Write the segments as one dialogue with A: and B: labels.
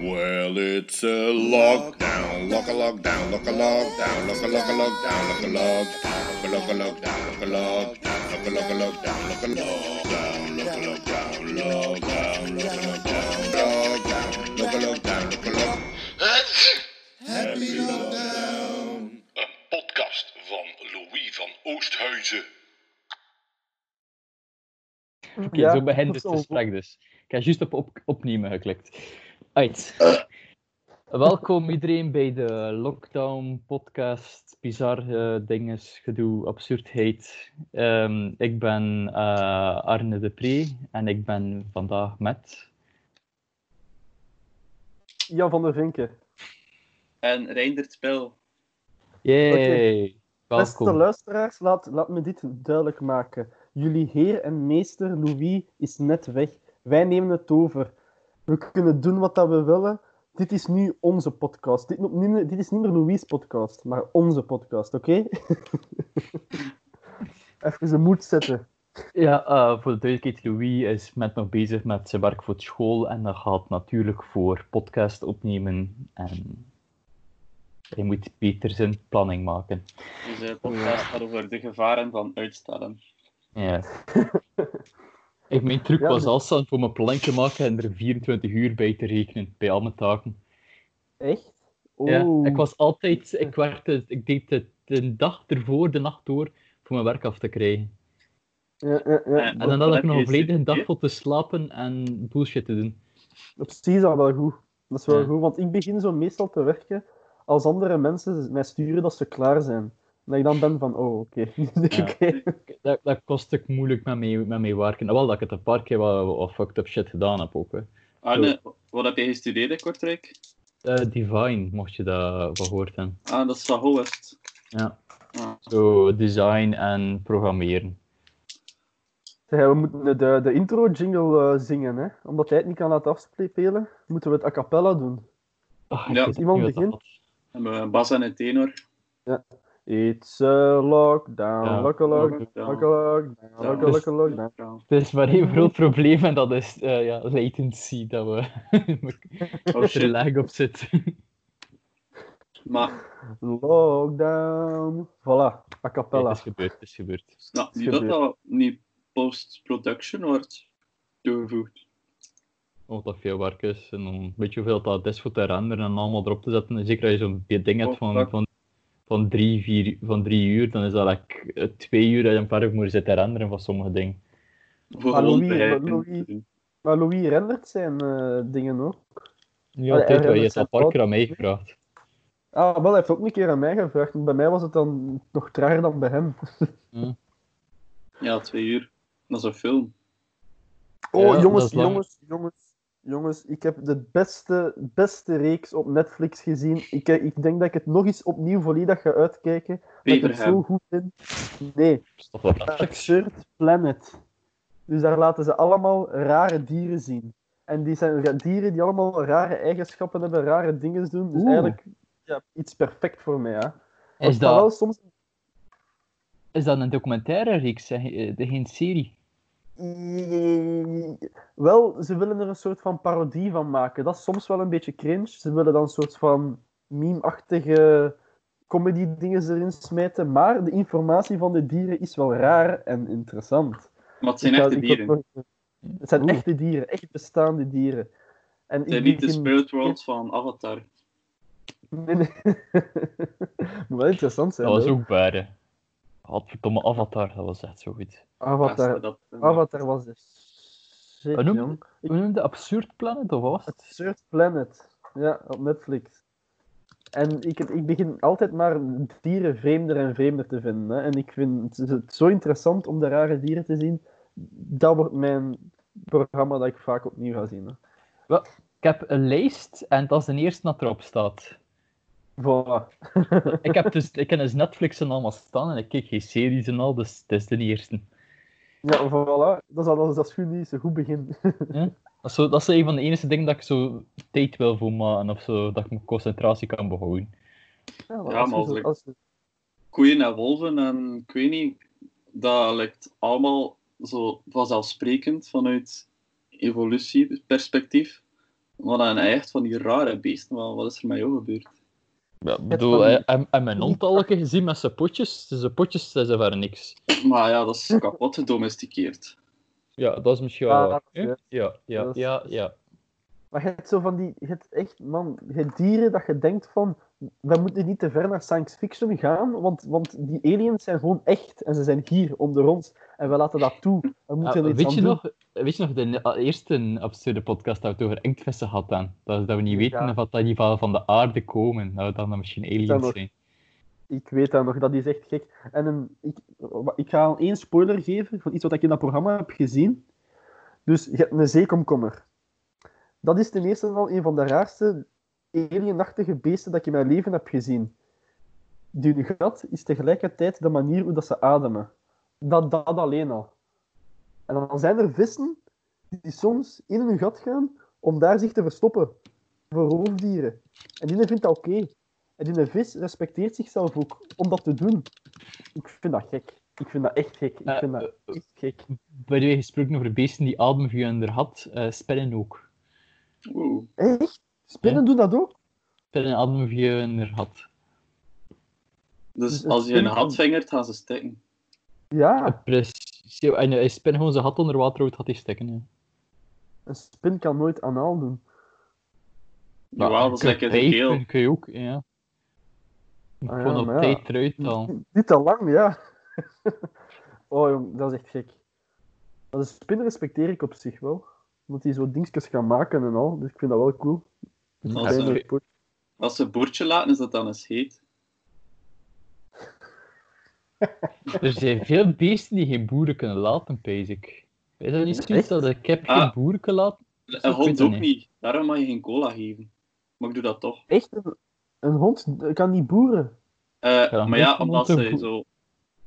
A: Well, it's a lockdown, lock a lockdown, lock a lockdown, lock a lock a lockdown, lock a lockdown, lock a lockdown, lock a lockdown, lock a lockdown, lock a lockdown, lock a lockdown, lockdown, lock a lockdown, lockdown, lock a lockdown, lock a lock. Happy lockdown.
B: Een podcast van Louis van Oosthuizen.
C: Oké, zo begint het gesprek dus. Ik heb juist op, op opnemen geklikt. Uit. Welkom iedereen bij de Lockdown Podcast. Bizar eh, dinges, gedoe, absurdheid. Ehm, ik ben eh, Arne de Pre en ik ben vandaag met.
D: Jan van der Vinken.
E: En Reindert Spel.
C: Yay!
D: Beste
C: Welkom.
D: luisteraars, laat, laat me dit duidelijk maken. Jullie heer en meester Louis is net weg. Wij nemen het over. We kunnen doen wat dat we willen. Dit is nu onze podcast. Dit, no- niet meer- dit is niet meer Louis' podcast, maar onze podcast, oké? Even de moed zetten.
C: Ja, eh, voor de duidelijkheid, Louis is met nog bezig met zijn werk voor het school en dat gaat natuurlijk voor podcast opnemen. En hij moet beter zijn planning maken.
E: Dus een podcast gaat over de gevaren van uitstellen.
C: Ja. Ik, mijn truc
D: Ja,
C: was
D: maar-
C: alstaan voor mijn planning te maken en er 24 uur bij te rekenen, bij al mijn taken.
D: Echt? Oh.
C: Ja, ik was altijd, ik werkte, ik deed het de dag ervoor, de nacht door, voor mijn werk af te krijgen.
D: Oh. Ja, ja, ja.
C: En dan had ik
E: heb
C: nog
E: je
C: een volledige
E: gestudeerd?
C: dag vol te slapen en bullshit te doen.
D: Op zich is dat wel goed. Dat is wel
C: Ja.
D: goed, want ik begin zo meestal te werken als andere mensen mij sturen dat ze klaar zijn. En dat ik dan ben van, oh, oké.
C: Ja.
D: Oké.
C: Dat, dat kost ik moeilijk met mee, met mee werken. Alhoewel dat ik het een paar keer wel, wel fucked up shit gedaan heb ook. Hè.
E: Arne, wat heb jij gestudeerd in Kortrijk?
C: Eh, Divine, mocht je dat van gehoord hebben.
E: Ah, dat is van Hoest.
C: Ja.
E: Ah.
C: Zo, design en programmeren.
D: Zeg, we moeten de, de intro-jingle eh, zingen, hè. Omdat hij het niet kan laten afspelen, moeten we het a cappella doen.
C: Ah,
E: Ja.
C: weet
D: Iemand
C: niet wat dat
D: begint?
C: was.
E: En we hebben Bas en een tenor.
D: It's a lockdown,
C: Ja. dus-
D: lock a lock,
E: Lockdown.
D: lock a lockdown, lock a lock a lockdown.
E: Oh,
C: Er is maar één groot probleem en dat is eh, ja, latency, dat we
E: Oh
C: er
E: shit.
C: lag op zit.
E: Maar
D: Lockdown. Voilà, a
C: Het
D: cappella.
C: is gebeurd, het is gebeurd.
E: snap nou, niet dat dat niet post-production wordt toegevoegd.
C: Omdat dat veel werk is en dan weet je hoeveel dat is voor te renderen en allemaal erop te zetten. En zeker als je zo'n ding hebt
E: Oh, fuck.
C: van, van, van, drie, vier, van drie uur, dan is dat like, eh, twee uur dat je een paar uur moet zitten renderen van sommige dingen.
E: Voor
D: Maar
E: gewoon
D: Louis,
E: begrijpen.
D: maar Louis- Maar Louis rendert zijn eh, dingen hoor.
C: Ja,
D: Allee,
C: altijd,
D: er-
C: wel, je
D: er
C: hebt
D: zijn
C: al een paar
D: fouten.
C: keer aan mij gevraagd.
D: Ah, wel, hij heeft ook een keer aan mij gevraagd. maar Bij mij was het dan nog trager dan bij hem.
E: Ja, twee uur. Dat is een film.
D: Oh,
C: Ja, dat
D: jongens,
C: is lang.
D: jongens, jongens, jongens. Ik heb de beste, beste reeks op Netflix gezien. Ik, eh, ik denk dat ik het nog eens opnieuw volledig ga uitkijken. Dat ik het zo
E: Beverham.
D: goed vind. Nee,
C: Stof dat Netflix.
D: Absurd Planet. Dus daar laten ze allemaal rare dieren zien. En die zijn ra- dieren die allemaal rare eigenschappen hebben, rare dingen doen. Dus
C: Oeh.
D: eigenlijk ja, iets perfect voor mij. Hè.
C: Is
D: Maar wel
C: dat,
D: soms
C: is dat een documentaire reeks, zeg je, eh, de- geen serie?
D: Mm, Wel, ze willen er een soort van parodie van maken. Dat is soms wel een beetje cringe. Ze willen dan een soort van meme-achtige comedy-dingen erin smijten. Maar de informatie van de dieren is wel raar en interessant.
E: Maar het zijn
D: Ik ga-
E: echte
D: ik ga-
E: dieren. Het
D: Het zijn
C: Oeh.
D: echte dieren, echt bestaande dieren. En
E: zijn
D: ik
E: niet de
D: begin-
E: spirit world van Avatar.
D: Nee, nee. Moet wel interessant zijn.
C: Dat was
D: hoor.
C: ook waar. hè. Godverdomme, Avatar, dat was echt zo goed.
D: Avatar.
E: Dat, eh, dat-
D: Avatar was de shit,
C: Wat Ah, noem-
D: jong.
C: Hoe noemde Absurd Planet, of was het?
D: Absurd Planet. Ja, op Netflix. En ik, ik begin altijd maar dieren vreemder en vreemder te vinden. Hè. En ik vind het, het zo interessant om de rare dieren te zien. Dat wordt mijn programma dat ik vaak opnieuw ga zien. Hè.
C: Ik heb een lijst en dat is de eerste dat erop staat.
D: Voilà.
C: Ik heb dus, ik ken dus Netflix en allemaal staan en ik kijk geen series en al, dus het is de eerste.
D: Ja, voilà. Dat is, al- dat is, dat is goed nieuws. Een goed begin.
C: Dat is, zo, dat is een van de enige dingen dat ik zo tijd wil voor maken of zo, dat ik mijn concentratie kan behouden.
D: Ja, maar
E: Ja,
D: als je zo-
E: mogelijk.
D: als je-
E: koeien en wolven en ik weet niet, dat lijkt allemaal zo vanzelfsprekend vanuit evolutieperspectief. Wat een echt van die rare beesten, maar wat is er met jou gebeurd?
C: Ja, ik bedoel,
D: van die-
C: hij- hij- hij mijn hond al een keer gezien met zijn potjes. Zijn potjes zijn ze waren niks.
E: Maar ja, dat is kapot gedomesticeerd.
C: Ja, dat is misschien
D: Ja, dat
C: wel. waar,
D: is
C: hè?
D: het.
C: Ja, ja,
D: Dat is-
C: ja, ja.
D: Maar je hebt zo van die, je hebt echt, man, je hebt dieren dat je denkt van, we moeten niet te ver naar science fiction gaan, want, want die aliens zijn gewoon echt en ze zijn hier onder ons en we laten dat toe. We moeten
C: Ah,
D: er iets
C: weet,
D: aan
C: je
D: doen.
C: nog, weet je nog de eh, eerste absurde podcast dat we het over engtvissen hadden? Dat, dat we niet weten
D: Ja.
C: of dat die van, van de aarde komen. Dat dan, dan misschien aliens
D: nog-
C: zijn.
D: Ik weet dat nog, dat is echt gek. En een, ik, wa- ik ga al één spoiler geven van iets wat ik in dat programma heb gezien. Dus je hebt een zeekomkommer. Dat is ten eerste al een van de raarste alienachtige beesten dat ik in mijn leven heb gezien. Die gat is tegelijkertijd de manier hoe dat ze ademen. Dat, dat alleen al. En dan zijn er vissen die soms in hun gat gaan om daar zich te verstoppen. Voor roofdieren. En die vindt dat oké. En die vis respecteert zichzelf ook om dat te doen. Ik vind dat gek. Ik vind dat echt gek. Ik
C: Eh,
D: vind dat
C: eh,
D: echt gek.
C: Bij de way, gesproken over beesten die ademen via hun had, eh spinnen ook.
E: Oeh,
D: Echt? Spinnen doen dat ook?
C: Spinnen ademen via hun had.
E: Dus
D: Dus
E: als je een
D: het
E: hand vingert, gaan ze stikken.
D: Ja.
C: Eh, Precies. ja, En hij spin gewoon zijn hat onder water, houdt had hij stikken. Ja.
D: Een spin kan nooit anaal doen.
E: Jawel, dat is
C: kun-
E: lekker de
C: bij
E: keel.
C: kun- kun je ook, ja.
D: Ah, ja,
C: Gewoon op
D: maar ja. Hm,
C: tijd eruit al.
D: Niet te lang, ja. oh, jong, dat is echt gek. Maar de spin respecteer ik op zich wel. Omdat die zo dingetjes gaan maken en al. Dus ik vind dat wel cool.
E: Dat
C: Ja,
E: is,
C: ik-
E: eh, Als ze een boertje laten, is dat dan eens heet.
C: Er zijn veel beesten die geen boeren kunnen laten, pees ik. Is dat niet zoiets
D: Echt?
C: dat ik heb geen
E: Ah.
C: boeren kunnen laten?
E: Een
C: ik weet
E: hond
C: dat
E: ook
C: niet.
E: niet. Daarom mag je geen cola geven. Maar ik doe dat toch.
D: Echt, een, een hond kan niet boeren.
E: Eh,
C: Ja,
E: maar ja,
C: een
E: omdat
C: hond een
E: ze
C: boer-
E: zo...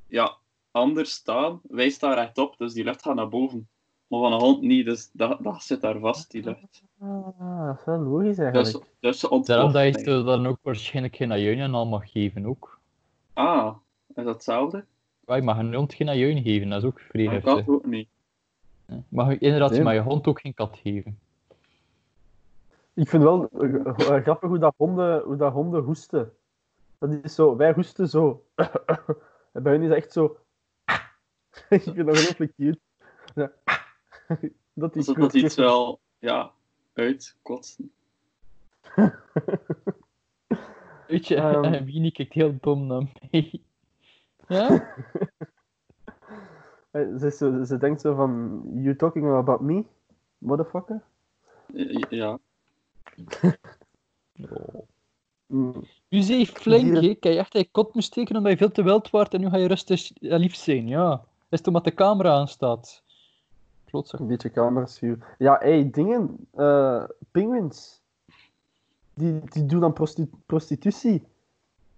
E: Ja, anders staan. Wij staan rechtop, dus die lucht gaat naar boven. Maar van een hond niet, dus dat, dat zit daar vast, die lucht.
D: Ah, dat is wel logisch
E: Dus,
D: eigenlijk.
E: dus ze
C: Daarom
E: ontploft.
C: dat je
E: denk ik.
C: ze dan ook waarschijnlijk geen ajuin en al mag geven ook.
E: Ah, is dat hetzelfde?
C: Ja, je mag een hond geen ajuin geven, dat is ook vrij
E: Ik
C: heftig.
E: had ook niet.
C: Ja. Mag je inderdaad
D: Nee.
C: maar je hond ook geen kat geven.
D: Ik vind wel eh, eh, grappig hoe dat, honden, hoe dat honden hoesten. Dat is zo, wij hoesten zo. en bij hun is dat echt zo. ik vind dat ongelooflijk cute. Ja. dat die
E: Alsof dat
D: cute-
E: iets wel, ja, uitkotsen.
C: Weet je,
D: Ehm.
C: en Winnie kijkt heel dom naar mij. Ja?
D: Eh, Ze, is zo- ze denkt zo van, you talking about me, motherfucker?
E: Eh, Ja.
C: Oh.
D: Mm.
C: U zei flink,
D: Dieren-
C: hè. Kan je echt een kot moest steken omdat je veel te wild wordt en nu ga je rustig en lief zijn, ja. Is het omdat de camera aanstaat? Klotzak.
D: Een beetje kamerschuw. Ja, hé, dingen. eh penguins. Die, die doen dan prosti- prostitutie.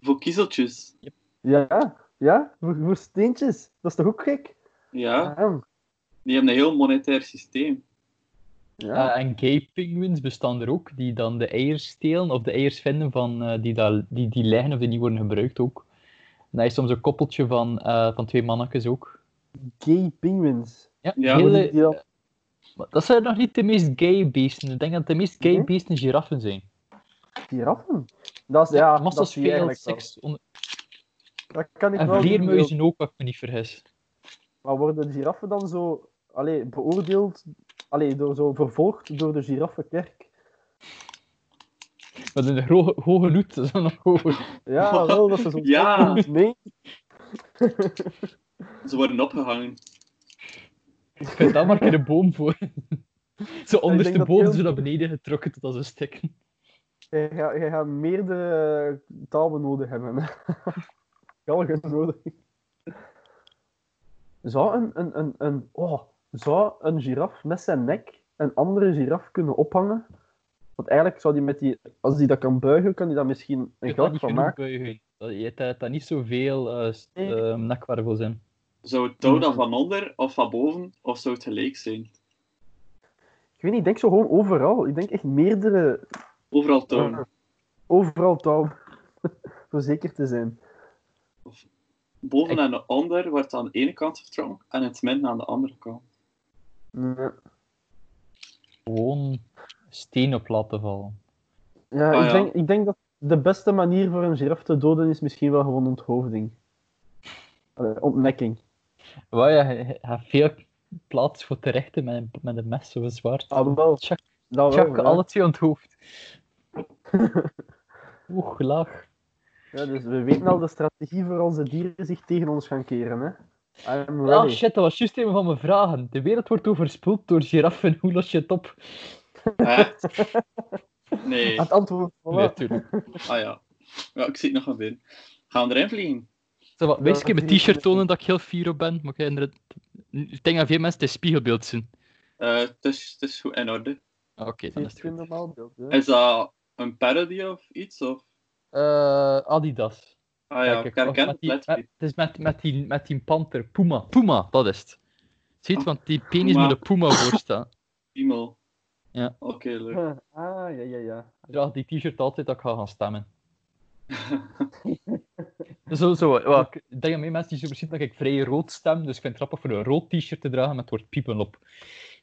E: Voor kiezeltjes.
D: Ja, ja, voor, voor steentjes. Dat is toch ook gek?
E: Ja,
D: Ja,
E: die hebben een heel monetair systeem. Eh,
D: ja.
C: Ja, Eh, en gay penguins bestaan er ook, die dan de eiers stelen of de eiers vinden van, eh, die, daar, die, die liggen of die niet worden gebruikt ook. En dat is soms een koppeltje van, eh, van twee mannetjes ook.
D: Gay penguins.
C: Ja,
E: Ja.
D: Worden
C: hele-
D: die dan-
C: maar dat zijn nog niet de meest gay beesten. Ik denk dat de meest gay
D: Nee?
C: beesten giraffen zijn.
D: Giraffen? Dat is, ja, dat
C: Massas
D: zie je
C: veel
D: eigenlijk wel.
C: seks. on-
D: Dat kan ik
C: En
D: wel niet
C: vleermuizen ook, als ik me niet vergis.
D: Maar worden giraffen dan zo allee, beoordeeld, allee, door, zo vervolgd door de giraffenkerk?
C: Met een gro- hoge loet. dat is dan nog hoger.
D: Ja, wel, dat ze zo
E: Ja.
D: mee.
E: Ze worden opgehangen.
C: Ik vind daar maar een boom voor. Ze
D: dat
C: ondersteboven,
D: heel-
C: zo naar beneden getrokken tot als een stikken.
D: Je gaat, je gaat meerdere talen nodig hebben. hè. Galgen nodig. Zou een, een, een, een, oh, zou een giraf met zijn nek een andere giraf kunnen ophangen? Want eigenlijk zou die met die, als die dat kan buigen, kan die daar misschien
C: Je
D: een
C: kan
D: gat
C: niet
D: van
C: genoeg
D: maken.
C: buigen. Dat- Je hebt daar- daar niet zoveel eh st-
D: Nee.
C: eh, nekwervels in.
E: Zou het touw dan van onder of van boven, of zou het gelijk zijn?
D: Ik weet niet, ik denk zo gewoon overal. Ik denk echt meerdere
E: Overal
D: Ah.
E: touw.
D: Overal touw. Voor zeker te zijn.
E: Boven en onder wordt aan de ene kant vertrokken en het midden aan de andere kant.
D: Nee.
C: Gewoon steen op laten vallen.
D: Ja,
E: Ah,
D: ik,
E: ja.
D: Denk, ik denk dat de beste manier voor een giraf te doden is misschien wel gewoon onthoofding. Allee, ontnekking.
C: Waar ja, je je hebt veel plaats voor te rechten met een, met een mes of een zwaard.
D: Ah, wel.
C: Tjak,
D: Dat wel,
C: tjak,
D: ja.
C: alle twee onthoofd. Oeh, laag.
D: Ja, dus we weten al de strategie voor onze dieren zich tegen ons gaan keren. Hè? I'm
C: Ah
D: ready.
C: shit, dat was juist een van mijn vragen. De wereld wordt overspoeld door giraffen. Hoe los je het op?
E: Echt? Nee. Ah
D: Het antwoord, voilà.
C: Natuurlijk.
E: ja. ja. Ik zie het nog wel binnen. Gaan we erin vliegen?
C: Wat, wees ik in
D: natuurlijk.
C: mijn t-shirt tonen dat ik heel fier op ben. Maar ik, inderdaad- ik denk dat veel mensen het spiegelbeeld zien.
E: Eh, Het is het is goed in orde.
C: Ah, Oké,
D: Zie
C: dan
D: je
C: is
D: het
C: het
D: geen
C: goed.
D: normaal beeld. Hè?
E: Is dat een parody of iets? Of?
C: Eh, Adidas.
E: Ah ja,
C: Kijk,
E: ik
C: kijk,
E: herken
C: met
E: het
C: die-
E: letterlijk.
C: met- Het is met, met, die, met die panter. Puma. Puma, dat is het. Ziet,
E: Ah,
C: want die penis
E: Puma.
C: moet een Puma voorstaan.
E: Piemel.
C: eh. Ja.
E: Oké, leuk.
D: Ah, ja, ja, ja.
C: Ik draag die t-shirt altijd dat ik ga gaan stemmen. Dus Zo, zo. wel, ik denk dat meer mensen die zo zien dat ik vrij rood stem. Dus ik vind het grappig voor een rood t-shirt te dragen met het woord piepen op.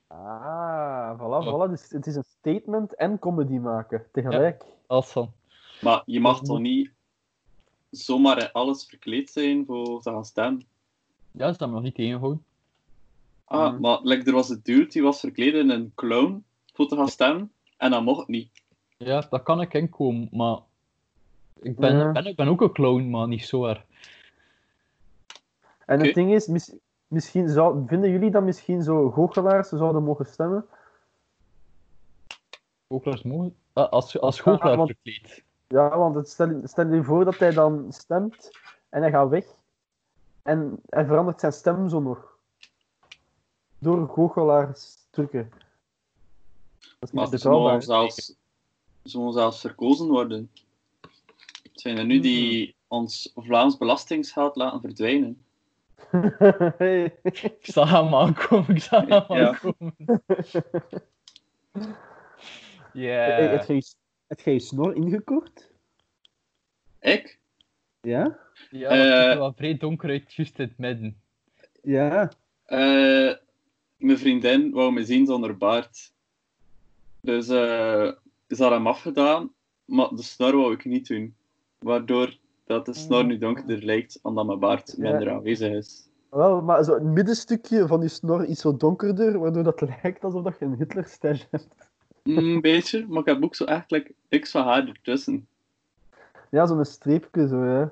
D: Ah, voilà, voilà. Dus het is een statement en comedy maken tegelijk.
C: Als dan.
E: Maar je mag toch niet zomaar in alles verkleed zijn voor te gaan stemmen?
C: Ja, is dat me nog niet tegengehouden.
E: Ah,
D: Mhm.
E: maar like, er was een dude die was verkleed in een clown voor te gaan stemmen. En dat mocht niet.
C: Ja, dat kan ik inkomen, maar... Ik ben,
D: Ja.
C: ben, ik ben ook een clown, maar niet zo erg.
D: En
E: Oké.
D: het ding is, mis- misschien zou, vinden jullie dat misschien zo goochelaars zouden mogen stemmen?
C: Goochelaars mogen... Ah, als, als goochelaar
D: Ah, want-
C: verkleed.
D: Ja, want het stel, stel je voor dat hij dan stemt en hij gaat weg. En hij verandert zijn stem zo nog. Door goochelaars drukken. Dat is
E: Maar
D: niet
E: ze mogen
D: betrouwbaar.
E: zelfs, ze mogen zelfs verkozen worden. Het zijn er nu
D: Mhm.
E: die ons Vlaams belastingsgeld laten verdwijnen.
D: Hey.
C: Ik zag hem aankomen, ik zag hem
E: Ja.
C: aankomen.
D: Hey,
C: Yeah.
D: heb jij je- heb jij je snor ingekort?
E: Ik?
D: Ja?
C: Ja,
E: Eh,
C: het ziet er wel vrij donker uit, juist in het midden.
D: Ja.
E: Eh, mijn vriendin wou me zien zonder baard. Dus eh ze had hem afgedaan, maar de snor wou ik niet doen. Waardoor dat de snor nu donkerder lijkt, omdat mijn baard
D: Mhm. Ja.
E: minder aanwezig is.
D: Wel, maar zo het middenstukje van je snor is zo donkerder, waardoor dat lijkt alsof dat je een Hitler-stash hebt.
E: Mm, Een beetje, maar ik heb ook zo eigenlijk niks van haar ertussen.
D: Ja, zo'n streepje zo, hè.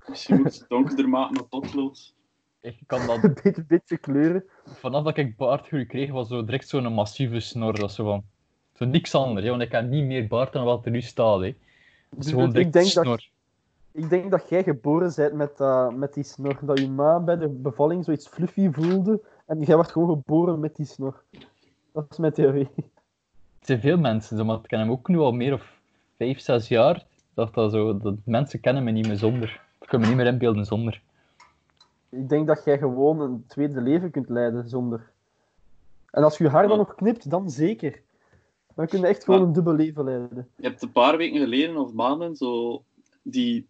E: Misschien Dus moet ik ze donkerder maken, maar potlood.
C: Ik kan dat,
D: Een beetje, beetje kleuren.
C: vanaf dat ik baardgroei kreeg, was zo direct zo'n massieve snor. Dat zo van, zo niks anders, hè, want ik heb niet meer baard dan wat er nu staat. Hè. Dat is
D: Dus
C: gewoon
D: ik
C: direct
D: denk dat-
C: snor.
D: Ik denk dat jij geboren bent met, eh, met die snor. Dat je ma bij de bevalling zoiets fluffy voelde. En jij werd gewoon geboren met die snor. Dat is mijn theorie.
C: Het zijn veel mensen, zo, maar ik ken hem ook nu al meer of vijf, zes jaar. Dat, dat, zo, dat mensen kennen me niet meer zonder. Ik kan me niet meer inbeelden zonder.
D: Ik denk dat jij gewoon een tweede leven kunt leiden zonder. En als je haar dan nog knipt, dan zeker. Dan kun je echt gewoon
E: Maar-
D: een dubbel leven leiden.
E: Je hebt een paar weken geleden of maanden zo die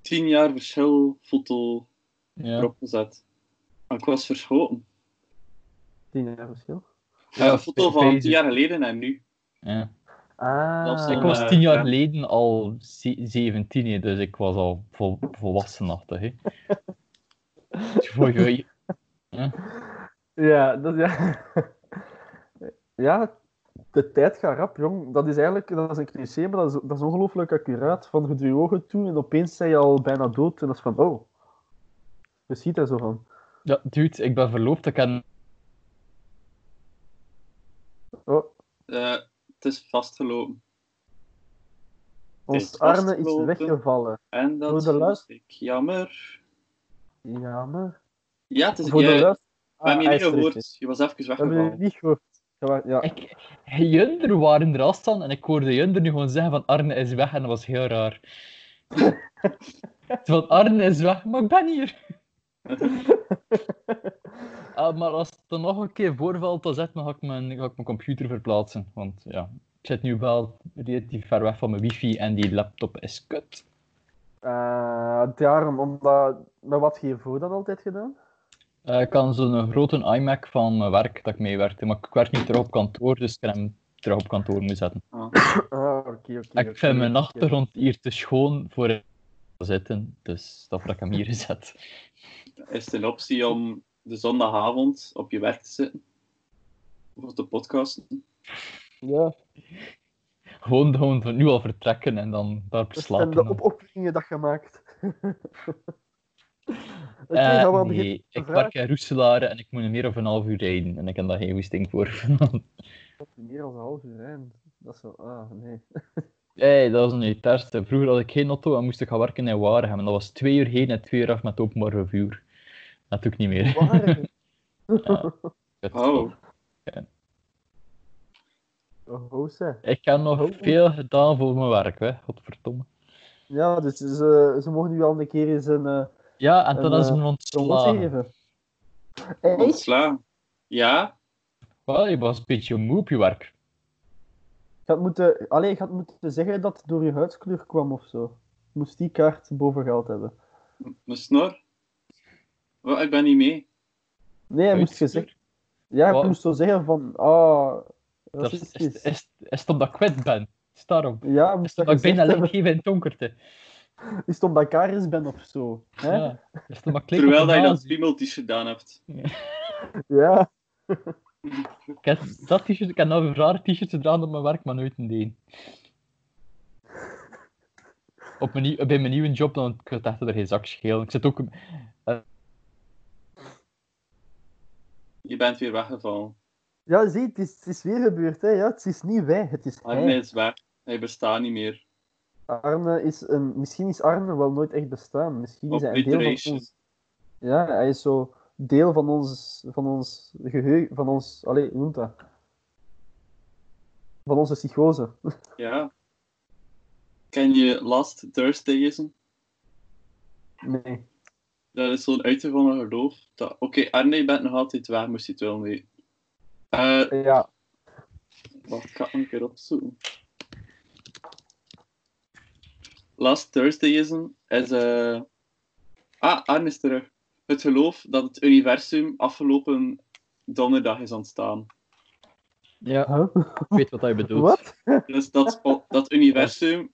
E: tien jaar verschilfoto
C: Ja.
E: erop gezet. En ik was verschoten.
D: Tien jaar verschil.
E: Ja, een foto
C: fe-
E: van
C: feest.
E: tien jaar geleden en nu.
C: Ja.
D: Ah.
C: Ik
E: Ah,
C: was
E: eh,
C: tien jaar
E: ja.
C: geleden al ze- 17, hè, dus ik was al vol, volwassenachtig. Hè. Voor je-
D: Ja, dat, ja. ja, de tijd gaat rap, jong. Dat is eigenlijk dat is een cliché, maar dat is, dat is ongelooflijk accuraat. Van je doet je ogen toe en opeens zijn je al bijna dood. En dat is van, oh. Je ziet daar zo van.
C: ja, dude, ik ben verloofd. Ik heb
D: Oh,
E: Eh, het is vastgelopen.
D: ons
E: Is
D: arme is
E: vastgelopen.
D: weggevallen.
E: En dat
D: Voor de
E: vind
D: luister-
E: ik jammer.
D: Ja, maar...
E: Ja, het is...
D: Voor de
E: jij-
D: luister... Ah,
E: we hebben je
D: hij
E: niet
D: is terug, hè.
E: gehoord. Je was even
D: We hebben je
E: weggevallen.
D: niet gehoord. Ja, maar- ja.
C: Ik, Junder waren er al staan en ik hoorde Junder nu gewoon zeggen van Arne is weg en dat was heel raar. Zo van Arne is weg, maar ik ben hier. Ah, maar als het er nog een keer voorvalt, dan zet me, ga, ik mijn, ga ik mijn computer verplaatsen. Want ja, ik zit nu wel relatief ver weg van mijn wifi en die laptop is kut.
D: Eh, daarom, omdat... Maar wat heb je hiervoor dan altijd gedaan?
C: Eh, ik had zo'n grote iMac van mijn werk dat ik meewerkte, maar ik werk niet terug op kantoor, dus ik heb hem terug op kantoor moeten zetten.
D: Ah, oké, oké.
C: En
D: oké,
C: ik vind mijn
D: oké.
C: achtergrond hier te schoon voor in te zitten, dus dat heb ik hem hier gezet.
E: Is het een optie om de zondagavond op je werk te zitten? Of te podcasten?
D: Ja,
C: Gewoon, gewoon van nu al vertrekken en dan daar
D: dat zijn
C: slapen.
D: de
C: dan.
D: op opwindingen dat je maakt. Oké,
C: Eh,
D: gaan we aan beginnen
C: nee,
D: met de
C: ik
D: vraag.
C: werk in Roeselare en ik moet meer dan een half uur rijden en ik heb daar geen goesting voor.
D: Meer dan een half uur rijden. Dat is wel... Ah, nee.
C: hey, dat was nu het eerste. Vroeger had ik geen auto en moest ik gaan werken in Waregem en dat was twee uur heen en twee uur af met openbaar vervoer. Dat doe ik niet meer.
D: Waar?
C: Het-
E: Oh,
D: Oh, zeg.
C: Ik heb nog
D: Oh.
C: veel gedaan voor mijn werk, hè. godverdomme.
D: Ja, dus ze, ze mogen nu al een keer eens een eh,
C: Ja, en
D: En,
C: toen is
D: eh,
C: men
D: promotie
C: ontslagen.
D: geven. Echt?
E: ontslaan. Ja?
C: Wel, je was een beetje moe op je werk.
D: Je had, moeten, allee, je had moeten zeggen dat het door je huidskleur kwam of zo. Je moest die kaart boven geld hebben.
E: Mijn snor? Wat, ik ben niet mee.
D: Nee, hij moest
C: Uitstuur.
D: gezegd. Ja,
C: Wat?
D: je moest zo zeggen van. Ah,
C: Dat is,
D: racistisch.
C: is, is, is het omdat ik kwet ben? Is het daarom?
D: ja, je
C: Is
D: moest
C: het
D: dat
C: omdat ik
D: gezegd
C: bijna
D: hebben.
C: lichtgeven in het donkerte?
D: Is het omdat ik Karis ben of zo? Hè? Ja.
C: Ja. Is het omdat ik lijk op
E: Terwijl
C: een
E: dat je dat
C: nazi?
E: piemeltje gedaan hebt.
C: Ik heb dat t-shirt, ik heb nou een raar t-shirt gedaan op mijn werk, maar nooit een deen. Op mijn, nieuw- bij mijn nieuwe job, dan kan het echt er geen zak schelen. Ik zit ook...
E: Je bent weer weggevallen.
D: Ja, zie, het is, het is weer gebeurd. Hè. Ja, het is niet wij, het is hij.
E: Arne is weg. Hij bestaat niet meer.
D: Arne is een, misschien is Arne wel nooit echt bestaan. Misschien
E: Op
D: is hij een deel van
E: Iteration.
D: ons. Ja, hij is zo deel van ons, van ons geheugen, van ons, allee, hoe noemt dat? Van onze psychose.
E: Ja. Ken je Last Thursdayism?
D: Nee.
E: Dat is zo'n uitgevonden geloof. dat- Oké, Arne, je bent nog altijd weg, moest je het wel weten. Eh,
D: Ja,
E: Wacht, ik ga het een keer opzoeken. Last Thursdayism is... eh Ah, Arne is terug. Het geloof dat het universum afgelopen donderdag is ontstaan.
C: Ja,
D: Huh?
C: ik weet wat hij bedoelt.
D: Wat?
E: Dus dat, spo- dat universum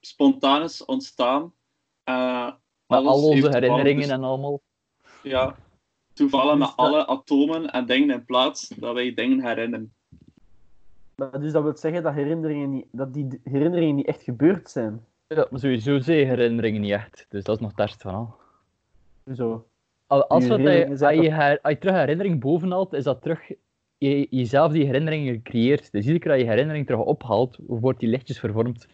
E: spontaan is ontstaan. eh,
C: Maar
E: alles
C: al
E: heeft
C: onze
E: te maken
C: herinneringen
E: met-
C: en allemaal.
E: Ja, toevallen met
D: Dus dat-
E: alle atomen en dingen in plaats dat wij dingen herinneren.
D: Maar Dus dat wil zeggen dat, herinneringen niet, dat die herinneringen niet echt gebeurd zijn.
C: Ja, maar sowieso zijn herinneringen niet echt. Dus dat is nog het ergste van al.
D: Zo.
C: Al- Als,
D: Die
C: dat je,
D: herinneringen
C: als,
D: zijn
C: je, her- als je terug herinnering bovenhaalt, is dat terug je, jezelf die herinneringen creëert. Dus iedere keer dat je herinnering terug ophaalt, wordt die lichtjes vervormd.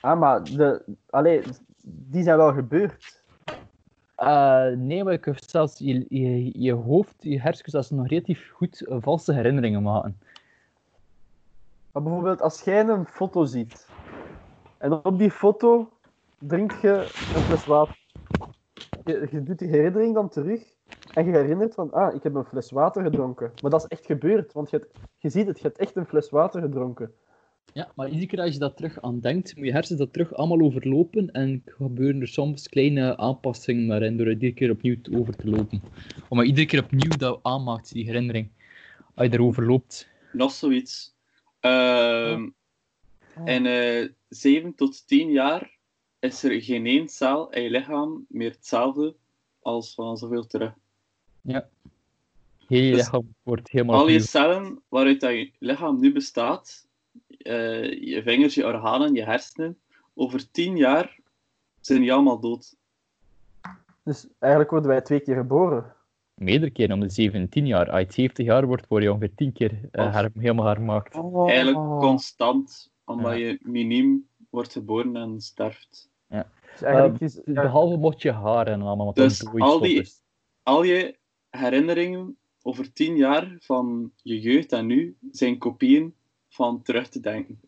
D: Ah, maar de, allee, die zijn wel gebeurd.
C: Eh, nee, maar ik heb zelfs je, je, je hoofd, je hersens, dat is nog relatief goed eh, valse herinneringen maken.
D: Maar bijvoorbeeld, als jij een foto ziet en op die foto drink je een fles water. Je, je doet die herinnering dan terug en je herinnert van, ah, ik heb een fles water gedronken. Maar dat is echt gebeurd, want je, hebt- je ziet het, je hebt echt een fles water gedronken.
C: Ja, maar iedere keer als je dat terug aan denkt, moet je hersens dat terug allemaal overlopen en gebeuren er soms kleine aanpassingen naar in door het iedere keer opnieuw te- over te lopen. Omdat je iedere keer opnieuw dat aanmaakt, die herinnering, als je erover loopt.
E: Nog zoiets. Ehm In eh 7 tot 10 jaar is er geen één cel in je lichaam meer hetzelfde als van zoveel terug.
C: Heel je
E: Dus-
C: lichaam wordt helemaal
E: Al je
C: opnieuw.
E: cellen waaruit dat je lichaam nu bestaat, eh, je vingers, je organen, je hersenen, over 10 jaar zijn die allemaal dood.
D: Dus eigenlijk worden wij twee keer geboren.
C: meerdere keer om de 17 jaar. Als je 70 jaar wordt, word je ongeveer 10 keer eh, her- helemaal hermaakt.
D: Oh.
E: Eigenlijk constant, omdat
C: Ja.
E: je miniem wordt geboren en sterft.
D: Dus eigenlijk
C: Eh,
D: is, ja,
C: Behalve mocht je haar en allemaal, want
E: Dus
C: dat is al
E: al die-
C: die... is.
E: Al je herinneringen over 10 jaar van je jeugd en nu zijn kopieën van terug te denken.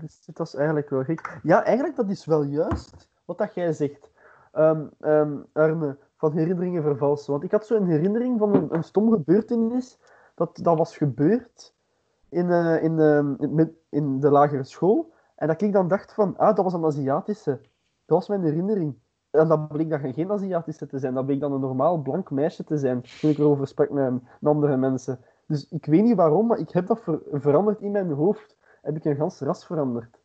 D: Dus dit was eigenlijk wel gek. Ja, eigenlijk dat is wel juist wat dat jij zegt, Ehm, ehm, Arne, van herinneringen vervalsen. Want ik had zo'n herinnering van een, een stom gebeurtenis dat, dat was gebeurd in, eh, in, ehm, in, mid- in de lagere school. En dat ik dan dacht van, ah, dat was een Aziatische. Dat was mijn herinnering. En dat bleek dan geen Aziatische te zijn. Dat bleek dan een normaal blank meisje te zijn. Toen ik erover sprak met, met andere mensen. Dus ik weet niet waarom, maar ik heb dat ver- veranderd in mijn hoofd. Heb ik een gans ras veranderd.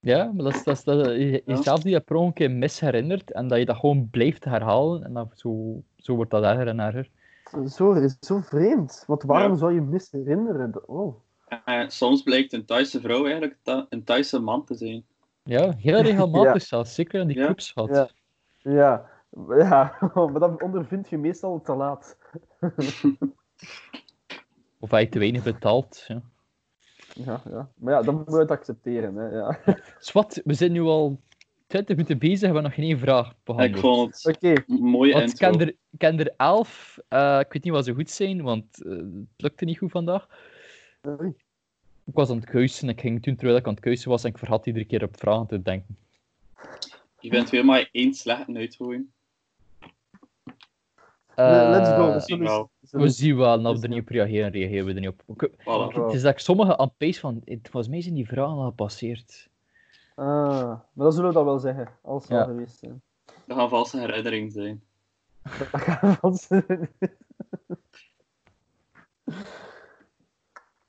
C: Ja, maar dat is, dat is, dat is- je-
E: Ja.
C: jezelf die dat per ongeluk een mis herinnert en dat je dat gewoon blijft herhalen en dan zo, zo wordt dat erger en erger.
D: Zo, is zo vreemd. Want waarom
E: Ja.
D: zou je misherinneren? Oh.
E: Eh, soms blijkt een Thaise vrouw eigenlijk Tha- een Thaise man te zijn.
C: Ja, heel regelmatig zelfs, zeker in die
E: Ja.
C: clubs gehad.
D: Ja. Ja, ja. maar dat ondervind je meestal te laat.
C: Of hij te weinig betaalt. Ja.
D: Ja, ja. Maar ja, dan moet je het accepteren. Hè. Ja. Oké,
C: Swat, we zijn nu al 20 minuten bezig, we hebben nog geen vraag
E: Ik
C: behandeld.
E: vond het een mooie
C: Want ik
E: intro.
C: ken er, ik ken er elf. eh, ik weet niet wat ze goed zijn, want eh, het lukte niet goed vandaag.
D: Oei.
C: Ik was aan het kuisen. Ik ging toen terwijl ik aan het kuisen was en ik vergat iedere keer op vragen te denken.
E: Je bent weer maar één slecht uitgooien.
D: Le- let's go.
C: Eh,
D: We zullen-
E: nou,
D: zullen-
C: We zien wel, en als we er niet op reageren, reageren we er niet op. Ik-
E: Voilà.
D: Oh.
C: Het is dat ik sommigen aan het pees van, het was mij zijn die vragen al gepasseerd.
D: Ah, maar dan zullen we dat wel zeggen, als we
C: Ja.
D: al geweest zijn.
E: Dat gaan valse herinneringen zijn.
D: Dat gaan we ons-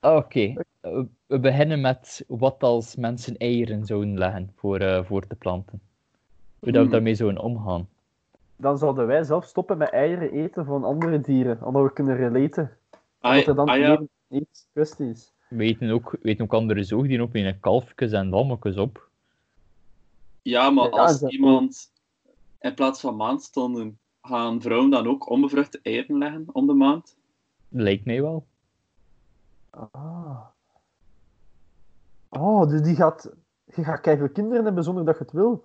C: Oké, eh, we beginnen met wat als mensen eieren zouden leggen voor, eh, voor te planten. Hoe dat we
E: Hmm.
C: daarmee zouden omgaan.
D: Dan zouden wij zelf stoppen met eieren eten van andere dieren, omdat we kunnen relaten.
E: Ah,
D: Omdat er dan
E: ah ja,
D: meer ethische kwestie is.
C: We eten ook, we eten ook andere zoogdieren op, in een kalfjes en lammetjes op.
E: ja, maar
D: Ja,
E: als
D: dat-
E: iemand in plaats van maandstonden, gaan vrouwen dan ook onbevruchte eieren leggen om de maand?
C: Lijkt mij wel.
D: Ah. Oh, dus die gaat... Je gaat keihard kinderen hebben zonder dat je het wil.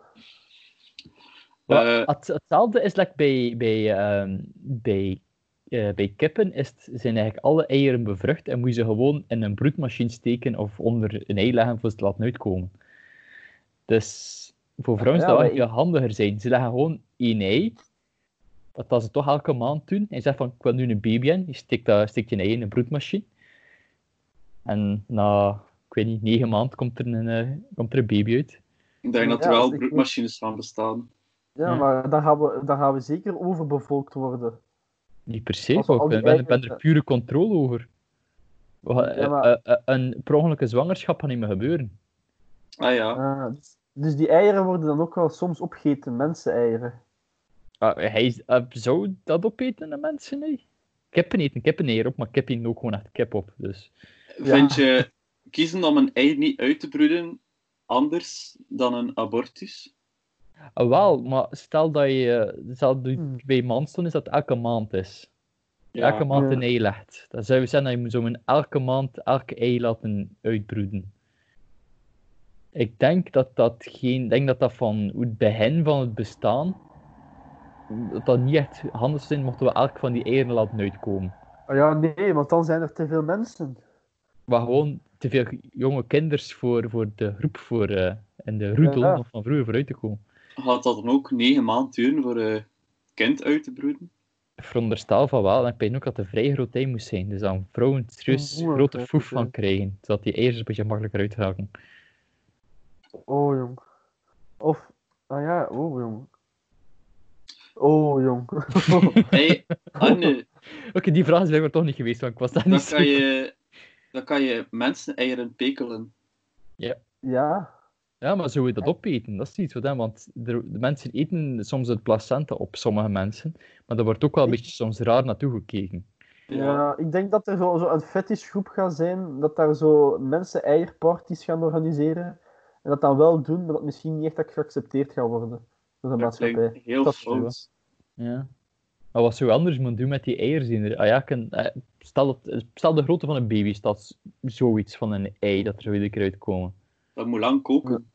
C: Maar
E: Eh.
C: het- hetzelfde is like bij, bij, ehm, bij, eh, bij kippen, is het- zijn eigenlijk alle eieren bevrucht en moet je ze gewoon in een broedmachine steken of onder een ei leggen voor ze te laten uitkomen. Dus voor vrouwen
D: Ja,
C: zou dat
D: maar
C: eigenlijk veel handiger zijn. Ze leggen gewoon één ei, dat dat ze toch elke maand doen. En je zegt van, ik wil nu een baby in, je steekt, dat, steekt je ei in een broedmachine. En na, ik weet niet, negen maanden komt er een, eh, komt er een baby uit.
E: Ik denk dat er
D: Ja,
E: wel
D: als ik-
E: broedmachines van bestaan.
D: Ja,
C: Ja.
D: maar dan gaan, we, dan gaan we zeker overbevolkt worden.
C: Niet per se,
D: Als we
C: maar
D: al
C: ik
D: die
C: ben, ben, ben
D: eieren-
C: er pure controle over. Wa-
D: Ja, maar-
C: eh, eh, een per ongelukke zwangerschap kan niet meer gebeuren.
E: Ah ja,
D: Ah, dus, dus die eieren worden dan ook wel soms opgegeten, mensen-eieren.
C: Ah, hij is- eh, zou dat opeten, de mensen? Nee. Kippen eten kippen eieren op, maar kippen eten ook gewoon echt kip op. Dus.
E: Vind je kiezen om een ei niet uit te broeden anders dan een abortus?
C: Ah, wel, maar stel dat je, eh, stel dat je
D: Hmm.
C: bij maandstonden is dat elke maand is. Elke maand
D: Ja.
C: een ei legt. Dan zou je zeggen dat je moet zo'n elke maand elke ei laten uitbroeden. Ik denk dat dat geen, ik denk dat dat van hoe het begin van het bestaan, dat dat niet echt handig zou zijn mochten we elk van die eieren laten uitkomen.
D: Ah ja, nee, want dan zijn er te veel mensen.
C: Maar gewoon te veel jonge kinders voor, voor de groep, voor, eh, in de roedel
D: Ja.
C: nog van vroeger vooruit te komen.
E: Gaat dat dan ook negen maanden duren voor een kind uit te broeden?
C: Ik veronderstel van wel, en ik denk ook dat het een vrij groot ei moest zijn. Dus dan vrouwen serieus
D: Oeh,
C: grote
D: oké,
C: foef
D: oké.
C: van krijgen, zodat die eieren een beetje makkelijker uitraken.
D: Oh, jong. Of, ah ja, oh, jong. Oh, jong.
E: Hey, Arne,
C: Oké, die vraag is blijkbaar toch niet geweest, want ik was daar niet
E: dan
C: zeker.
E: kan je, dan kan je mensen eieren pekelen.
D: ja.
C: Ja, maar zou je dat opeten? Dat is iets wat, hè, want er- de mensen eten soms het placenta op, sommige mensen. Maar daar wordt ook wel een
D: Ik-
C: beetje soms raar naartoe gekeken.
D: Ja, ik denk dat er zo, zo een fetishgroep gaat zijn, dat daar zo mensen eierparties gaan organiseren. En dat dan wel doen, maar dat misschien niet echt geaccepteerd gaat worden door de
E: dat
D: maatschappij.
E: klinkt heel
D: Dat is
E: fout.
C: Ja. Maar wat zou je anders moeten doen met die eieren? die er- Ah, ja, ik kan- eh, stel, dat, stel de grootte van een baby, is dat zoiets van een ei dat er zo iedere keer uitkomen.
E: Dat moet lang koken.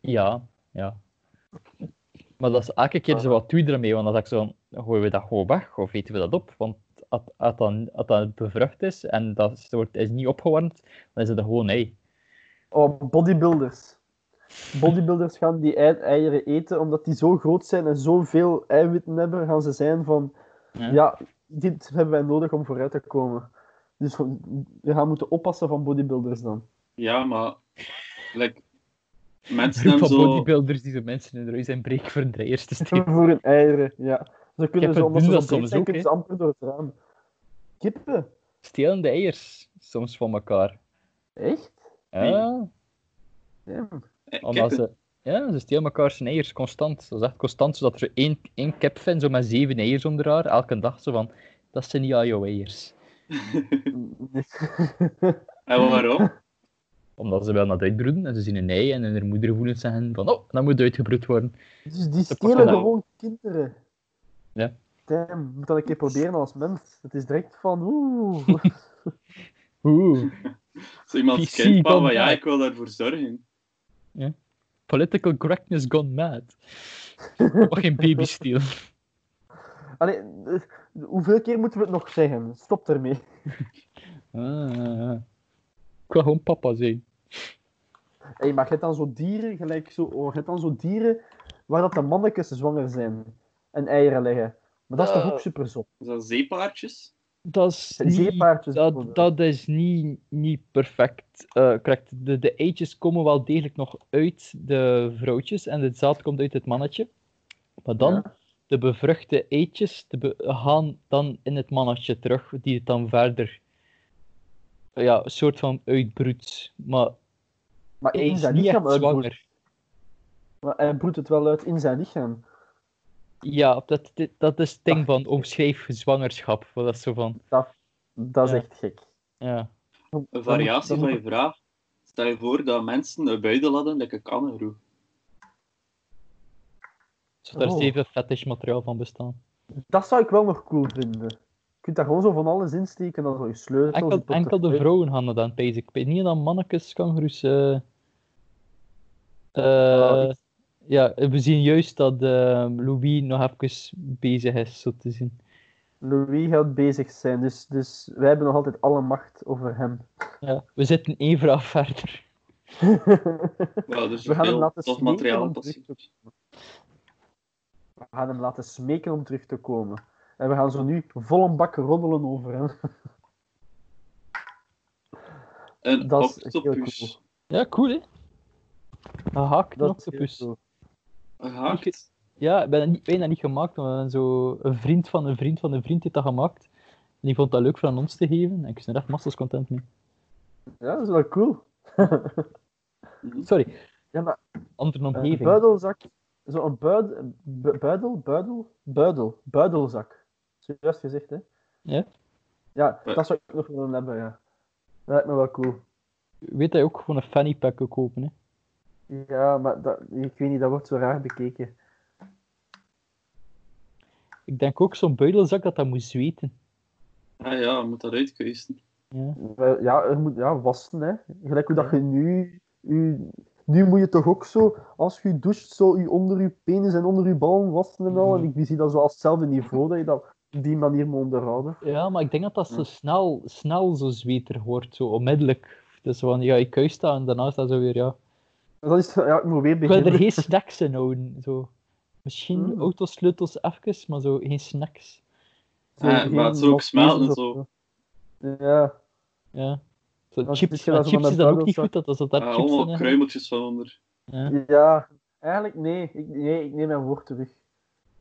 C: Ja, ja. Maar dat is elke keer zo wat doe je ermee, want dan zeg ik zo, van, gooien we dat gewoon weg of eten we dat op? Want als als dan- als dat bevrucht is en dat soort is niet opgewarmd, dan is het een gewoon ei.
D: Oh, bodybuilders. Bodybuilders gaan die ei- eieren eten, omdat die zo groot zijn en zoveel eiwitten hebben, gaan ze zijn van,
C: Ja.
D: ja, dit hebben wij nodig om vooruit te komen. Dus we we gaan moeten oppassen van bodybuilders dan.
E: Ja, maar like, Mensen
C: groep
E: hem
C: van
E: zo...
C: bodybuilders die zo mensen in de rug zijn breken voor de eerste steen.
D: voor hun eieren, ja. Ze kunnen
C: Kippen
D: zo, omdat ze
C: doen
D: zo
C: dat
D: breed
C: soms
D: zijn,
C: ook,
D: kunnen
C: hè.
D: ze amper door het raam. Kippen?
C: Stelen de eiers soms van elkaar.
D: Echt?
C: Ja,
D: Damn.
E: Eh,
C: omdat
E: kippen.
C: ze, ja, ze stelen elkaar zijn eiers constant. Dat is echt constant, zodat er zo één, één kipfan zo met zeven eiers onder haar, elke dag zo van, dat zijn niet al jouw eiers.
E: En waarom?
C: Omdat ze wel naar het uitbroeden en ze zien een ei en hun moeder voelen zeggen van, oh, dat moet uitgebroed worden.
D: dus die
C: pakken
D: stelen
C: dat.
D: gewoon kinderen.
C: Ja.
D: Damn, moet dat een keer proberen als mens. Het is direct van, oeh.
C: Oeh,
E: Zo iemand
C: PC
E: kent van,
C: gone
E: van, ja,
C: mad.
E: ik wil daarvoor zorgen.
C: political correctness gone mad. Mag geen baby stelen.
D: Allee, eh, hoeveel keer moeten we het nog zeggen? Stop ermee.
C: Ah. Ik wil gewoon papa zijn.
D: Hey, maar je hebt dan zo dieren, gelijk zo, oh, je hebt dan zo dieren waar dat de mannetjes zwanger zijn en eieren leggen. Maar dat is toch
C: Eh.
D: ook super zot?
E: Is dat zeepaardjes?
C: Dat is
D: En
C: niet,
D: zeepaardjes
C: dat,
D: bijvoorbeeld.
C: dat is niet, niet perfect. eh, correct. De, de eitjes komen wel degelijk nog uit de vrouwtjes en het zaad komt uit het mannetje. Maar dan,
D: Ja.
C: de bevruchte eitjes de be- gaan dan in het mannetje terug, die het dan verder eh, ja, een soort van uitbroedt. Maar
D: Maar
C: hij
D: in
C: is
D: zijn
C: niet
D: lichaam
C: echt
D: uitbroedt.
C: zwanger.
D: Maar Hij broedt het wel uit in zijn lichaam.
C: Ja, dat, dit- dat is het ding van omschrijf zwangerschap. Wat Dat is zo van,
D: Dat is
C: Ja.
D: echt gek.
C: ja.
E: Een variatie
D: Dan
E: van
D: moet-
E: je vraag. Stel je voor dat mensen een buidel hadden, like een kangaroo.
C: Zodat er
D: Oh.
C: zeven fetish materiaal van bestaan.
D: Dat zou ik wel nog cool vinden. Je kunt daar gewoon zo van alles insteken, dan zo je sleutels... je
C: Enkel,
D: portefeuille.
C: enkel de vrouwen gaan dat aan pees. Ik weet niet dat mannetjes, kangaroes... eh, eh,
D: Ah,
C: ja, we zien juist dat eh, Louis nog even bezig is, zo te zien.
D: Louis gaat bezig zijn, dus, dus wij hebben nog altijd alle macht over hem.
C: Ja, we zitten één vraag verder.
E: Ja, dus
D: We gaan hem
E: veel
D: laten
E: tof
D: smeken
E: materiaal
D: om
E: dat
D: terug
E: zien.
D: te komen. We gaan hem laten smeken om terug te komen. En we gaan zo nu vol een bak roddelen over hem.
E: Een
D: Dat is echt heel
E: octopus.
D: cool.
C: Ja, cool, hè? Een haak, een
D: Dat is heel
C: octopus.
D: cool.
C: Oké.
E: Gehaakt.
C: Ja, ik ben dat niet, bijna niet gemaakt. Maar zo een vriend van een vriend van een vriend heeft dat gemaakt. En die vond dat leuk voor aan ons te geven. En ik ben er echt massas content mee.
D: Ja, dat is wel cool.
C: Sorry,
D: Ja, maar Eh,
C: andere
D: een
C: omgeving.
D: buidelzak... Zo'n buid, bu- buidel, buidel, buidel, buidelzak. Juist gezegd, hè?
C: Ja.
D: Ja,
E: Bu-
D: dat zou ik nog willen hebben, ja. Dat lijkt me wel cool.
C: Weet dat je ook gewoon een fanny pack kunt kopen, hè?
D: Ja, maar dat, ik weet niet, dat wordt zo raar bekeken.
C: Ik denk ook zo'n buidelzak dat dat moet zweten.
E: Ah ja, je moet dat uitkuisen.
C: Ja.
D: Wel, Ja, er moet ja, wassen, hè. Gelijk hoe dat je nu, je- Nu moet je toch ook zo, als je doucht, zo je onder je penis en onder je ballen wassen en
C: Mhm.
D: al. En ik zie dat zo als hetzelfde niveau, dat je dat op die manier moet onderhouden.
C: ja, maar ik denk dat dat zo
D: Ja.
C: snel, snel zo zweter wordt, zo onmiddellijk. Dus van, ja, ik kuis dat en daarna is dat zo weer, ja.
D: Dat is, ja, ik moet weer
C: Ik wil er
D: beginnen.
C: geen snacks in houden, zo. Misschien
D: Mm.
C: autosleutels even, maar zo geen snacks.
D: Zo
E: Eh,
D: geen
E: maar het zou ook
D: Maltesers
E: smelten
D: of
E: zo.
D: Ja,
C: Ja. Zo
D: Want
C: chips,
D: dit gaat
C: maar
D: zo
C: chips
D: van
C: is
D: dat
C: dat ook niet
D: buidelzak.
C: goed, dat als dat daar
E: Ah,
C: chips in
E: allemaal
C: gaan.
E: kruimeltjes van onder.
C: Ja.
D: ja. Eigenlijk nee. Ik, nee, ik neem mijn woord terug. Ik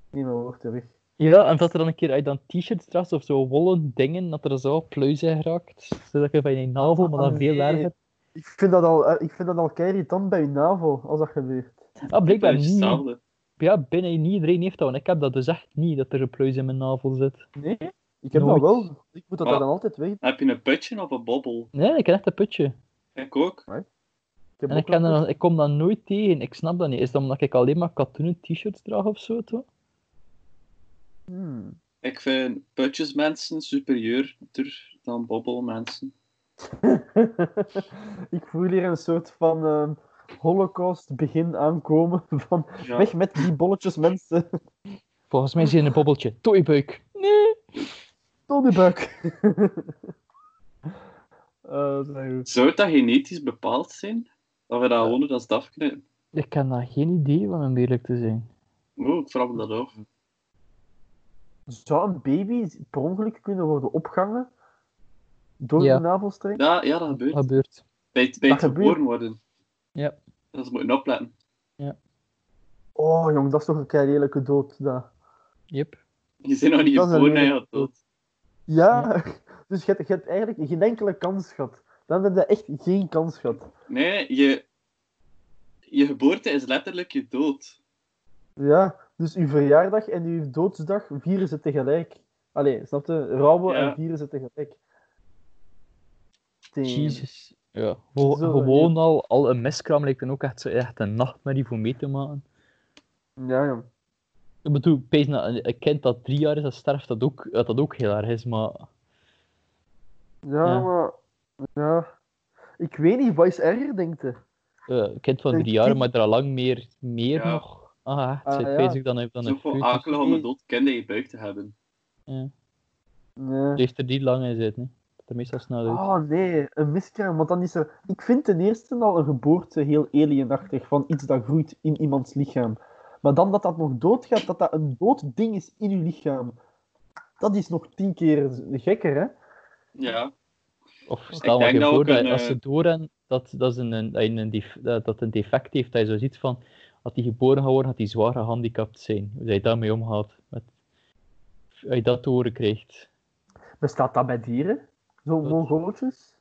D: neem mijn woord terug.
C: ja, en dat er dan een keer uit dan t-shirts draagt of zo wollen dingen, dat er zo pluis in geraakt. Zodat je van je navel, maar dan
D: Ah,
C: veel
D: nee.
C: erger.
D: Ik vind dat al, eh, ik vind dat al keiritant bij je navel, als dat gebeurt.
C: Ah,
E: Dat
C: blijkbaar
E: is
C: niet.
E: hetzelfde.
C: Ja, binnen niet iedereen heeft dat, want ik heb dat dus echt niet, dat er een pluis in mijn navel zit.
D: Nee? Ik heb
C: Nooit.
D: dat wel. Ik moet dat
E: Maar-
D: dan altijd weg.
E: Heb je een putje of een bobbel?
C: Nee, ik heb echt een putje.
E: Ik ook.
D: Ik heb
C: En
D: ook
C: ik, ken
D: nog-
C: dat- ik kom dat nooit tegen, ik snap dat niet. Is dat omdat ik alleen maar katoenen t-shirts draag of zo? Toch?
D: Hmm.
E: Ik vind putjesmensen superieurder dan bobbelmensen.
D: ik voel hier een soort van ehm, holocaust begin aankomen. Van,
E: Ja.
D: Weg met die bolletjes mensen.
C: Volgens mij zit in een bobbeltje. Toybeuk. Nee.
D: Tot de buik. Eh, sorry.
E: Zou dat genetisch bepaald zijn? Dat we dat gewoon als DAF knippen?
C: Ik heb daar geen idee van, om eerlijk te zijn.
E: Oh, ik vraag me dat af.
D: Zou een baby per ongeluk kunnen worden opgehangen door
C: Ja.
D: de navelstreng?
E: Ja, ja dat
C: Wat
E: gebeurt.
C: gebeurt?
E: Bij, het- bij het
D: Dat gebeurt.
E: geboren worden.
C: Ja.
E: Dat ze moeten opletten.
D: Oh, jong, dat is toch een kei lelijke dood. Dat.
C: Yep.
E: Je zit nog niet
D: Dat is een
E: geboren en je
D: lelijke
E: gaat dood.
D: Ja, dus je hebt, je hebt eigenlijk geen enkele kans gehad. Dan heb je echt geen kans gehad.
E: Nee, je, je geboorte is letterlijk je dood.
D: Ja, dus uw verjaardag en uw doodsdag vieren ze tegelijk. Allee, snap je? Rouwen
E: Ja.
D: en vieren ze tegelijk. Damn.
C: Jezus. Ja. Gewo-
D: Zo,
C: gewoon al, al een miskram lijkt dan ook echt, zo, echt een nachtmerrie voor mee te maken.
D: Ja, jong.
C: Ik bedoel, ik weet dat een- een kind dat drie jaar is, dat sterft, dat ook, dat, dat ook heel erg is, maar...
D: Ja,
C: Ja.
D: maar... Ja. Ik weet niet, wat is erger, denk je?
C: eh, een kind van
D: Een
C: drie jaar,
D: kind-
C: maar er al lang meer, meer
E: Ja.
C: nog. Ah, echt,
D: Ah,
C: zit
D: ja.
C: bezig dan, dan
E: Zo
C: een
E: veel
C: foetus.
E: akelig om een
D: Nee.
E: dood kind in je buik te hebben.
D: Nee.
C: Leeft er niet lang in zit, nee. Dat er meestal snel uit.
D: Oh nee, een miskraam, want dan is er... Ik vind ten eerste al een geboorte heel alienachtig, van iets dat groeit in iemands lichaam. Maar dan dat dat nog doodgaat, dat dat een dood ding is in uw lichaam. Dat is nog tien keer gekker, hè?
E: Ja,
C: Of stel maar
E: denk
C: je
E: dat
C: voor
E: ook
C: dat
E: een,
C: als
E: eh,
C: ze doorheen dat, dat, ze een, dat, je een def- dat dat een defect heeft, dat je zo ziet van, als die geboren gaat worden, gaat die zwaar gehandicapt zijn. Hoe dat je daarmee omgaat. Met, als je dat te horen krijgt.
D: Bestaat dat bij dieren? Zo'n
C: Dat-
D: mongooltjes?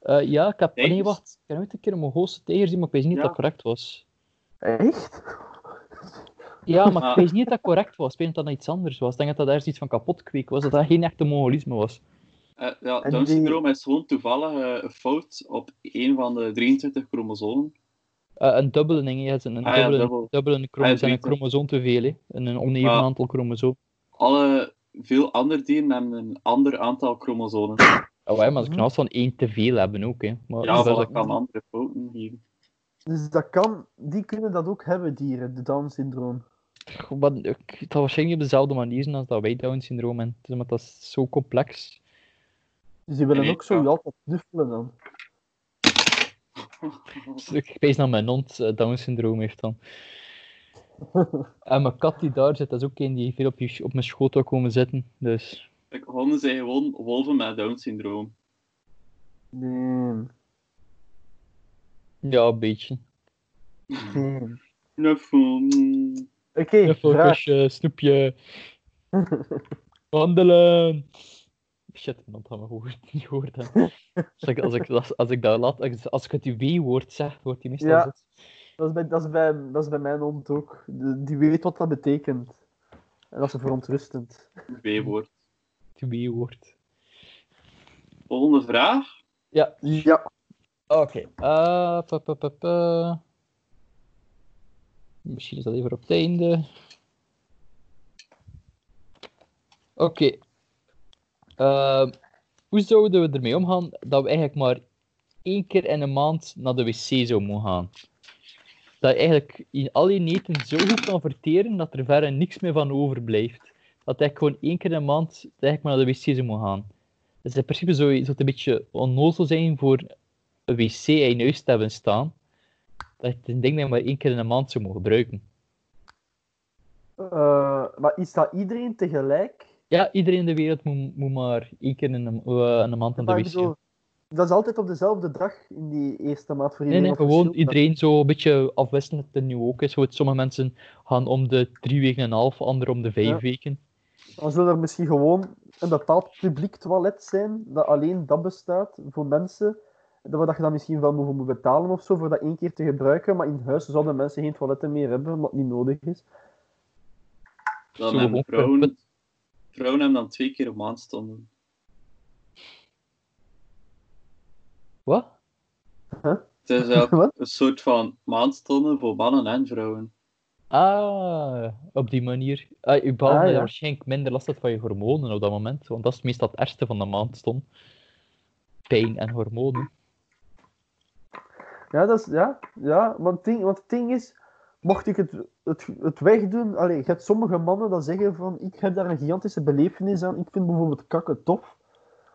C: Eh, ja, ik heb... ah, nee,
E: Tijgers?
C: wacht. Ik heb ooit een keer een Mongoolse tijger zien, maar ik weet niet
E: Ja.
C: of dat correct was.
D: Echt?
C: Ja, maar
E: Ah.
C: ik weet niet of dat correct was. Ik weet niet of dat iets anders was. Ik denk dat dat ergens iets van kapot kweek was. Dat dat geen echte Mongolisme was.
E: eh, ja
D: En
E: Down
D: die-
E: syndroom is gewoon toevallig eh, een fout op een van de 23 chromosomen.
C: Eh, een dubbeling, hè. Het is een
E: Ah ja,
C: dubbeling,
E: dubbel.
C: dubbeling
E: Ah,
C: chromo-
E: ja,
C: zijn een
E: zoiets, hè. Ah.
C: chromosoom te veel. Hè. Een een oneven
E: Maar-
C: aantal chromosoom.
E: Alle, veel andere dieren hebben een ander aantal chromosomen.
C: Oh, hè, maar ze
D: Mhm.
C: kunnen altijd van één te veel hebben ook. Hè. Maar
E: Ja,
C: dat is
E: voilà, ik
C: ook-
E: kan andere fouten geven.
D: Dus dat kan... Die kunnen dat ook hebben, dieren, de Down-syndroom.
C: wat- ik- het zal waarschijnlijk op dezelfde manier zijn als dat wij Down-syndroom hebben. Het is- Maar dat is zo complex.
D: Dus die willen
E: Nee,
D: ook zo
E: ja.
D: wel altijd knuffelen dan.
C: Ik wijs naar mijn hond eh, Down-syndroom heeft dan. En mijn kat die daar zit, dat is ook een die veel op, je, op mijn schoot wil komen zitten. Dus
E: Kijk, Honden zijn gewoon wolven met Down syndroom.
D: Nee.
C: ja, een beetje.
E: Hmm.
D: nee.
E: Knuffel. mm.
D: Oké,
C: Knuffel,
D: vraag.
C: kusje, snoepje. Wandelen. Shit, mijn hond gaat me gewoon niet horen. hè. Als ik, als ik, als, als ik dat laat, als, als ik het W-woord zeg, wordt hij meestal
D: Ja.
C: zot.
D: Dat is, bij, dat, is bij, dat is bij mijn hond ook. De- die weet wat dat betekent. En dat is verontrustend.
E: B-woord.
C: Het W-woord.
E: Volgende vraag.
D: Ja.
C: Oké. eh, pa, pa, pa, pa. Misschien is dat even op het einde. Oké. Ehm, hoe zouden we ermee omgaan dat we eigenlijk maar één keer in een maand naar de wc zou moeten gaan? Dat je eigenlijk in al je eten zo goed kan verteren dat er verder niks meer van overblijft. Dat eigenlijk gewoon één keer in een maand dat je eigenlijk maar naar de wc zou moeten gaan. Dus in principe zou je- zou het een beetje onnozel zijn voor een wc in je huis te hebben staan, dat je een ding dat je maar één keer in de maand zou mogen gebruiken.
D: Eh, maar is dat iedereen tegelijk?
C: Ja, iedereen in de wereld moet, moet maar één keer in de, eh, in de maand naar
D: Maar
C: de
D: ik
C: wc.
D: bedoel, dat is altijd op dezelfde dag in die eerste maand voor
C: Nee,
D: iedereen.
C: nee,
D: of
C: gewoon
D: verschilt dat?
C: iedereen zo een beetje afwisselend dat het nu ook is. Zo, het- sommige mensen gaan om de drie weken en een half, anderen om de vijf
D: Ja.
C: weken.
D: Dan zullen er misschien gewoon een bepaald publiek toilet zijn, dat alleen dat bestaat voor mensen. Dat we- dat je dan misschien wel voor moet betalen of zo, voor dat één keer te gebruiken. Maar in huis zouden mensen geen toiletten meer hebben, omdat het niet nodig is.
E: Dan
C: Zo,
E: hebben
C: ongeveer.
E: vrouwen... Vrouwen hebben dan twee keer een maand stonden.
C: Wat?
E: Het is eh,
D: Wat?
E: een soort van maandstonden voor mannen en vrouwen.
C: Ah, op die manier. Ah, je behalve
D: Ah,
C: dat je
D: ja.
C: waarschijnlijk minder last had van je hormonen op dat moment, want dat is meestal het ergste van de maand stond. Pijn en hormonen.
D: Ja, dat is, ja, ja want, het ding, want het ding is, mocht ik het, het, het wegdoen, allee, je hebt sommige mannen dat zeggen van, ik heb daar een gigantische belevenis aan, ik vind bijvoorbeeld kakken tof,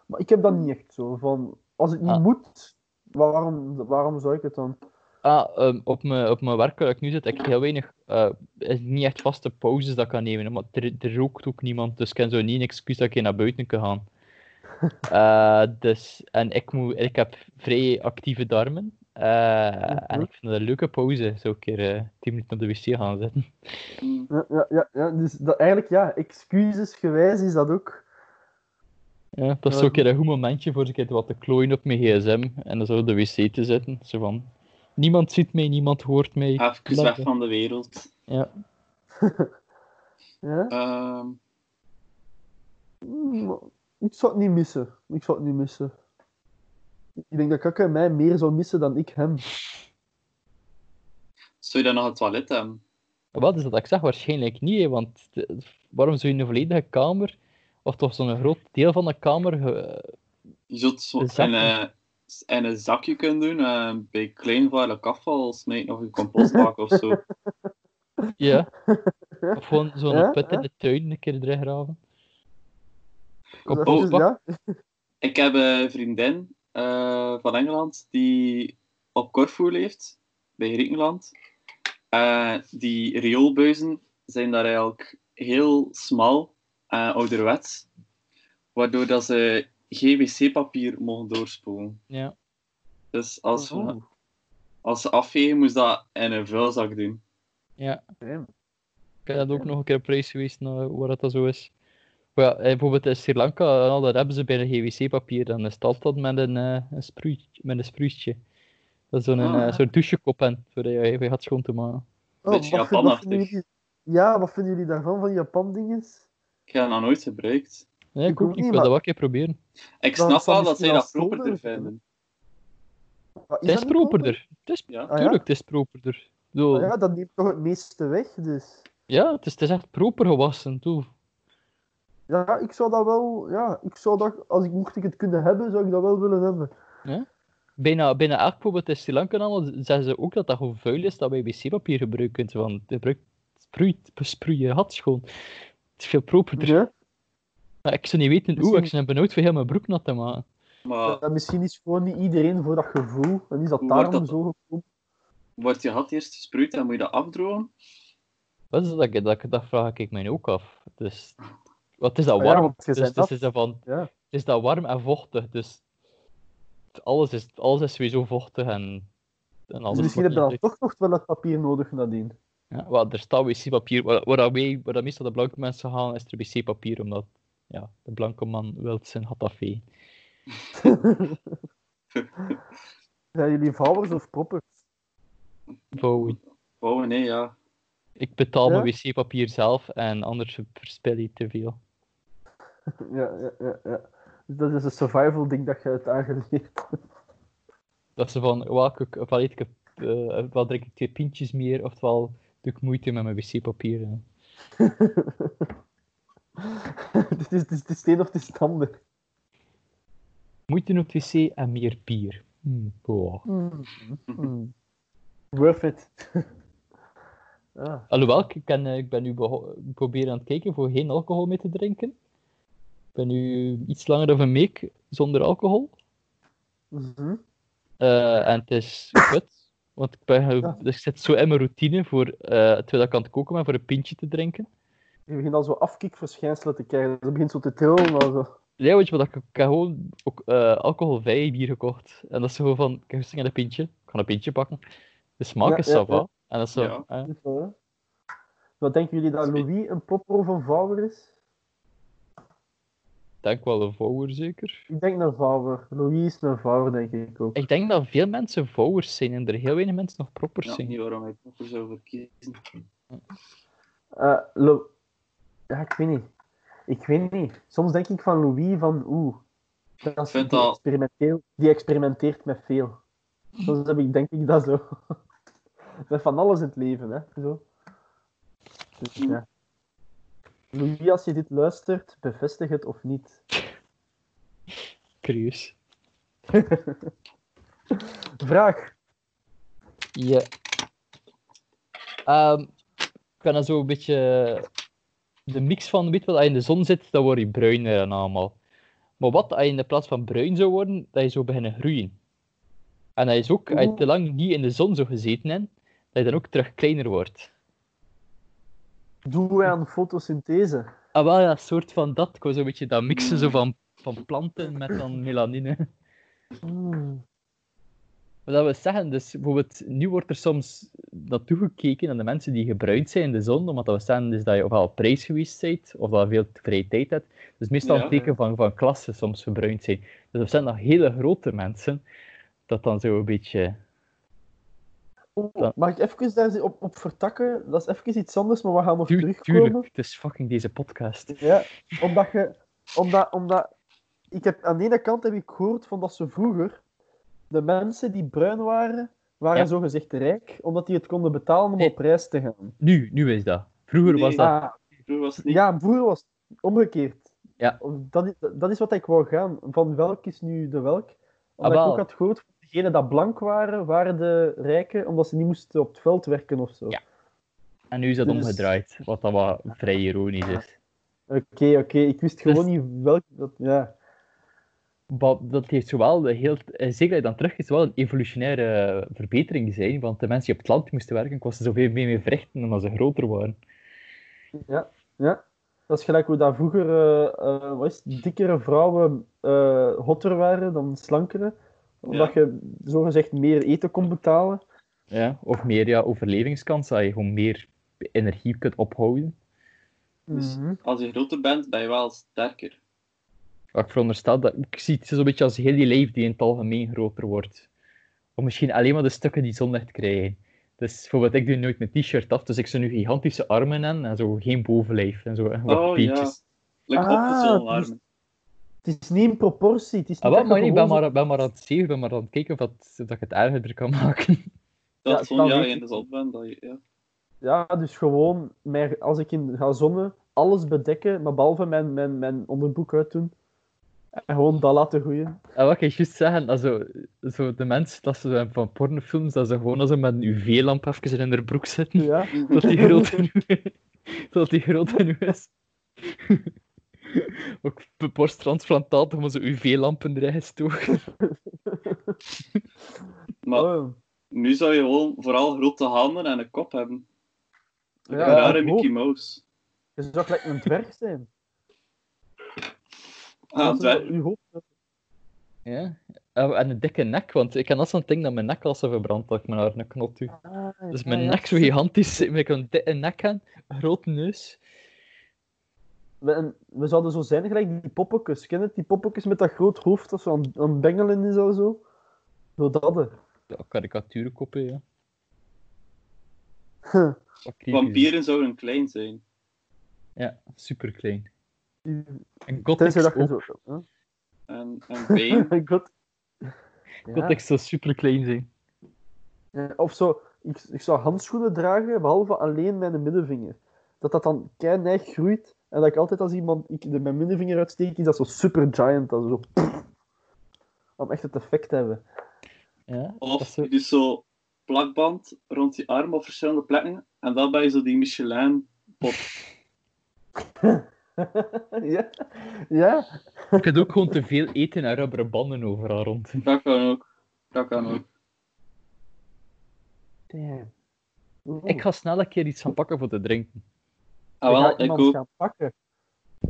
D: maar ik heb dat niet echt zo, van, als het niet
C: Ah.
D: moet, waarom, waarom zou ik het dan?
C: Ah, ehm, op, mijn, op mijn werk waar ik nu zit, heb ik heel weinig, eh, is niet echt vaste pauzes dat ik kan nemen. hè, Maar er, er rookt ook niemand, dus ik heb zo niet een excuus dat ik hier naar buiten kan gaan. Eh, dus, en ik, moet, ik heb vrij actieve darmen. Eh, En
D: Mhm.
C: ik vind dat een leuke pauze. Zo een keer eh, 10 minuten op de wc gaan zitten.
E: Mm.
D: Ja, ja, ja, ja, dus dat, eigenlijk ja, excusesgewijs is dat ook.
C: Ja, dat is
D: Ja.
C: zo een keer een goed momentje voor een keer wat te klooien op mijn gsm. En dan zo op de wc te zitten. Zo van, niemand ziet mij, niemand hoort mij.
E: Even
C: Lachen.
E: weg van de wereld.
D: Ja?
E: Ehm,
D: Mm, Ik zou het niet missen. Ik zou het niet missen. Ik denk dat Kaka mij meer zou missen dan ik hem.
E: zou je dan nog het toilet hebben?
C: Wat is dus dat? Ik zeg waarschijnlijk niet, hè, want de- waarom zou je een volledige kamer, of toch zo'n groot deel van de kamer, ge-
E: Je zult zo
C: Een
E: in, eh, in een zakje kunnen doen. eh, bij kleinvaarlijk afval smijten of een compostbak of zo.
C: ja, of gewoon zo'n
D: Ja,
C: put in de tuin een keer erin graven? Compostbak?
D: Dus ja?
E: Ik heb een vriendin eh, van Engeland die op Corfu leeft, bij Griekenland. Eh, die rioolbuizen zijn daar eigenlijk heel smal en ouderwets, waardoor dat ze geen wc-papier mogen doorspoelen.
C: Ja.
E: Dus als ze,
D: Oeh,
E: als ze afvegen, moest dat in een vuilzak doen.
D: damn.
C: Ik heb dat ook nog een keer op reis geweest, naar waar dat dan zo is. Maar ja, eh, bijvoorbeeld in Sri Lanka, en al, daar hebben ze bijna geen wc-papier, dan is dat dat met een, eh, een, spruitje, met een spruitje. Dat is zo'n eh,
E: Ah.
C: zo'n douchekop en, zodat je je gaat schoon te maken.
D: Oh,
E: beetje
D: wat vind- wat vinden
E: Japanachtig.
D: jullie- Ja, wat vinden jullie daarvan, van Japan-dinges?
E: Ik heb dat nog nooit gebruikt.
C: Nee, ik,
D: Ik ook
C: ook niet, ik
D: niet,
C: wil dat
D: maar-
C: wel een keer proberen.
E: Ik
D: Dan
E: snap
D: zal
E: wel dat
D: misschien
E: zij dat
D: als zolder
E: properder
D: kunnen.
E: vinden.
D: Wat,
C: Het is
D: dat niet proper?
C: properder. Het is,
E: Ja.
D: Ah, ja?
C: Tuurlijk, het is properder. Ik bedoel,
D: Ah ja, dat neemt toch het meeste weg, dus...
C: Ja, het is, het is echt proper gewassen, toe.
D: Ja, ik zou dat wel... Ja, ik zou dat... Als ik mocht ik het kunnen hebben, zou ik dat wel willen hebben.
C: Bijna, bijna elk bijvoorbeeld in Sri Lanka en allemaal zeggen ze ook dat dat gewoon vuil is dat wij wc-papier gebruiken. Want gebruik, sproeit, besproei je had schoon. Het is veel properder.
D: Ja?
C: Maar ik zou niet weten hoe, ik
D: Misschien-
C: zou benauwd voor heel mijn broek nat te maken.
E: Maar
D: Ja, misschien is gewoon niet iedereen voor dat gevoel. En is dat
E: Hoe
D: daarom
E: wordt dat
D: zo gekomen.
E: wordt je had eerst gesproeid en moet je dat afdrogen?
C: Wat is dat, dat, dat, dat vraag ik mij ook af. Dus, wat is dat
D: Ah ja,
C: warm?
D: want je
C: dus
D: zei
C: dus
D: dat.
C: is dat van,
D: Ja.
C: het is dat warm en vochtig. Dus alles is, alles is sowieso vochtig en, en alles
D: Dus misschien
C: wordt
D: heb je dan
C: niet-
D: toch nog wel het papier nodig nadien.
C: Ja, wel, er staat wc-papier. Waar, waar, dat wij- waar dat meestal de blanke mensen gaan, is er wc-papier, omdat ja, de blanke man wil zijn hatafé.
D: Zijn jullie vouwers of proppers?
C: Vouwen.
E: Oh nee, ja.
C: Ik betaal
D: Ja?
C: mijn wc-papier zelf en anders verspil je te veel.
D: Ja, ja, ja, ja. Dus Dat is een survival ding dat je hebt aangeleerd.
C: Dat ze van, welke, ofwel eet ik, eh, ofwel drink ik twee pintjes meer, oftewel doe ik moeite met mijn wc-papier. ja.
D: dit, is, dit is de steen of de stander.
C: Moeite op het wc en meer bier. Hm, boah.
D: Hmm. Hmm. Worth it. ah.
C: Alhoewel, ik, ken, eh, ik ben nu beho- proberen aan het kijken voor geen alcohol meer te drinken. Ik ben nu iets langer dan een week zonder alcohol.
D: mhm.
C: Eh, en het is kut. Want ik, ben, ge-
D: Ja.
C: dus ik zit zo in mijn routine voor, eh, terwijl ik aan het koken ben, voor een pintje te drinken.
D: Je begint al zo afkikverschijnselen te krijgen. Ze begint zo te trillen. al zo.
C: Ja, weet je wat, ik ik heb gewoon ook eh, alcoholvrij bier gekocht. En dat is zo van, ik heb zin in een pintje, ik ga een pintje pakken. De smaak
D: Ja,
C: is
D: ja,
C: sava.
D: ja.
C: En dat is zo,
E: Ja.
C: eh,
D: Wat denken jullie dat Louis een popper of een vouwer is?
C: ik denk wel een vouwer zeker.
D: Ik denk een vouwer. Louis is een vouwer, denk ik ook.
C: Ik denk dat veel mensen vouwers zijn en er heel weinig mensen nog proppers
E: Ja,
C: zijn.
E: niet waarom ik proper zou verkiezen.
D: Eh, Lo- ja, ik weet niet. Ik weet niet. Soms denk ik van Louis van oeh. Dat is-
E: vind
D: die,
E: dat-
D: experimenteel, die experimenteert met veel. Soms heb ik denk ik dat zo. Met van alles in het leven, hè. Zo. Dus, ja. Louis, als je dit luistert, bevestig het of niet.
C: Curieus.
D: Vraag.
C: Ja. Ehm, ik ben dan zo een beetje eh, de mix van, weet je wat, als je in de zon zit, eh, dan word je bruiner en allemaal. Maar wat als je in de plaats van bruin zou worden, dat je zou beginnen groeien. En dat is ook, als je te lang niet in de zon zou gezeten hebt, dat je dan ook terug kleiner wordt.
D: Doen wij aan fotosynthese?
C: Ah wel, ja, soort van dat. Ik was een beetje dat mixen zo van, van planten met dan melanine.
D: Hmm.
C: Wat dat wil zeggen, dus bijvoorbeeld, nu wordt er soms naartoe gekeken aan de mensen die gebruind zijn in de zon, omdat dat we zeggen dus dat je ofwel op reis geweest bent, of dat je veel vrije tijd hebt. Dus meestal
E: Ja.
C: een teken van, van klassen soms gebruind zijn. Dus dat zijn dan hele grote mensen, dat dan zo een beetje...
D: Oeh,
C: Ja.
D: Oh, Mag ik even daar op, op vertakken? Dat is even iets anders, maar we gaan nog
C: Tuur-
D: terugkomen.
C: tuurlijk, het is fucking deze podcast.
D: Ja, omdat je... Omdat, omdat... Ik heb, aan de ene kant heb ik gehoord van dat ze vroeger... De mensen die bruin waren, waren
C: Ja.
D: zo gezegd rijk, omdat die het konden betalen om
C: Nee.
D: op reis te gaan.
C: Nu, nu is dat. Vroeger was
E: Nee.
C: dat...
D: Ah,
E: Vroeger was het niet.
D: ja, vroeger was het omgekeerd.
C: Ja.
D: Dat, is, dat is wat ik wou gaan. Van welk is nu de welk? Omdat
C: Ah, wel.
D: ik ook had gehoord van degenen dat blank waren, waren de rijken, omdat ze niet moesten op het veld werken of zo.
C: Ja. En nu is dat
D: Dus-
C: omgedraaid, wat dan wel vrij ironisch is.
D: Oké, oké. Ik wist
C: Dus-
D: gewoon niet welk... Dat, ja.
C: Maar dat heeft zowel de heel, eh, zeker dat dan terug is, wel een evolutionaire eh, verbetering zijn, want de mensen die op het land moesten werken, kosten zoveel meer mee verrichten omdat ze groter waren.
D: Ja, ja. Dat is gelijk hoe dat vroeger eh, eh, wat is het, dikkere vrouwen eh, hotter waren dan slankere. Omdat je zogezegd meer eten kon betalen.
C: Ja, of meer ja, overlevingskans, dat je gewoon meer energie kunt ophouden.
E: Dus-
D: Mhm.
E: Als je groter bent, ben je wel sterker.
C: Wat ik veronderstel, dat, ik zie het zo'n beetje als heel die lijf die in het algemeen groter wordt. Of misschien alleen maar de stukken die zonlicht krijgen. Dus bijvoorbeeld, ik doe nooit mijn t-shirt af, dus ik zou nu gigantische armen hebben en zo geen bovenlijf en zo en wat
E: Oh ja.
C: peetjes.
E: Like
D: Ah,
E: opgezwollen
D: dus-
E: armen.
D: Het is niet in proportie. Het is niet
C: Ah, wat,
D: dat je
C: maar ik ben
D: gewoon
C: maar, ben maar aan het zeven, ben maar aan het kijken of, dat, of dat ik het erger kan maken.
E: Dat
D: Ja,
E: zo'n
D: dat
E: jaar
D: weet
E: in
D: ik.
E: de zon bent. Dat je, ja.
D: zo- Ja, dus gewoon, mijn, als ik in ga zonnen, alles bedekken, maar behalve mijn, mijn, mijn onderbroek uitdoen. En gewoon dat laten groeien.
C: En Ah, wat ik juist zeggen, also, zo de mensen dat ze zo hebben van pornofilms, dat ze gewoon als ze met een UV-lamp even in hun broek zitten,
D: Ja.
C: dat die groot genoeg dat die groot genoeg is. Ook b- borsttransplantaat, maar zo UV-lampen erin gestoken.
E: Maar
D: Oh,
E: nu zou je gewoon vooral grote handen en een kop hebben.
D: ja,
E: een rare
D: ik hoop.
E: Mickey Mouse.
D: Je zou gelijk een dwerg zijn.
E: Ah,
D: Ah, Dat is
E: dwerg.
D: wel uw hoofd.
C: Ja. Ah, En en een dikke nek, want ik kan dat zo'n ding dat mijn nek als ze verbrand dat ik mijn haar een knot doe.
D: Ah,
C: Dus
D: ja,
C: mijn
D: ja.
C: nek zo gigantisch, ik kan een dikke nek hebben, grote neus.
D: We, en we zouden zo zijn gelijk die poppetjes. Ken je het? Die poppetjes met dat groot hoofd dat zo aan, aan het bengelen is en zo. Zo dat. hè.
C: Ja, karikaturenkoppen, ja.
D: Huh.
C: Actief
E: Vampieren zouden klein zijn.
C: Ja, super klein.
D: Die-
C: En Gothic
D: Tenzij dat je
C: ook.
D: zo... hè?
E: En, en been.
D: God.
C: Gothic zou super klein zijn.
D: Ja, Of zo, ik, ik zou handschoenen dragen, behalve alleen mijn middenvinger. Dat dat dan keineig groeit. En dat ik altijd als iemand ik de, mijn middenvinger uitsteek, is dat zo super giant. Dat zo... Om echt het effect te hebben.
C: Ja, dat
E: Of
C: zou-
E: je doet zo plakband rond je arm op verschillende plekken. En dan ben je zo die Michelin.
D: ja. ja,
C: Je kunt ook gewoon te veel eten en rubberen banden overal rond.
E: Dat kan ook. Dat kan ook.
D: Damn. Oeh.
C: Ik ga snel een keer iets gaan pakken voor te drinken.
E: Ah,
D: Ik ga
E: wel, ik
D: iemand
E: ook.
D: gaan pakken.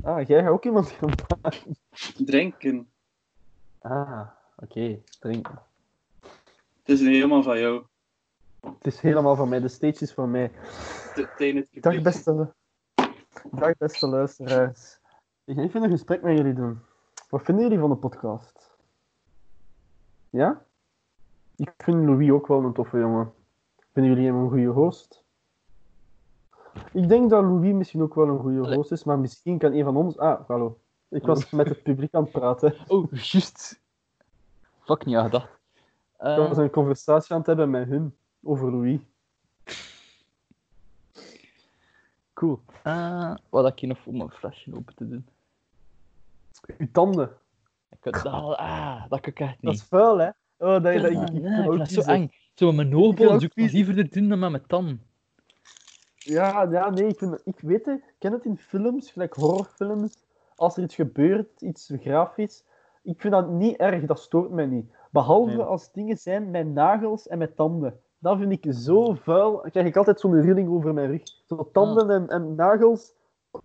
D: Ah, jij gaat ook iemand gaan pakken.
E: Drinken.
D: Ah, oké. Drinken.
E: Het is niet helemaal van jou.
D: Het is helemaal van mij. De stage is van mij.
E: T- Tijn het
D: Dag
E: publiek.
D: beste, dag beste luisteraars. Ik ga even een gesprek met jullie doen. Wat vinden jullie van de podcast? Ja? Ik vind Louis ook wel een toffe jongen. Vinden jullie hem een goede host? Ik denk dat Louis misschien ook wel een goede
C: Allee.
D: host is, maar misschien kan een van ons... Ah, hallo. Ik was met het publiek aan het praten.
C: Oh, juist. Fuck niet aan gedacht. Eh,
D: Ik was een conversatie aan het hebben met hun over Louis.
C: cool. Eh, wat had ik hier nog voor mijn flesje open te doen?
D: Uw tanden.
C: Ik kan dat, ah, dat kan ik echt
D: Dat
C: niet.
D: is vuil, hè? Oh, dat, dat, ik-
C: Ah,
D: ik- ik
C: nee,
D: kan
C: ik
D: ook
C: vind dat zo
D: niet zeggen.
C: eng. Zo met mijn
D: Ik vind
C: noorbol
D: dat
C: zou ik
D: vies.
C: dat liever doen dan met mijn tand.
D: Ja, ja, nee, ik, vind, ik weet het. Ik ken het in films, gelijk horrorfilms. Als er iets gebeurt, iets grafisch. Ik vind dat niet erg, dat stoort mij niet. Behalve
C: Nee.
D: als dingen zijn met nagels en met tanden. Dat vind ik zo vuil. Dan krijg ik altijd zo'n rilling over mijn rug. Zo tanden en, en nagels.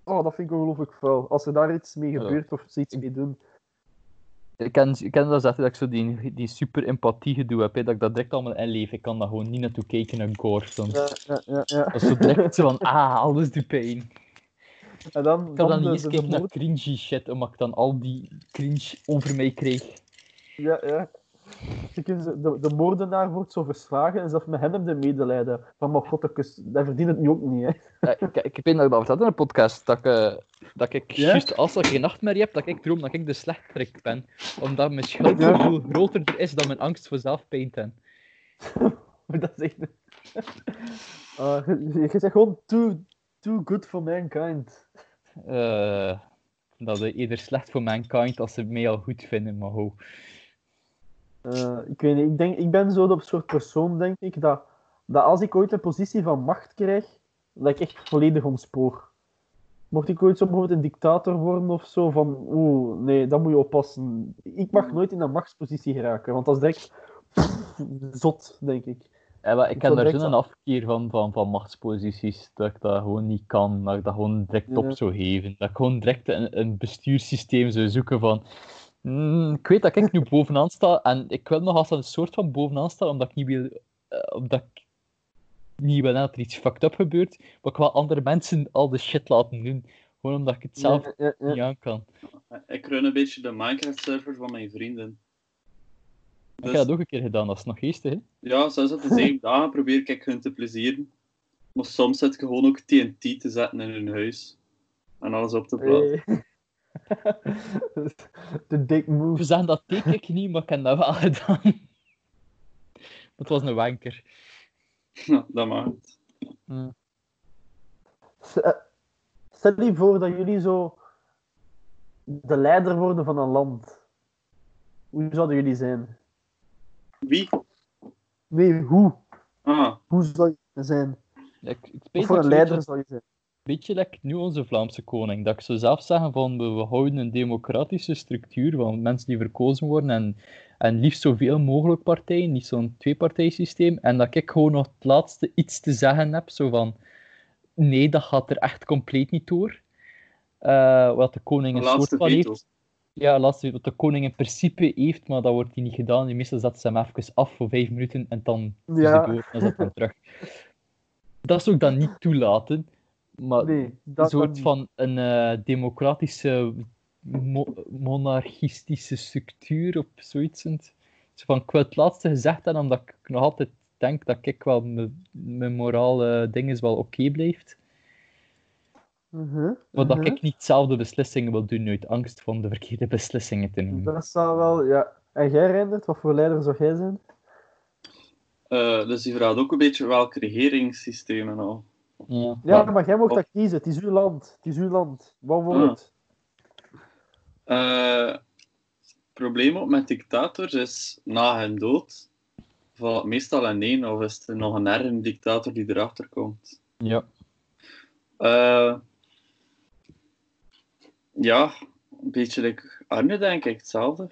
D: Oh, dat vind ik ongelooflijk vuil. Als er daar iets mee
C: Ja.
D: gebeurt of ze iets mee doen.
C: Ik ken, ik ken dat zelf, dat ik zo die, die super empathie gedoe heb, hè, dat ik dat direct allemaal inleef. Ik kan daar gewoon niet naartoe kijken naar gore soms.
D: Ja, ja, ja, ja.
C: Dat is zo direct zo van, ah, alles doet pijn.
D: En dan,
C: Ik kan
D: de-
C: dan niet eens
D: de- de
C: kijken naar
D: moord-
C: cringy shit, omdat ik dan al die cringe over mij kreeg.
D: Ja, ja. Ik heb ze- De, de moordenaar wordt zo verslagen en zelfs met hem de medelijden. Van, maar god, dat kus- hij verdient het nu ook niet, hè.
C: Ja, ik, ik weet nog dat ik dat vertelde in de podcast, dat ik, eh, dat ik
D: Ja?
C: juist als ik geen nachtmerrie heb, dat ik droom dat ik de slechterik ben. Omdat mijn schuldgevoel groter is dan mijn angst voor zelfpijn te hebben.
D: Maar dat is echt... Ah, je, je zegt gewoon too, too good for mankind.
C: Eh, dat is eerder slecht voor mankind als ze mij al goed vinden, maar ho.
D: Eh, ik weet niet, ik, denk, ik ben zo de soort persoon, denk ik, dat, dat als ik ooit een positie van macht krijg, dat ik echt volledig ontspoor. Mocht ik ooit zo bijvoorbeeld een dictator worden of zo, van oeh, nee, dat moet je oppassen. Ik mag nooit in een machtspositie geraken, want dat is direct pff, zot, denk ik.
C: Ja, maar Eh, ik
D: Ik
C: heb
D: zou
C: daar
D: direct
C: zo'n afkeer van, van, van machtsposities, dat ik dat gewoon niet kan, dat ik dat gewoon direct
D: Ja.
C: op zou geven. Dat ik gewoon direct een, een bestuurssysteem zou zoeken van... "Mm, ik weet dat ik nu bovenaan sta, en ik wil nog als een soort van bovenaan staan, omdat ik niet wil... eh, omdat ik niet wil dat er iets fucked up gebeurt, maar ik wil andere mensen al de shit laten doen. Gewoon omdat ik het zelf
D: Ja, ja, ja.
C: niet aan kan.
E: Eh, Ik run een beetje de Minecraft-server van mijn vrienden.
C: Ik
E: Dus,
C: heb dat ook een keer gedaan, dat is nog geestig, hè?
E: Ja, zes op de zeven dagen probeer ik hun te plezieren. Maar soms zet ik gewoon ook TNT te zetten in hun huis. En alles op te plaatsen.
D: Hey. Eh, De dick
C: We
D: move.
C: zeggen dat teken ik niet, maar ik heb dat wel gedaan. Maar het was een wanker.
E: Nou, dat maakt.
D: eh, Stel je voor dat jullie zo de leider worden van een land. Hoe zouden jullie zijn?
E: Wie?
D: Nee, hoe?
E: Ah,
D: Hoe zou je zijn?
C: Ja, ik, ik
D: Wat
C: weet
D: voor
C: dat
D: een
C: ik
D: leider
C: zoiets-
D: zou je zijn?
C: Een beetje like nu onze Vlaamse koning. Dat ik zou zelf zeggen van we, we houden een democratische structuur van mensen die verkozen worden en, en liefst zoveel mogelijk partijen, niet zo'n tweepartijsysteem. En dat ik gewoon nog het laatste iets te zeggen heb, zo van nee, dat gaat er echt compleet niet door. Eh, wat de koning een
E: de
C: soort
E: laatste
C: van
E: veto.
C: heeft. Ja, laatste, wat de koning in principe heeft, maar dat wordt hier niet gedaan. Meestal zetten ze hem even af voor vijf minuten en dan is hij
D: Ja.
C: door en zet hem terug. Dat zou ik dan niet toelaten, maar
D: Nee,
C: een
D: dat kan
C: soort
D: niet.
C: van een eh, democratische, mo- monarchistische structuur of zoiets. Zo van, ik wil het laatste gezegd hebben, omdat ik nog altijd denk dat ik wel mijn- mijn morale dingen wel oké blijft.
D: Mhm,
C: Maar dat
D: mhm.
C: ik niet zelf de beslissingen wil doen uit angst van de verkeerde beslissingen te nemen.
D: Dat zou wel, ja. En jij, Reindert, wat voor leider zou jij zijn?
E: Eh, dus die vraagt ook een beetje welke regeringssystemen al.
C: Ja.
D: Ja,
E: Ja.
D: maar jij mocht dat kiezen. Het is uw land. Het is uw land.
C: Mm.
D: Wat wordt
E: Ah.
D: het?
E: Eh, het probleem ook met dictators is, na hun dood, valt het meestal in één, of is er nog een ergere dictator die erachter komt.
C: Ja.
E: Eh, ja, een beetje like Arne, denk ik, hetzelfde.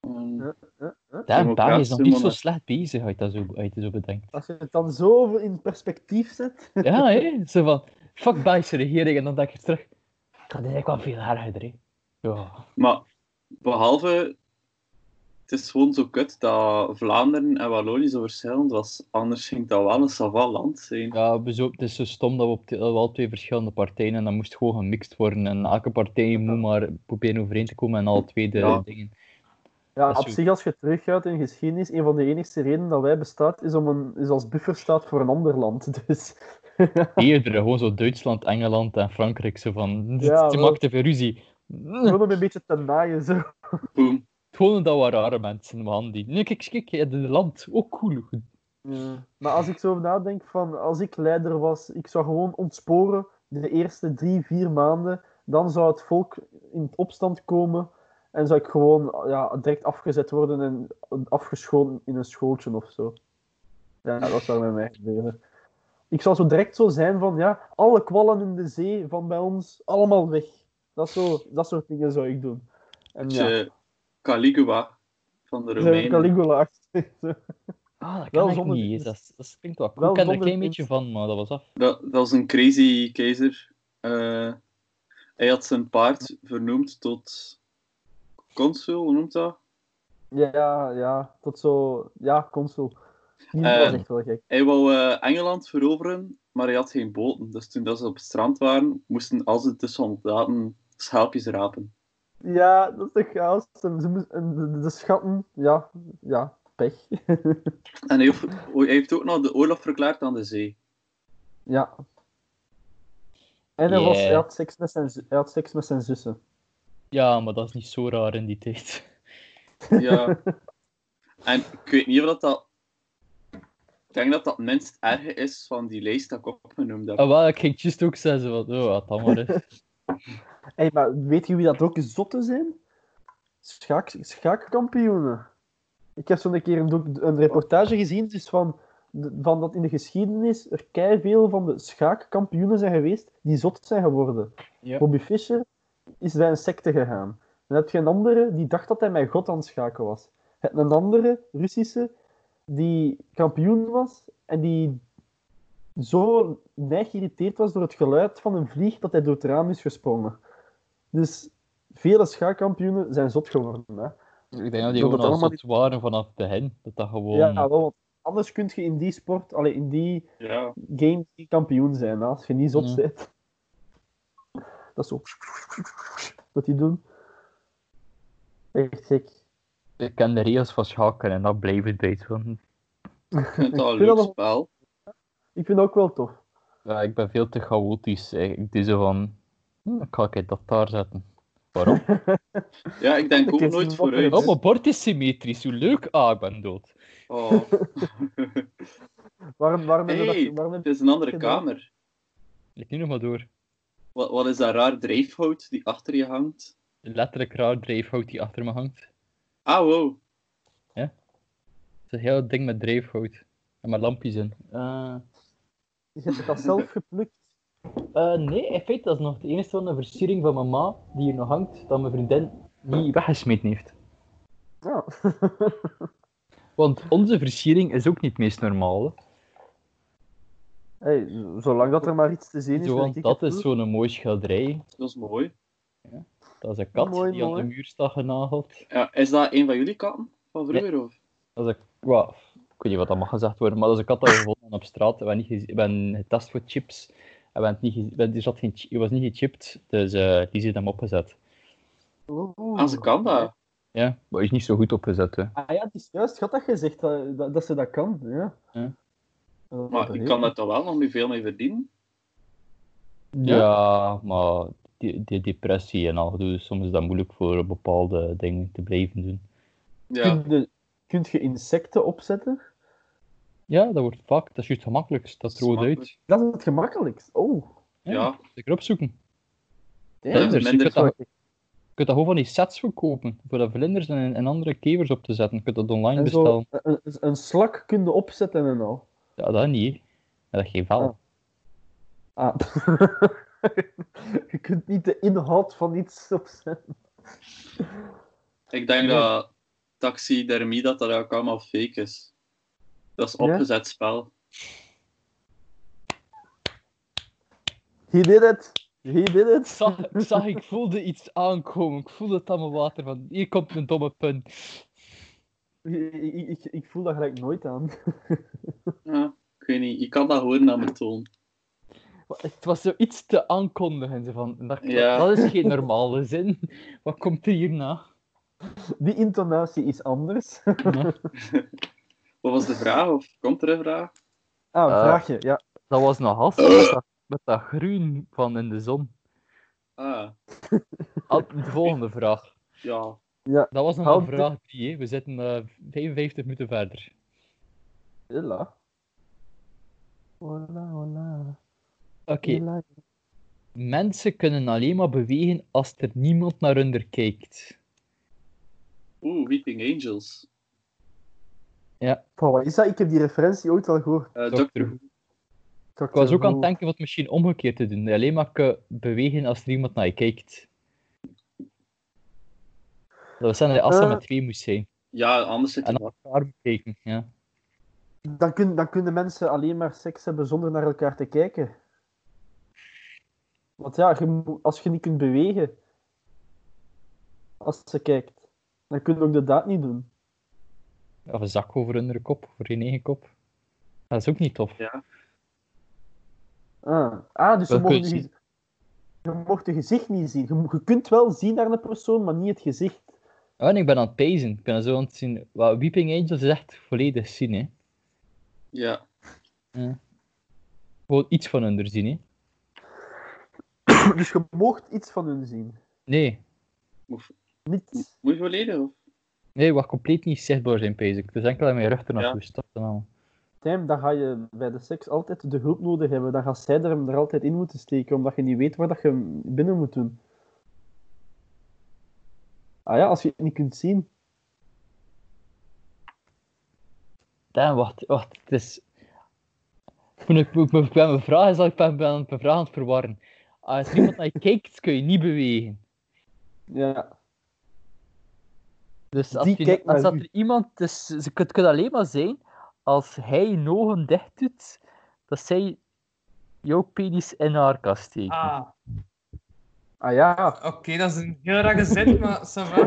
E: Ehm,
D: Ja.
C: Daar, België is nog niet zo
E: monarch-
C: slecht bezig uit dat zo, uit dat zo bedenkt.
D: Als je het dan zo in perspectief zet.
C: Ja, hè? Zo van, fuck Belgische regering. En dan denk ik terug, "Ah, dat is eigenlijk wel veel harder, hè. Ja.
E: Maar behalve, het is gewoon zo kut dat Vlaanderen en Wallonië zo verschillend was. Anders ging dat wel een savant land zijn.
C: Ja, we zo- het is zo stom dat we, op de- dat we al twee verschillende partijen en dat moest gewoon gemixt worden. En elke partij moet maar proberen overeen te komen en al twee de
E: Ja.
C: dingen.
D: Ja,
C: Dat is
D: op
C: zo.
D: zich, als je teruggaat in geschiedenis, een van de enigste redenen dat wij bestaat, is, om een, is als bufferstaat voor een ander land. Dus
C: Eerdere, gewoon zo Duitsland, Engeland en Frankrijk. Zo van,
D: Ja,
C: ze
D: wel.
C: maakten veel ruzie.
D: gewoon om een beetje te naaien. Zo.
E: Boom.
C: Gewoon dat we rare mensen man die. Nee, kijk, kijk, het land, ook cool.
D: Maar als ik zo nadenk van, als ik leider was, ik zou gewoon ontsporen de eerste drie, vier maanden. Dan zou het volk in opstand komen en zou ik gewoon ja, direct afgezet worden en afgeschoten in een schooltje of zo. Ja, dat zou met mij gebeuren. Ik zou zo direct zo zijn van, ja, alle kwallen in de zee van bij ons, allemaal weg. Dat, zo, dat soort dingen zou ik doen. En ja,
E: Beetje eh, Caligula van de
D: zo heb ik
E: Romeinen.
D: Caligula
C: Ah, dat
D: Wel
C: kan ik
D: zonder
C: niet.
D: kunst.
C: Dat, is- dat klinkt wel dus. cool.
D: Wel
C: ik ken er een
D: zonder
C: klein beetje van, maar dat was af.
E: Dat, dat was een crazy keizer. Eh, hij had zijn paard vernoemd tot consul, hoe noemt dat?
D: Ja, ja, tot zo... Ja, consul. Die
E: Eh,
D: was echt wel gek.
E: Hij wou eh, Engeland veroveren, maar hij had geen boten. Dus toen dat ze op het strand waren, moesten al ze de soldaten schaalpjes rapen.
D: Ja, dat is toch chaos. En ze moest- en de, de schatten, ja, ja, pech.
E: En hij heeft, hij heeft ook nog de oorlog verklaard aan de zee.
D: ja. En hij, was,
C: Yeah.
D: hij, had seks met zijn, zu- hij had seks met zijn zussen.
C: Ja, maar dat is niet zo raar in die tijd.
E: Ja. en ik weet niet of dat... dat... Ik denk dat dat het minst erge is van die lijst dat ik opgenoemd
D: Oh.
E: heb.
C: Ah, wel, ik ging juist ook zeggen, wat, oh, wat dan maar is.
D: Hey, maar weet je wie dat ook zotten zijn? Schaak, schaakkampioenen. Ik heb zo'n keer een, doc- een reportage gezien dus van, de- van dat in de geschiedenis er veel van de schaakkampioenen zijn geweest die zot zijn geworden.
C: Ja.
D: Bobby Fischer is bij een secte gegaan. Dan heb je een andere die dacht dat hij met God aan het schaken was. Je hebt een andere, Russische, die kampioen was en die zo neig geïrriteerd was door het geluid van een vlieg dat hij door het raam is gesprongen. Dus vele schaakkampioenen zijn zot geworden. Hè?
C: Ik denk dat die
D: Dat
C: gewoon
D: het
C: al
D: allemaal
C: zot waren vanaf de hen. Dat dat gewoon...
D: Ja, wel, want anders kun je in die sport, allee, in die
E: Ja.
D: game niet kampioen zijn, hè, als je niet zot
C: Ja.
D: bent. Dat is zo... Wat die doen. Echt gek.
C: Ik ken de regels van schaken en dat blijft het bij het van.
E: Ik
D: Ik
E: vind dat een
D: vind dat
E: leuk
D: nog-
E: spel.
D: Ik vind dat ook wel tof.
C: Ja, ik ben veel te chaotisch. hè. Ik doe zo van... Hm, ik ga ik dat daar zetten. Waarom?
E: Ja, ik denk
D: Ik
E: ook
D: heb
E: nooit
D: ze
E: vooruit.
C: Oh, mijn bord is symmetrisch. Hoe leuk. Ah, ik ben dood.
E: Oh.
D: Waarom, waarom hebben we
E: Hey.
D: dat... Waarom hebben
E: Het is een andere
D: Gedaan.
E: kamer.
C: Ik nu nog maar door.
E: Wat, wat is dat raar drijfhout die achter je hangt?
C: Letterlijk raar drijfhout die achter me hangt.
E: Ah, wow.
C: Het is een heel ding met drijfhout. En met lampjes in. Eh,
D: je je hebt dat zelf geplukt?
C: eh, nee, in feite, dat is nog de enige van de versiering van mijn ma die hier nog hangt, dat mijn vriendin niet weggesmeten heeft.
D: Ja.
C: Want onze versiering is ook niet het meest normale.
D: Hey, z- zolang dat er maar iets te zien is,
C: Zo,
D: denk
C: want
D: ik
C: dat
D: het
C: is
D: goed.
C: zo'n mooi schilderij.
E: Dat is mooi.
C: Dat is een kat
D: Mooi,
C: die
D: mooi.
C: aan de muur staat genageld.
E: Ja, is dat een van jullie katten van vroeger? Of?
C: Dat is een... Wow. Ik weet niet wat dat mag gezegd worden, maar dat is een kat dat we gevonden hebben op straat. We hebben, niet gez- we hebben getest voor chips. En we hebben het niet gez- we hebben- er zat geen... chi- die was niet gechipt, dus eh, die zit hem opgezet.
D: Oeh.
E: Ah, ze kan dat.
C: Ja, maar die is niet zo goed opgezet. Hè.
D: Ah ja, het is juist. Had dat gezegd dat, dat, dat ze dat kan? Ja.
C: Ja.
D: Eh,
E: Maar ik kan daar toch wel nog niet veel mee verdienen?
C: Ja, maar die, die depressie en al, dus soms is dat moeilijk voor bepaalde dingen te blijven doen.
E: Ja.
D: Kun je- Kunt je insecten opzetten?
C: Ja, dat wordt vaak, dat is juist gemakkelijk, dat rood uit.
E: Smakelijk.
D: Dat is het gemakkelijkst. Oh,
E: Ja.
C: Zeker opzoeken.
E: Ja,
C: Vlinders, dus je
E: minder
C: kunt dat,
D: zo.
C: je kunt dat gewoon van die sets verkopen, voor de vlinders en, en andere kevers op te zetten. Je kunt dat online
D: En zo,
C: bestellen.
D: een, een- een slak kunnen opzetten en al.
C: Ja, dat niet. hè. Maar dat geeft wel.
D: Ah. Ah. je kunt niet de inhoud van iets opzetten.
E: Ik denk dat taxidermie dat dat ook allemaal fake is. Dat is opgezet spel.
D: He did it. He did
C: Ik
D: it.
C: zag, ik zag, ik voelde iets aankomen. Ik voelde het aan mijn water. Van, hier komt een domme punt.
D: Ik, ik, ik- ik voel dat gelijk nooit aan.
E: Ja, ik weet niet. Je kan dat horen aan mijn toon.
C: Maar Het was zoiets te aankondigen. zo Van, dat,
E: Ja.
C: dat is geen normale zin. Wat komt er hierna?
D: Die intonatie is anders. Ah,
E: Wat was de vraag? Of komt er een vraag?
D: Ah,
C: Eh.
D: vraag je. Ja.
C: Dat was nog gast met, dat- met dat groen van in de zon.
E: Ah,
C: Al- De volgende vraag.
E: ja.
C: Dat was nog
D: Houd
C: een
D: de-
C: vraag die, hè. we zitten eh, 55 minuten verder.
D: Hela. Hola, hola.
C: Oké,
D: Hola.
C: mensen kunnen alleen maar bewegen als er niemand naar hun kijkt.
E: Oeh, Weeping Angels.
D: Van wat is dat? Ik heb die referentie ooit al gehoord.
E: Eh
C: Doctor
E: Doctor
C: Who.
E: Who.
D: Dr.
C: Ik was ook aan het
D: Who.
C: denken wat misschien omgekeerd te doen. Dat je Alleen maar kan bewegen als er iemand naar je kijkt. Dat we zijn als dat
D: Eh.
C: met twee moest zijn.
E: Ja, anders zit
C: En
E: het
C: naar elkaar moet kijken. Ja.
D: Dan, kun, dan kunnen mensen alleen maar seks hebben zonder naar elkaar te kijken. Want ja, je moet- als je niet kunt bewegen, als ze kijkt. Dan kun je ook de daad niet doen.
C: Of een zak over hun kop, voor hun eigen kop. Dat is ook niet tof.
D: Ah, ah dus
C: Wel
D: je mocht,
C: kun je
D: je, gez- je mocht je gezicht niet zien. Je, mo- je kunt wel zien naar een persoon, maar niet het gezicht.
C: Oh, en ik ben aan het pezen. Ik ben zo aan het zien. Wat Weeping Angels is echt volledig zien, hè.
E: Ja.
C: Gewoon iets van hun er zien, hè.
D: Dus je mocht iets van hun zien.
C: Nee.
D: Niets.
E: Moet je volledig? Of?
C: Nee, wat compleet niet zichtbaar zijn, pees ik. Dus enkel aan mijn rug ernaartoe. Ja. en al.
D: Tim, dan ga je bij de seks altijd de hulp nodig hebben. Dan gaat zij er hem er altijd in moeten steken, omdat je niet weet waar dat je hem binnen moet doen. Ah ja, als je het niet kunt zien.
C: Damn, wacht, wacht. Het is... Ik ben, ik ben, ik ben mijn vraag is al, ik ben, ben mijn vraag aan het verwarren. Ah, Als niemand naar je kijkt, kun je niet bewegen.
D: Ja.
C: Dus als,
D: Die
C: je-
D: kijkt
C: als
D: naar
C: dat
D: u.
C: er iemand... Dus, het kan- het kan alleen maar zijn als hij je ogen dicht doet, dat zij jouw penis in haar kast steekt.
F: Ah,
D: Ah ja,
F: oké, dat is een heel rare zin, maar ça va.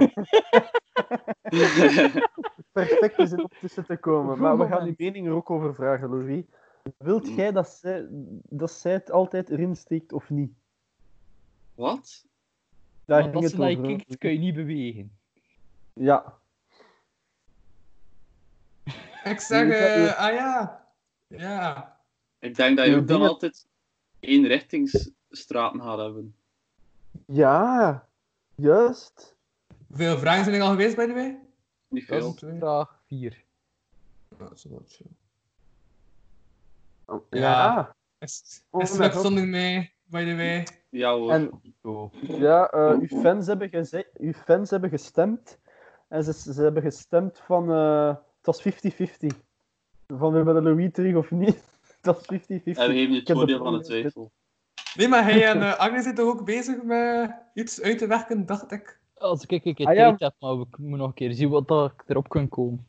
D: perfect is het om tussen te komen.
C: Goed
D: Maar we
C: moment. Mm.
D: gaan uw mening er ook over vragen, Louis. Wilt jij dat zij, dat zij het altijd erin steekt of niet?
E: Wat?
D: Daar
C: Want
D: ging
C: als
D: het
C: ze naar je
D: over.
C: kijkt, kun je niet bewegen.
D: Ja.
F: Ik zeg, eh, ah ja. Ja.
E: Ik denk dat je
D: Ja,
E: ook dan
D: dingen-
E: altijd eenrichtingsstraten gaat hebben.
D: Ja, juist.
F: Hoeveel vragen zijn er al geweest, by the way?
E: Niet
C: Dat
E: veel.
C: is vraag 4.
F: Nou, zo wat, zo.
D: Ja.
F: Ja. Is
D: Oh,
F: is
D: mijn
F: slecht
D: God.
F: zonder mij, by the way.
E: Ja hoor.
D: En ja, eh, uw, fans hebben geze- uw fans hebben gestemd. En ze, ze hebben gestemd van... eh, het was 50-50. Van we willen Louis terug of niet. Het was 50-50.
E: En we geven je
D: Ik
E: het
D: heb
E: voordeel
D: de
E: van
D: volgende
E: de twijfel.
F: Nee, maar hij en eh, Agnes zijn toch ook bezig met iets uit te werken, dacht ik.
C: Als ik een keer
D: Ah, ja.
C: tijd heb, maar ik moet nog een keer zien wat dat ik erop kan komen.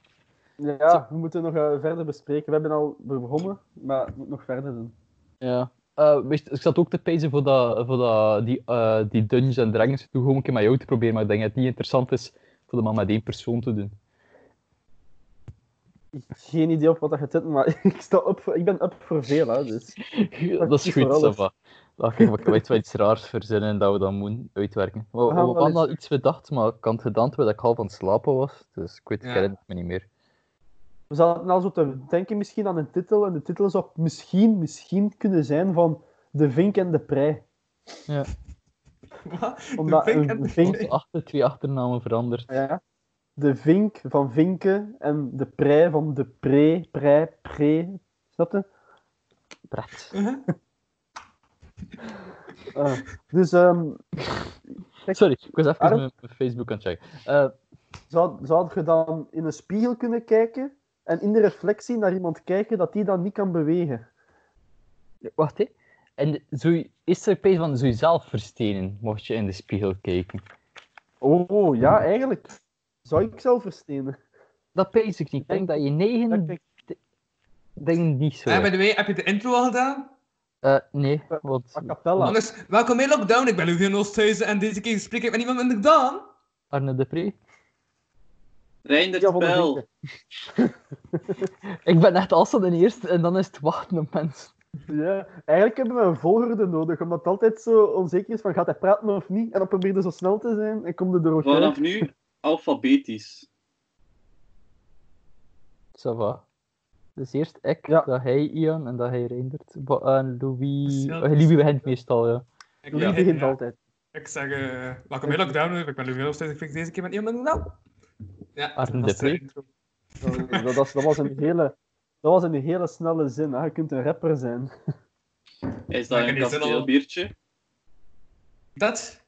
D: Ja, we moeten nog eh, verder bespreken. We hebben al begonnen, maar we moeten nog verder doen.
C: Ja. Eh, weet je, ik zat ook te pezen voor, dat, voor dat, die, eh, die Dungeons en Dragons toe gewoon een keer met jou te proberen, maar ik denk dat het niet interessant is voor de man met één persoon te doen.
D: Ik heb geen idee op wat dat gaat zitten, maar ik, sta op voor, ik ben up voor veel. Hè, dus.
C: dat is
D: is
C: goed,
D: voor alles.
C: Sava. Dan kijk, ik weet wel iets raars verzinnen dat we dan moeten uitwerken. We, we,
D: gaan Ah, wel
C: hadden
D: eens-
C: al iets bedacht, maar ik had het gedaan terwijl ik half aan het slapen was, dus ik weet het
F: Ja.
C: herinner het me niet meer.
D: We zaten al zo te denken misschien aan een titel. En de titel zou misschien, misschien kunnen zijn van De Vink en de Prei.
F: Wat? De
D: Omdat
F: vink
D: een
F: en de
D: vink-
F: vink.
C: Achter twee achternamen veranderd.
D: Ja. De Vink van Vinken en de Prei van de Pre, Prei, Pre. Snap je?
C: Pret.
F: Huh?
D: Ah, dus ehm,
C: Sorry, ik was even
D: Arm?
C: mijn mijn Facebook aan het checken. Eh,
D: zou, zou je dan in een spiegel kunnen kijken en in de reflectie naar iemand kijken dat die dan niet kan bewegen?
C: Wacht, hè. En zo, is er opeens van zo jezelf verstenen, mocht je in de spiegel kijken?
D: Oh, ja, eigenlijk. Zou ik zelf verstenen?
C: Dat pees ik niet. Ik denk dat je negen
D: Dat ik-
C: dingen niet zo
F: En Ah, by
C: hebt.
F: the way, heb je de intro al gedaan?
C: Eh, nee, want
D: A cappella.
F: Anders, welkom bij Lockdown. Ik ben Lucien Oosthuizen en deze keer spreek ik met niemand minder dan...
C: Arne de Pre.
E: Reinder
D: Ja, van de
E: spel.
D: Vinken.
C: Ik ben echt als de eerste en dan is het wachten op mensen.
D: Ja, eigenlijk hebben we een volgorde nodig, omdat het altijd zo onzeker is van gaat hij praten of niet. En dan probeer je zo snel te zijn en komt er door elkaar.
E: Vanaf nu alfabetisch.
C: Ça va. Dus eerst ik,
D: Ja.
C: dat hij Ian en dat hij Reindert. Ba- En Louis...
F: Dus ja,
C: eh,
F: dus-
C: Louis begint meestal, ja.
F: Ik,
D: Louis
F: ja,
D: begint
F: ja.
D: altijd.
F: Ik zeg, eh, welkom bij Lockdown. Ik ben Lucien Oosthuizen. Ik spreek deze keer met niemand minder dan... Ja,
C: Arne
F: dat is
C: de Pre.
F: intro.
D: Dat, dat, was- dat was een hele, dat was een hele snelle zin. Hè. Je kunt een rapper zijn.
E: Is
F: Maar
E: dat
F: ik
E: een
F: heb die zin
E: kasteel
F: al.
E: biertje?
F: Dat?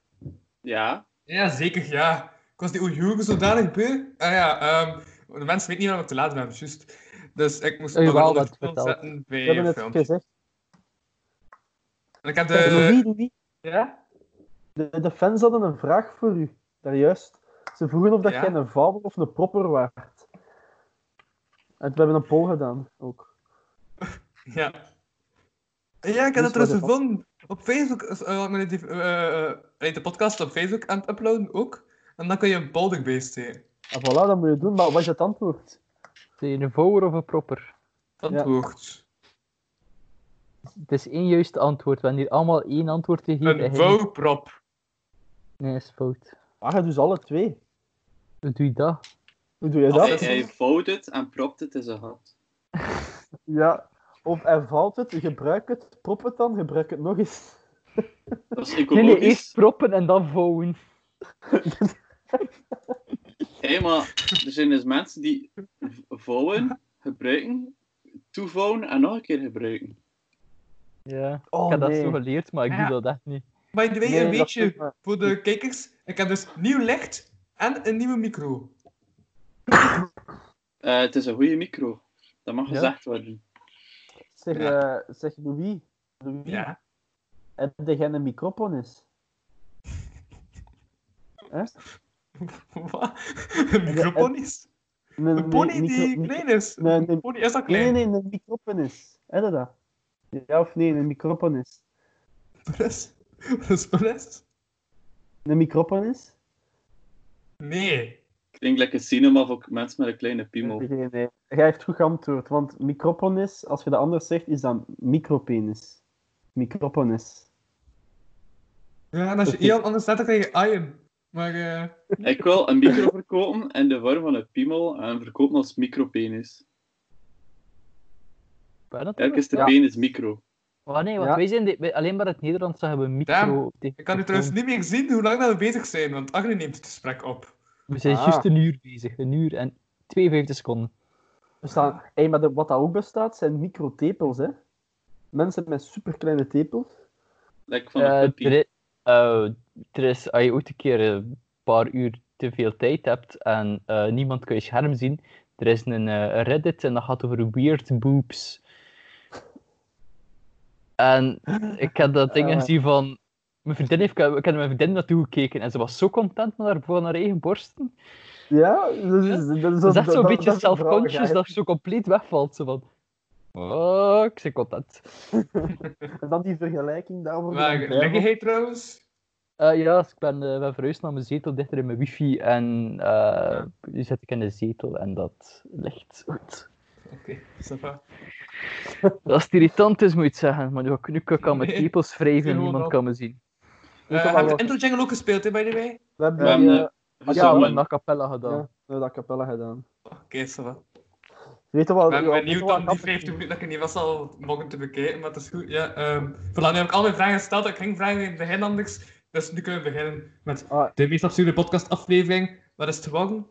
E: Ja.
F: Ja, zeker, ja. Ik was die Oeigoeren zodanig beu. Ah ja, ehm, de mensen weten niet waarom ik te laat ben, juist. Dus ik moest
C: Oh,
F: nog een
C: jawel, dat
F: ondertoon
C: vertelt.
F: zetten
D: We
F: bij
D: hebben
F: een
D: het
F: film.
D: gezegd.
F: En ik heb
D: Louis,
F: de...
D: Louis,
F: Ja?
D: de, de fans hadden een vraag voor u. Daar juist. Ze vroegen of dat
F: Ja?
D: jij een fabel of een propper waart. En we hebben een poll gedaan ook.
F: Ja. Ja,
D: Dus
F: ik heb dat
D: wat is
F: trouwens
D: dat?
F: gevonden. Op Facebook, eh, eh, met die, eh, eh, eh, de podcast op Facebook aan het uploaden ook. En dan kun je een poll erbij steken.
D: En voilà, dat moet je doen. Maar wat is het antwoord?
C: Een vouwer of een propper?
F: Antwoord.
C: Het is één juiste antwoord. We hebben hier allemaal één antwoord te geven.
F: Een vouwprop.
C: Nee, is fout.
D: Ah, je dus alle twee.
C: Hoe doe je dat?
D: Hoe doe je
E: Of
D: dat?
E: hij, hij vouwt het en propt het in zijn hand.
D: Ja. Of hij valt het, gebruik het, prop het dan, gebruik het nog eens.
E: Dat is
C: Nee, nee,
E: ecologisch.
C: eerst proppen en dan vouwen.
E: Hé, maar er zijn dus mensen die v- vouwen, gebruiken, toevouwen en nog een keer gebruiken.
C: Ja.
D: Oh,
C: ik heb
D: nee.
C: dat zo geleerd, maar ik
F: Ja.
C: doe dat echt niet.
F: By the way,
D: Nee,
F: een
D: dat is eh,
F: beetje
D: maar-
F: voor de kijkers. Ik heb dus nieuw licht en een nieuwe micro.
E: Eh, het is een goede micro. Dat mag
C: Ja.
E: gezegd worden.
D: Zeg, eh zeg Louis, Louis
F: Ja.
D: heb jij een microfoon is?
F: Wat? Een microponies?
D: Een,
F: Een pony
D: micro-
F: die
D: micro-
F: klein is?
D: Nee,
F: Een
D: nee.
F: pony is dat
D: Nee,
F: klein?
D: nee, nee, een microfoon is. Heb je dat? Ja of nee, een microfoon is.
F: Wat is- Wat is wat is?
D: Een microfoon is?
F: Nee.
E: Klinkt lekker cinema voor mensen met een kleine piemel.
D: Nee, nee, nee. Jij heeft goed geantwoord, want microponis, als je dat anders zegt, is dan micropenis. Microponis.
F: Ja, en als je heel anders zet, dan krijg je iron. Maar eh,
E: Ik wil een micro verkopen in de vorm van een piemel en verkopen als micropenis.
C: Waar dat
E: Elke is de
C: Ja.
E: penis micro.
C: Oh nee, want
D: Ja.
C: wij zijn de- wij- alleen maar het Nederlands zeggen we
F: Damn.
C: micro. op de-
F: ik kan nu trouwens niet meer zien hoe lang dat we bezig zijn, want Agne neemt het gesprek op.
C: We zijn
D: Ah.
C: juist een uur bezig. Een uur en 52 seconden.
D: Bestaan, hey, maar de- wat dat ook bestaat, zijn microtepels, hè. Mensen met superkleine tepels.
E: Lekker van een
C: Eh,
E: puppy.
C: er, i- eh, er is, als je ooit een keer een paar uur te veel tijd hebt en eh, niemand kan je scherm zien, er is een eh, Reddit en dat gaat over weird boobs. En ik heb dat ding
D: Eh.
C: gezien van... Mijn vriendin heeft, ik heb ik heb naar mijn vriendin naartoe gekeken en ze was zo content met haar, van haar eigen borsten.
D: Ja, dat is, dat is,
C: Ze
D: dat-
C: is echt zo'n
D: dat-
C: beetje
D: dat is een
C: self-conscious
D: vrouwigheid.
C: dat ze zo compleet wegvalt. Ze van... Oh, ik ben content.
D: En dan die vergelijking daarover.
F: Maar leg jij trouwens?
C: Eh, ja, dus ik ben, eh, ben verhuisd naar mijn zetel, dichter in mijn wifi. En eh nu zit ik in de zetel en dat ligt goed.
F: Oké, ça va.
C: Als het irritant is, moet je het zeggen. Maar nu, nu kan ik aan mijn
F: Nee,
C: tepels wrijven en
F: gewoon
C: niemand
F: al.
C: kan me zien.
F: Eh,
D: kan
F: heb je
D: wel-
F: de intro jingle ook gespeeld, hè, by the way?
D: We hebben
E: We
D: die,
E: hebben
D: eh,
C: Ja,
E: eh,
D: ja,
C: we
E: gezongen.
C: hebben een a cappella gedaan.
D: ja, we hebben dat capella gedaan.
F: Oké, ça va.
D: Weet je wat?
F: Ik ben
D: ja,
F: benieuwd
D: weet je wat
F: om die
D: grappig
F: 50
D: is?
F: minuten dat ik niet was al mogen te bekijken, maar dat is goed. Ja, ehm voilà, nu heb ik al mijn vragen gesteld. Ik ging vragen in het begin anders. Dus nu kunnen we beginnen met
D: Ah.
F: de meest absurde podcastaflevering. Wat is het geworden?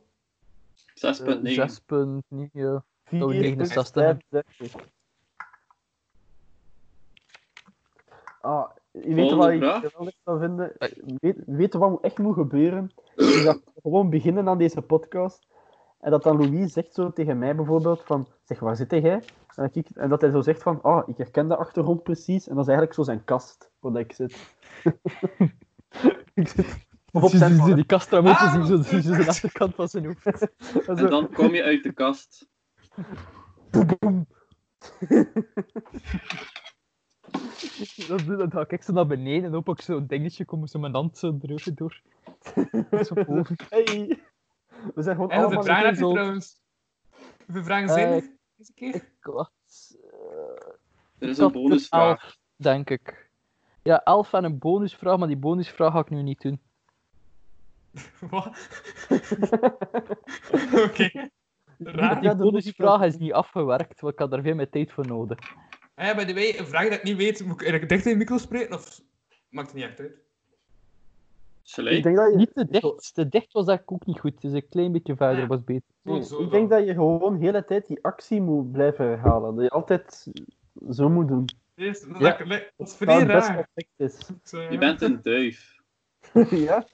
E: 6.9.
C: 6 Eh, punt, niet, ja.
D: Vier
C: Oh,
D: keer
C: 69.
D: 65. Ah, je weet
E: Volgende
D: wat ik
E: vraag.
D: geweldig zou vinden? Weet, weet je wat echt moet gebeuren? Is dat we gewoon beginnen aan deze podcast. En dat dan Louis zegt zo tegen mij bijvoorbeeld van... Zeg, waar zit jij? En dat, ik, en dat hij zo zegt van... Ah, ik herken de achtergrond precies. En dat is eigenlijk zo zijn kast waar dat ik zit. ik zit... Of op
C: Zie- zie-
D: zijn
C: zie die kastra moeten
F: Ah,
C: zien, zo
F: wat
C: zie je
F: perfect.
C: de achterkant van zijn hoofd.
E: En dan kom je uit de kast.
C: Dat, dat, dan ga ik zo naar beneden en hoop ik zo'n dingetje kom zo mijn hand zo erover door. Zo boven.
D: Hey. We zijn gewoon
F: En hoeveel
D: allemaal...
F: vragen heb je
D: zo-
F: trouwens? Hoeveel vragen zijn
C: Eh,
F: er? Deze keer?
C: Ik wacht.
E: Er is een
C: Tot de
E: bonusvraag.
C: elf, denk ik. Ja, 11 en een bonusvraag, maar die bonusvraag ga ik nu niet doen.
F: Wat? Oké. Raar.
C: Die
D: Ja, de
C: bonusvraag is niet afgewerkt, want ik had daar veel meer tijd voor nodig.
F: Ah ja, by the way, een vraag dat ik niet weet. Moet ik eigenlijk dicht in de micro spreken of maakt het niet echt uit?
D: Ik
E: Slee.
D: denk dat je...
C: Niet te dicht, te dicht was eigenlijk ook niet goed, dus een klein beetje verder was beter.
D: Nee,
F: Gewoon zo
D: ik denk
F: dan.
D: dat je gewoon de hele tijd die actie moet blijven herhalen. Dat je altijd zo moet doen.
F: Dit is- Dat,
C: Ja.
F: ik- dat is
D: Dat
F: vrij
D: het best
F: raar.
D: perfect is.
F: Ik zou-
E: Je bent een duif.
D: ja.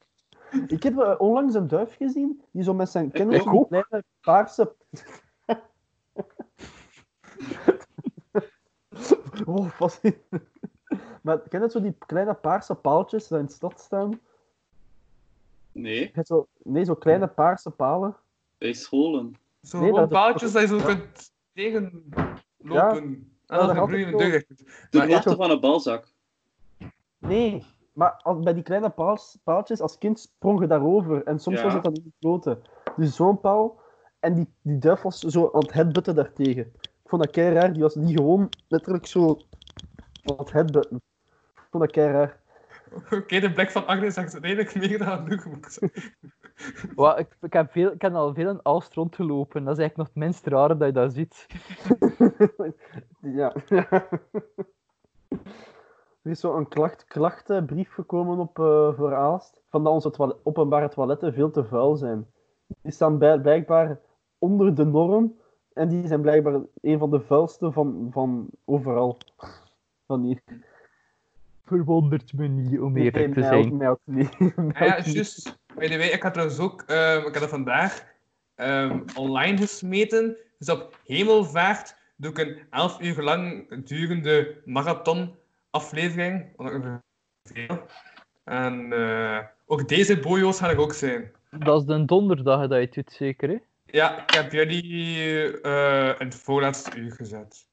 D: Ik heb eh, onlangs een duif gezien die zo met zijn kinderen
E: ook.
D: zo'n kleine paarse. wow, Oh, pas in. Maar ken je het zo die kleine paarse paaltjes die in de stad staan? Je
E: Nee,
D: hebt Zo, nee, zo kleine paarse palen.
E: bij scholen.
F: Zo
D: Nee,
F: gewoon
D: dat-
F: paaltjes dat je zo kunt tegenlopen.
D: Ja.
F: En
D: Ja, dat
F: dat is een
D: had
F: groeiende
D: ik ook.
F: deugd.
E: De
F: Maar ja,
E: hoogte van een balzak.
D: Nee, maar als, bij die kleine paals- paaltjes, als kind sprong je daarover. En soms
E: Ja.
D: was het dan in de klote. Dus zo'n paal. En die, die duif was zo aan het headbutten daartegen. Ik vond dat kei raar. Die was niet gewoon letterlijk zo aan het headbutten. Ik vond dat kei raar.
F: Oké, de blik van Agnes zegt redelijk meer dan genoeg. moet ik zeggen.
C: Wa- ik, ik, heb veel, ik heb al veel in Aalst rondgelopen. Dat is eigenlijk nog het minst rare dat je dat ziet.
D: ja. er is zo'n klacht, klachtenbrief gekomen op eh voor Aalst. Van dat onze toilet- openbare toiletten veel te vuil zijn. Die staan bij- blijkbaar onder de norm. En die zijn blijkbaar een van de vuilste van, van overal. Van hier.
C: Verwondert me niet, om eerlijk te
D: Nee, mij ook-
C: zijn.
D: mij ook niet.
F: Ah ja,
D: Mij ook niet.
F: juist. By the way, ik had trouwens ook, ehm, ik had dat vandaag ehm, online gesmeten. Dus op Hemelvaart doe ik een 11 uur lang durende marathon aflevering. Omdat ik er veel. En eh, ook deze bojo's ga ik ook zijn.
C: Dat is de donderdag dat je het doet, zeker, hè?
F: Ja, ik heb jullie eh, in het voorlaatste uur gezet.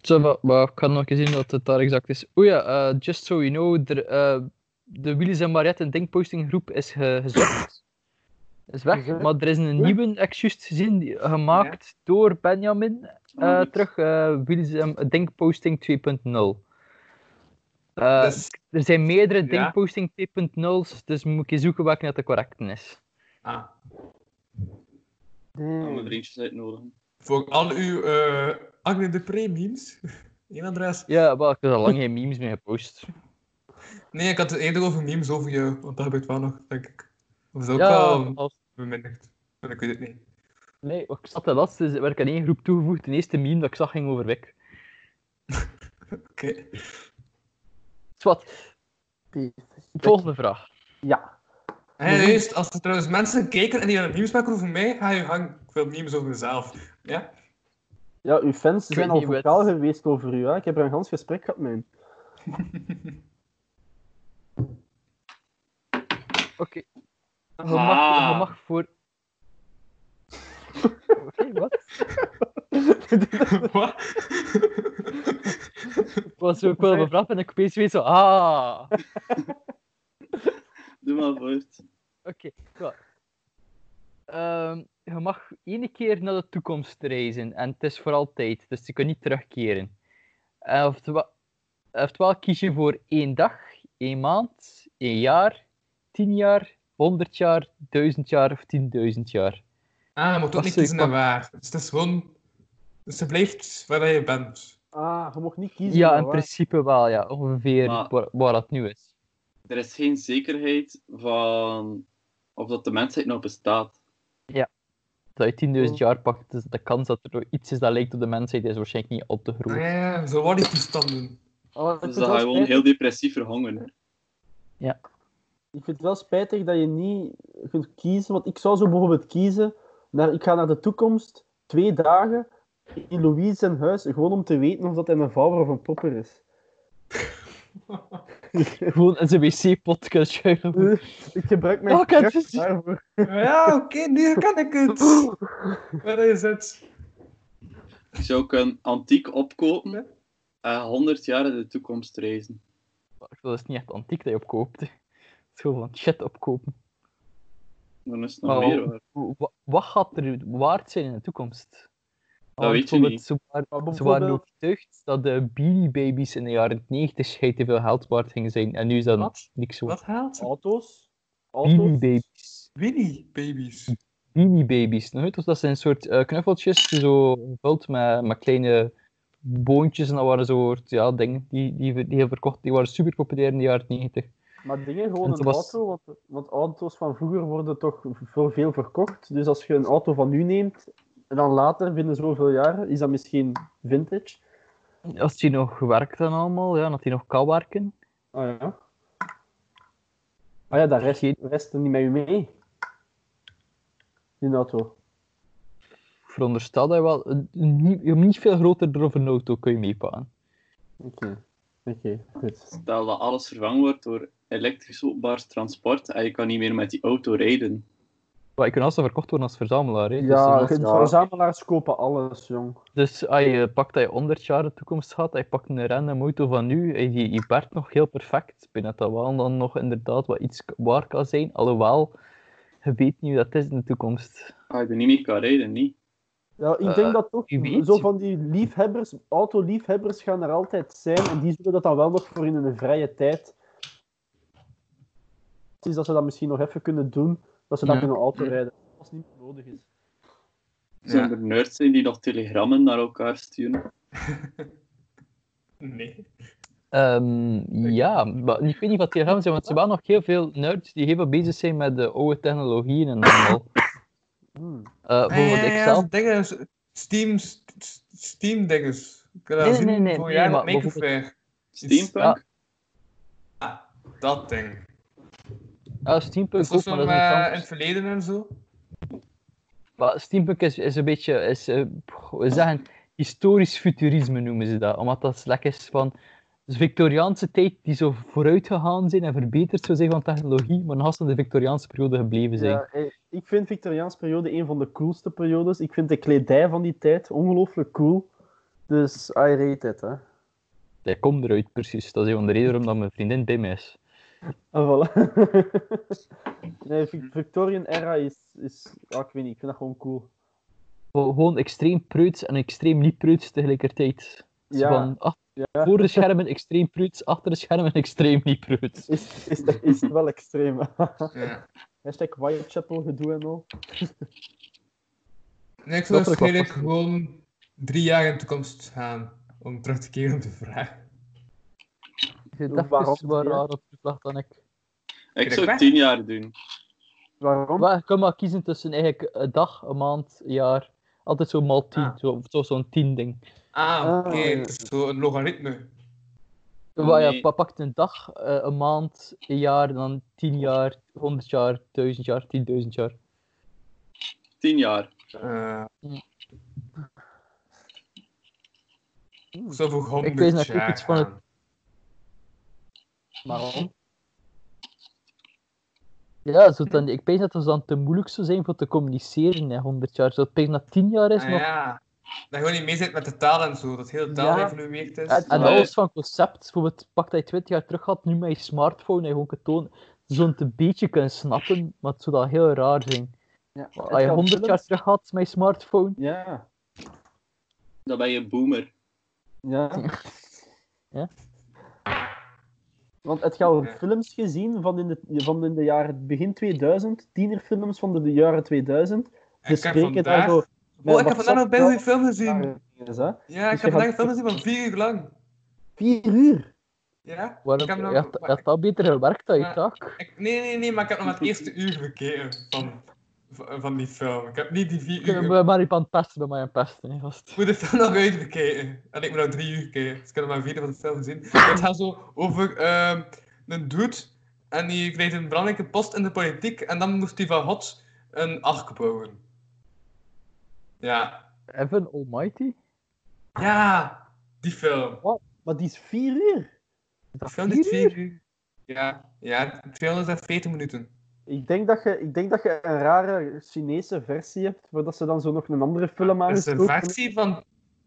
C: Tja, maar, maar ik ga nog eens zien dat het daar exact is. O ja, eh, just so you know, er, eh, de Willy's en Mariette Denkpostinggroep is ge gezocht. Is weg,
D: Gezocht?
C: maar er is een nieuwe, heb ik juist gezien, die- gemaakt door Benjamin. eh,
E: Ah, nice.
C: terug, eh Willy's en Denkposting 2.0. Eh,
F: Dus-
C: er zijn meerdere
F: Ja.
C: Denkposting 2.0's, dus moet je zoeken welke dat de correcte is.
F: Ah,
E: Gaan we
D: Damn.
E: er eentjes uitnodigen.
F: voor al uw eh Agne de Pre-memes. Eén adres.
C: Ja, wel, ik heb al lang geen memes meer gepost.
F: Nee, ik had het eerder over memes over je, want dat gebeurt wel nog, denk ik. Of is dat ook
C: Ja,
F: wel
C: als-
F: bemindigd? Maar Ik weet het niet.
C: Nee, ik zat de laatste, werd ik aan één groep toegevoegd. De eerste meme dat ik zag ging over Wik.
F: Oké.
C: Zwat, volgende vraag.
D: Ja.
F: Hey, luister, als er trouwens mensen kijken en die een memes maken over mij, ga je gang. Ik wil memes over mezelf. Ja?
D: ja, uw fans
C: Ik
D: zijn
C: weet
D: al
C: niet wat-
D: vocaal geweest over u. Hè? Ik heb er een gans gesprek gehad met hen.
C: Oké. Je, mag, je
E: Ah.
C: mag voor. Oké, wat?
F: Wat?
C: Was ook wel mijn vraag en ik opeens weet zo. Ah! Oké,
E: Doe maar voort.
C: ja. Ehm, je mag één keer naar de toekomst reizen en het is voor altijd, dus je kunt niet terugkeren. Eh, oftewel, oftewel kies je voor één dag, één maand, één jaar, tien jaar, honderd jaar, duizend jaar of tienduizend jaar.
F: Ah, je moet ook
C: Wacht,
F: niet
C: ik
F: kiezen naar
C: pak-
F: waar. Dus het is gewoon... Dus je blijft waar je bent.
D: Ah, je mocht niet kiezen.
C: Ja,
D: maar
C: in
D: waar.
C: principe wel, ja, ongeveer
E: Maar-
C: waar, waar dat nu is.
E: Er is geen zekerheid van of dat de mensheid nog bestaat.
C: dat je 10.000 jaar pakt, dus de kans dat er iets is dat lijkt op de mensheid is waarschijnlijk niet op te
F: Ah,
C: groeien.
F: ja, ja, zo worden die toestanden.
D: Oh, ik, vind
E: Dus dat
D: het
E: ga
D: wel
E: je gewoon
D: spijtig-
E: heel depressief verhangen.
D: ik vind het wel spijtig dat je niet kunt kiezen. Want ik zou zo bijvoorbeeld kiezen. Naar, ik ga naar de toekomst, twee dagen, in Louise zijn huis, gewoon om te weten of dat hij een vouwer of een popper is.
C: Gewoon een wc-pot kunnen schuilen.
D: Eh, ik gebruik mijn
C: Oh, ik heb het
D: kracht
C: gezien.
D: daarvoor.
F: Ja, oké, nu kan ik het. Waar is het?
E: Je zou kunnen antiek opkopen en 100 jaar in de toekomst reizen.
C: Dat is dus niet echt antiek dat je opkoopt. hè. Het is gewoon van shit opkopen.
E: Dan is het nog
C: Oh.
E: meer waar.
C: Wa- Wat gaat er waard zijn in de toekomst?
E: Dat
C: Want
E: weet je
C: bijvoorbeeld,
E: niet.
C: Ze waren,
D: Maar
C: ze waren
D: bijvoorbeeld-
C: overtuigd dat de Beanie Babies in de jaren 90 schijt te veel geld waard gingen zijn. En nu is dat
F: Wat?
C: niks zo.
F: Wat haalt ze?
D: Auto's.
C: Beanie
D: Auto's.
C: Babies.
F: Winnie baby's.
C: Beanie Babies. Nou, weet je, dat zijn een soort eh, knuffeltjes, zo gevuld met, met kleine boontjes. En dat waren zo soort, ja, dingen die, die, die hij verkocht. Die waren super populair in de jaren 90.
D: Maar dingen gewoon
C: En ze
D: een
C: was-
D: auto, want, want auto's van vroeger worden toch voor veel verkocht. Dus als je een auto van nu neemt, en dan later, binnen zoveel jaar, is dat misschien vintage.
C: Als hij nog werkt dan allemaal, ja, dat hij nog kan werken.
D: Ah ja. Ah ja, daar rest, rest er niet met u mee. Die auto.
C: Veronderstel dat je wel een- een niet, een niet veel groter door een auto kun je meepakken.
D: Oké. Oké, goed.
E: Stel dat alles vervangen wordt door elektrisch openbaar transport en je kan niet meer met die auto rijden.
C: Maar je kunt alsnog verkocht worden als verzamelaar. Hè.
D: Ja,
C: dus, dan-
D: de verzamelaars kopen alles, jong.
C: dus als je pakt dat je 100 jaar de toekomst gaat, hij pakt een random auto van nu, en die, die werkt nog heel perfect. Ik denk dat dat wel dan nog inderdaad wat iets waar kan zijn. Alhoewel, Je weet niet hoe dat is in de toekomst.
E: Ah, ik ben niet meer kan rijden, niet.
D: Ja, ik denk
C: Eh,
D: dat toch
C: wie weet.
D: zo van die liefhebbers, autoliefhebbers gaan er altijd zijn. En die zullen dat dan wel nog voor in hun vrije tijd. Het is dat ze dat misschien nog even kunnen doen. Dat ze dan
C: Ja.
D: kunnen autorijden. Als het niet meer nodig is.
E: Zijn er nerds zijn die nog telegrammen naar elkaar sturen?
F: Nee.
C: Ehm, ja, maar ik weet niet wat die gaan zijn, want er waren nog heel veel nerds die heel veel bezig zijn met de oude technologieën en allemaal.
D: Hmm.
F: Ah,
C: Eh bijvoorbeeld ikzelf.
F: Dingen, s- Steam, s- s- Steam dinges. Ik heb dat
C: Nee,
F: gezien
C: nee, nee,
F: voor
C: nee,
F: jaren
C: maar
F: op Makerfair.
E: Steampunk?
F: Ah, dat ding.
C: Ah,
F: Dat is
C: Steampunk
F: toch
C: ook,
F: zo
C: maar
F: eh,
C: dat is iets anders.
F: in het verleden en zo.
C: Maar steampunk is, is een beetje, is, eh, pff, we zeggen, historisch futurisme noemen ze dat. Omdat dat lekker is van de Victoriaanse tijd die zo vooruit gegaan zijn en verbeterd zou zijn van technologie, maar nog altijd in de Victoriaanse periode gebleven zijn.
D: Ja, eh, ik vind Victoriaans periode een van de coolste periodes. Ik vind de kledij van die tijd ongelooflijk cool. Dus I rate it, hè.
C: Dat komt eruit, precies. Dat is een van de redenen waarom dat mijn vriendin bij mij is.
D: En Ah, voilà. nee, Vic- Victorian era is... is ah, ik weet niet, ik vind dat gewoon cool.
C: Gewoon- Gewoon extreem preuts en extreem niet preuts tegelijkertijd. Zo
D: Ja.
C: Van, ach,
D: Ja.
C: voor de schermen extreem preuts, achter de schermen extreem niet preuts.
D: Is, is, dat- is wel extreem.
F: Ja.
D: Hashtag Whitechapel gedoe en al.
F: Nee,
C: Dat vind ik
F: ik zou
C: wel
F: waarschijnlijk
C: passend.
F: gewoon drie jaar in de toekomst gaan. Om terug te keren op de vraag.
C: Dat
D: Waarom
C: is wel
D: niet, hè?
C: raar op de vlag dan ik.
E: Ik
F: Direct
E: zou
F: weg?
E: tien jaar doen.
D: Waarom?
C: Maar je kan maar kiezen tussen eigenlijk een dag, een maand, een jaar. Altijd zo mal tien,
F: Ah.
C: zo, zo, zo'n tien ding.
F: Ah, oké.
D: Ah.
F: Het is zo een logaritme.
C: Waar je
E: Nee.
C: pa- pakt een dag, eh, een maand, een jaar, dan tien jaar, honderd jaar, duizend jaar, tienduizend jaar.
E: Tien jaar.
F: Eh,
C: Ja.
F: Ik zou voor
C: Ik
F: 100
C: lees natuurlijk
F: jaar
C: iets van het-
F: gaan.
C: Maar waarom? Ja,
F: Hm.
C: zo dan, ik denk dat het dan te moeilijk zou zijn voor te communiceren in honderd jaar. Zo, ik denk dat tien jaar is
F: Ah,
C: nog.
F: ja. Dat je gewoon niet mee zit met de taal en zo. Dat hele taal
D: Ja.
F: evolueerd is.
C: En, en
E: Maar-
C: alles van concept, bijvoorbeeld pak dat je 20 jaar terug had, nu met je smartphone en je gewoon kunt tonen, zo'n te beetje kunnen snappen, maar het zou dat heel raar zijn.
D: Ja,
C: Als je 100 jaar terug had met je smartphone,
D: Ja.
E: Dan ben je een boomer.
D: Ja.
C: Ja.
D: Want het gaat
F: Ja.
D: films gezien van in de, van in de jaren begin 2000, tienerfilms van de, de jaren 2000.
F: En ik heb
D: bespreken daar
F: vandaag...
D: zo-
F: Oh, ik heb vandaag nog best een film gezien.
D: jaren dingen, hè.
F: Ja, ik
D: Dus je
F: heb vandaag een
D: gaat-
F: film gezien van vier uur lang.
D: Vier uur.
F: Ja?
C: waarom
F: Ik heb nog-
C: je had, je had dat beter gewerkt dan je
F: Maar-
C: taak?
F: Ik, nee, nee, nee, maar ik heb nog maar het eerste uur gekeken van, van van die film. Ik heb niet die vier uur...
C: Kunnen we maar even aan het pesten bij mij aan het pesten, hè, gast.
F: Ik moet de film nog uitbekijken. En ik moet nog drie uur kijken. Dus ik kan nog maar een vierde van de film zien. Het gaat zo over ehm, een dude. En die kreeg een belangrijke post in de politiek. En dan moest hij van God een ark bouwen. Ja.
C: Heaven Almighty?
F: Ja! Die film.
D: Maar die is vier uur.
F: Die film duurt vier uur. Ja. Ja, 240 minuten.
D: Ik denk, dat je, ik denk dat je een rare Chinese versie hebt, waar dat ze dan zo nog een andere film
F: Het is een
D: aangestoken
F: versie van...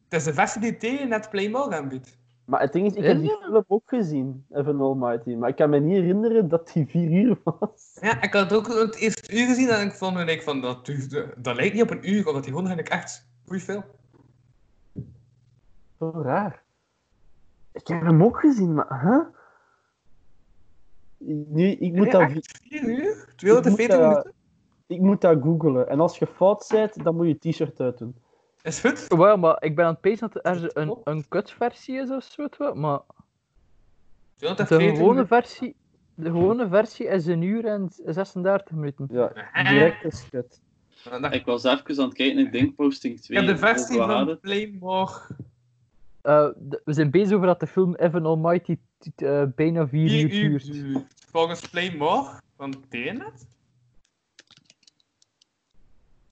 F: Het is een versie die tegen net Playmobil aanbiedt.
D: Maar het ding is, ik heb
C: Is
D: die
C: het?
D: film ook gezien, Evan Almighty. Maar ik kan me niet herinneren dat die vier uur was.
F: Ja, ik had het ook het eerste uur gezien en ik vond gelijk van dat, duurde, dat lijkt niet op een uur, omdat die gewoon eigenlijk echt goeie film.
D: Zo raar. Ik heb hem ook gezien, maar... Huh? Ik- Nu, ik moet,
F: Nee,
D: dat,
F: echt?
D: vi-
F: 4 uur?
D: Ik
F: 240
D: moet, eh,
F: minuten?
D: ik moet dat googlen. En als je fout bent, dan moet je t-shirt uitdoen.
F: Is goed?
C: Wel, maar ik ben aan het pezen dat
F: Is het
C: er een,
F: klopt?
C: een kutversie is of zo, maar de
F: 240
C: gewone
F: minuten?
C: versie, de gewone versie is een uur en 36 minuten.
D: Ja,
F: Ah.
D: direct is het.
F: Ja, dat-
E: Ik was even aan het kijken in Denkposting 2.
F: Ik heb de versie
E: Over
F: van
E: hadden.
F: Playmore
C: Eh, de- we zijn bezig over dat de film Evan Almighty t- t- eh, bijna vier
F: 4
C: uur
F: uur
C: duurt.
F: duurt. Volgens Playmore van TNT?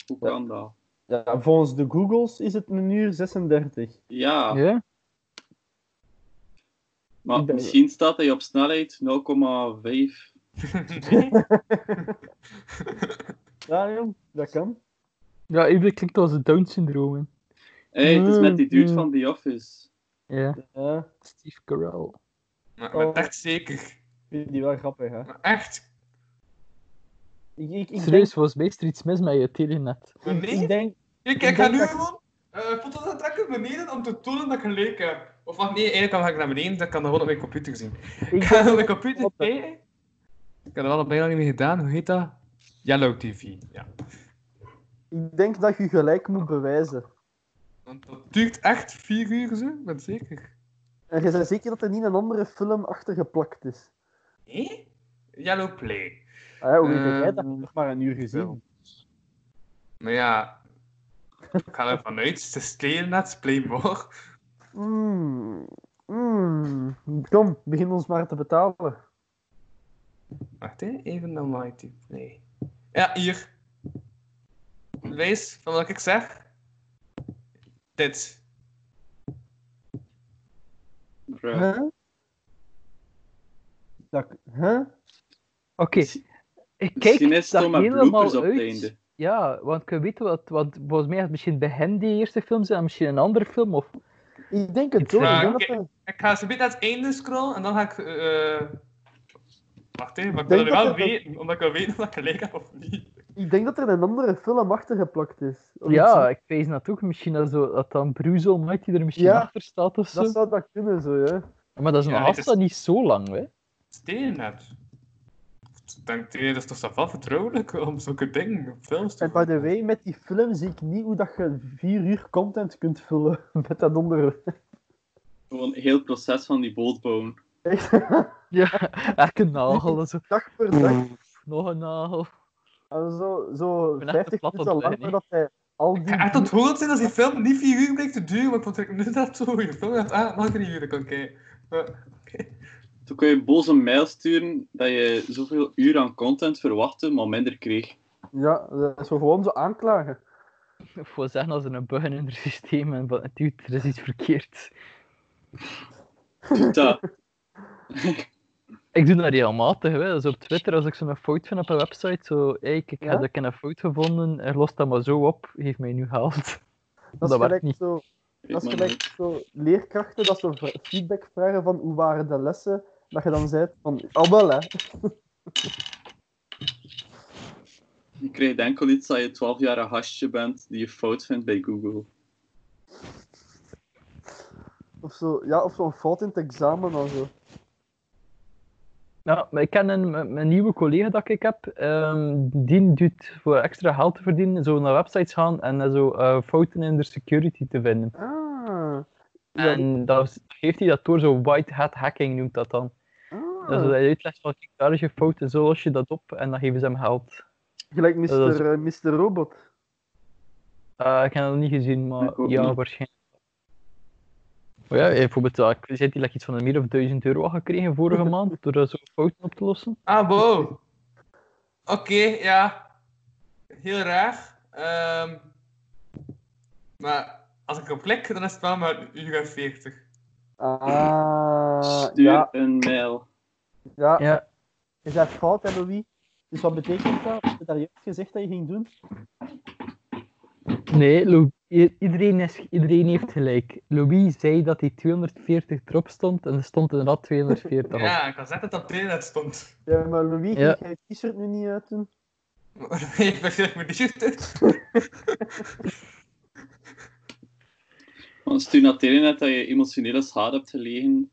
E: Hoe kan dat?
D: Ja, volgens de Googles is het een uur 36.
E: Ja,
C: Ja?
E: maar
D: Ik ben-
E: misschien staat hij op snelheid 0,5.
F: Nee?
D: Ja, jong, dat kan.
C: Ja, even klinkt als een Down-syndroom. hè.
E: Hé, het is met die dude
D: Mm.
E: van The Office.
C: Ja,
D: Ja,
C: Steve Carell.
F: maar, maar echt zeker.
D: ik vind die wel grappig, hè.
F: Maar echt.
D: Ik, ik, denk,
C: Serieus, volgens mij is er iets mis met je telenet.
F: Maar nee,
D: ik denk...
F: ik, ik ga nu gewoon eh foto's aantrekken beneden om te tonen dat ik gelijk heb. Of wacht, nee, eigenlijk kan- ga ik naar beneden, dat kan dat gewoon op mijn computer zien. Ik
D: Ik
F: ga
D: denk
F: op mijn computer
D: Wat?
F: kijken. Ik heb dat wel al bijna niet meer gedaan, hoe heet dat? Yellow TV, ja.
D: Ik denk dat je gelijk moet bewijzen.
F: Want dat duurt echt vier uur zo, ik ben het zeker.
D: En je bent zeker dat er niet een andere film achter geplakt is.
F: Nee? Yellow Play.
D: Ah, ja, hoe weet
F: Eh,
E: Ehm.
D: jij dat? Nog maar een uur gezien.
F: Maar ja, ik ga ervan uit, ze stelen net, play more.
D: Mm, mm. Kom, begin ons maar te betalen.
F: Wacht hè, even naar Mighty Play. Ja, hier. Wees van wat ik zeg. Dit.
E: Bruh.
D: Huh? Dat, huh?
C: Oké, ik kijk
E: Misschien is het
C: dat
E: maar bloopers
C: helemaal
E: op het
C: uit.
E: einde.
C: Ja, want ik weet wat, want volgens mij is het misschien bij hen die eerste film zijn, en misschien een andere film. Of...
D: Ik denk het
C: Ik
D: wel. Ik
F: vraag-
D: denk dat er-
F: Ik ga ze beetje naar het einde scrollen en dan ga ik. eh, Wacht even, maar ik
D: Denk
F: wil het wel
D: dat je-
F: weten, omdat ik wil weten of ik gelijk heb of niet.
D: Ik denk dat er een andere film achter geplakt is. Of
C: Ja,
D: iets-
C: ik wijs naartoe. Misschien dat, zo, dat dan Bruce Almighty er misschien
D: Ja,
C: achter staat of zo.
D: dat zou dat kunnen zo, ja.
C: Maar dat is een
F: Ja, het is-
C: afstand niet zo lang, hè?
F: Stelen net. Ik denk, nee, dat is toch zo wel vertrouwelijk om zulke dingen op films te
D: En by the way, met die film zie ik niet hoe dat je vier uur content kunt vullen met dat onderwerp.
E: Gewoon heel het proces van die boldbone.
D: Echt,
C: Ja, elke nagel en zo.
D: dag per
C: Mm.
D: dag.
C: Nog een nagel.
D: En zo, zo
C: ben echt
D: 50
C: een plat
D: minuten lang
C: ontbijt, hè.
D: voordat hij al die...
F: Ik ga echt ontroerd zijn als die film niet vier uur blijkt te duren, maar ik vond het nu dat zo. Je film dacht, ah, nog drie uur, kan kijken. Ja.
E: Toen kon je boos een mail sturen dat je zoveel uur aan content verwachtte, maar minder kreeg.
D: Ja, dat is zo gewoon zo aanklagen.
C: Of wil zeggen, als er een bug in hun systeem en van, dude, er is iets verkeerd.
E: Doe dat.
C: Ik doe dat regelmatig, hè. Dus op Twitter, als ik zo'n fout vind op een website, zo, hey, ik, ik
D: Ja?
C: heb een fout gevonden, en los dat maar zo op, geef mij nu geld.
D: Dat is
C: Dat werkt
D: gelijk
C: niet.
D: zo... Dat is
E: Maar
D: gelijk zo leerkrachten dat ze v- feedback vragen van hoe waren de lessen, dat je dan zei van, al wel hè.
E: Je krijgt enkel iets dat je 12 jaar een hasje bent die je fout vindt bij Google.
D: Of zo, ja, of zo'n fout in het examen en zo.
C: Ja, Nou, maar ik ken een, mijn- mijn nieuwe collega dat ik heb, ehm, die doet voor extra geld te verdienen, zo naar websites gaan en eh, zo eh, fouten in de security te vinden.
D: Ah. Ja,
C: En dat geeft hij dat door, zo white hat hacking noemt dat dan.
D: ah.
C: Dat is dat hij uitlegt van, kijk, daar is je fout en zo los je dat op en dan geven ze hem geld.
D: Gelijk Mr.
C: dat is-
D: eh, Mr. Robot.
C: Eh, ik heb dat niet gezien, maar
E: Ik ook
C: ja,
E: niet.
C: waarschijnlijk. Oh ja, eh, bijvoorbeeld, eh, ik zei hij like, iets van een meer of 1000 euro had gekregen vorige maand door eh, zo'n fouten op te lossen.
F: Ah, wow. Oké, ja. Heel raar. Ehm, maar als ik op klik, dan is het wel maar een uur en 40.
D: Ah,
E: Stuur
D: ja,
E: een mail.
D: ja.
E: Ah.
C: Ja,
D: Je zei fout, hè, Louis? Dus wat betekent dat? Heb je daar juist gezegd dat je ging doen?
C: Nee, Lou- i- iedereen, is, iedereen heeft gelijk. Louis zei dat hij 240 erop stond en er stond inderdaad 240 op.
F: Ja, ik had net dat op Telenet stond.
D: Ja, maar Louis,
C: Ja.
D: ja. ga je t-shirt nu niet uit doen?
F: ik ben echt mijn t-shirt.
E: Want stuur naar Telenet dat je emotionele schade hebt gelegen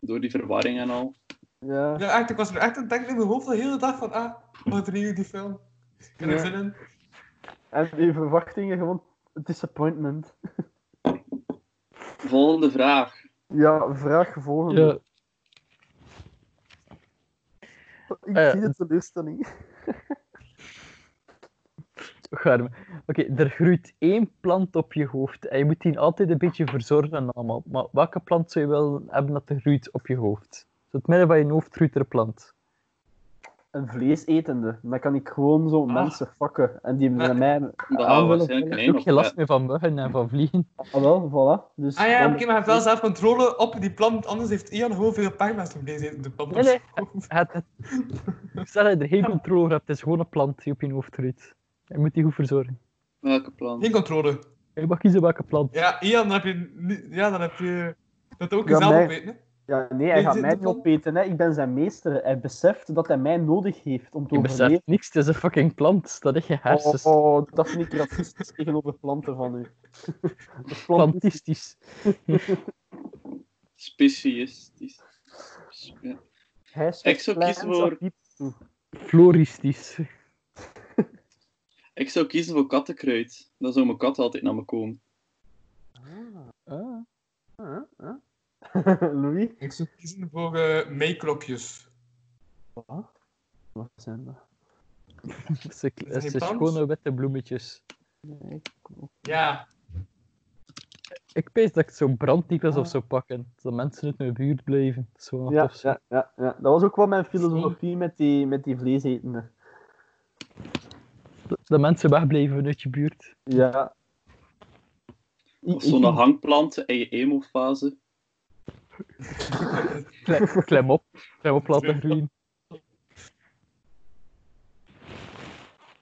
E: door die verwarring en al.
D: Ja.
F: Ja, echt, ik was er echt aan het denken in mijn hoofd de hele dag van, ah, wat drie uur die film. Ik heb er
D: Ja.
F: zin in.
D: En je verwachtingen gewoon disappointment.
E: Volgende vraag.
D: Ja, vraag volgende.
C: Ja,
D: Ik
C: Eh.
D: zie de teleurstelling.
C: garm. Oké, er groeit één plant op je hoofd en je moet die altijd een beetje verzorgen en allemaal. Maar welke plant zou je willen hebben dat er groeit op je hoofd? Zo het midden van je hoofd groeit er een plant.
D: Een vleesetende. Dan kan ik gewoon zo
F: Ah.
D: mensen fakken. En die
F: Maar-
D: met mij...
E: Dat
D: Ah,
E: gaan we
D: wel,
E: waarschijnlijk
D: wel.
C: Ik heb ook
E: een
C: geen last meer van muggen en van vliegen.
D: Ah, wel, voilà. Dus
F: Ah ja,
D: dan-
F: oké, maar je hebt wel zelf controle op die plant, anders heeft Ian gewoon veel pijn met zo'n deze de plant.
C: Nee, nee. Het, het, stel dat je er geen controle over hebt, het is gewoon een plant die op je hoofd groeit. Je moet die goed verzorgen.
E: Welke plan?
F: Geen controle.
C: Je mag kiezen welke plant.
F: Ja, Ian, dan heb je... ni- Ja, dan heb je... Dat ook
D: Ja,
F: jezelf
D: mij-
F: op weten, hè.
D: Ja, nee, hij
F: Is
D: gaat
F: dit
D: mij
F: de
D: niet
F: plan?
D: opeten. Hè. Ik ben zijn meester. Hij beseft dat hij mij nodig heeft om te
C: Je
D: overleven.
C: beseft niks, het is een fucking plant. Dat is je hersens.
D: Oh, oh, dat vind ik racistisch tegenover planten van u. Dus planten-
C: Plantistisch.
E: Speciestisch. Sp- ja.
D: hij zegt
E: Ik zou
D: kleins
E: kiezen voor-
D: aan diep.
C: Floristisch.
E: Ik zou kiezen voor kattenkruid. Dan zou mijn kat altijd naar me komen.
C: Ah.
D: Huh? Huh? Louis?
F: Ik zou kiezen voor eh meeklokjes.
D: Wat? Wat zijn dat?
C: Ze,
F: dat geen
C: ze
F: plant?
C: schone witte bloemetjes.
F: Ja,
C: Ik pees dat ik zo'n brandtypes
D: Ah.
C: of zo pakken. Dat mensen uit mijn buurt blijven. Dat zou wel
D: Ja,
C: tof zijn.
D: ja, ja, ja, dat was ook wel mijn filosofie met die, met die vleesetende.
C: Dat- Dat mensen wegblijven vanuit je buurt.
D: Ja. Ik-
E: Of
D: ik-
E: zo'n hangplant in je emo-fase.
C: Klem, klem op. Klem op laten groeien.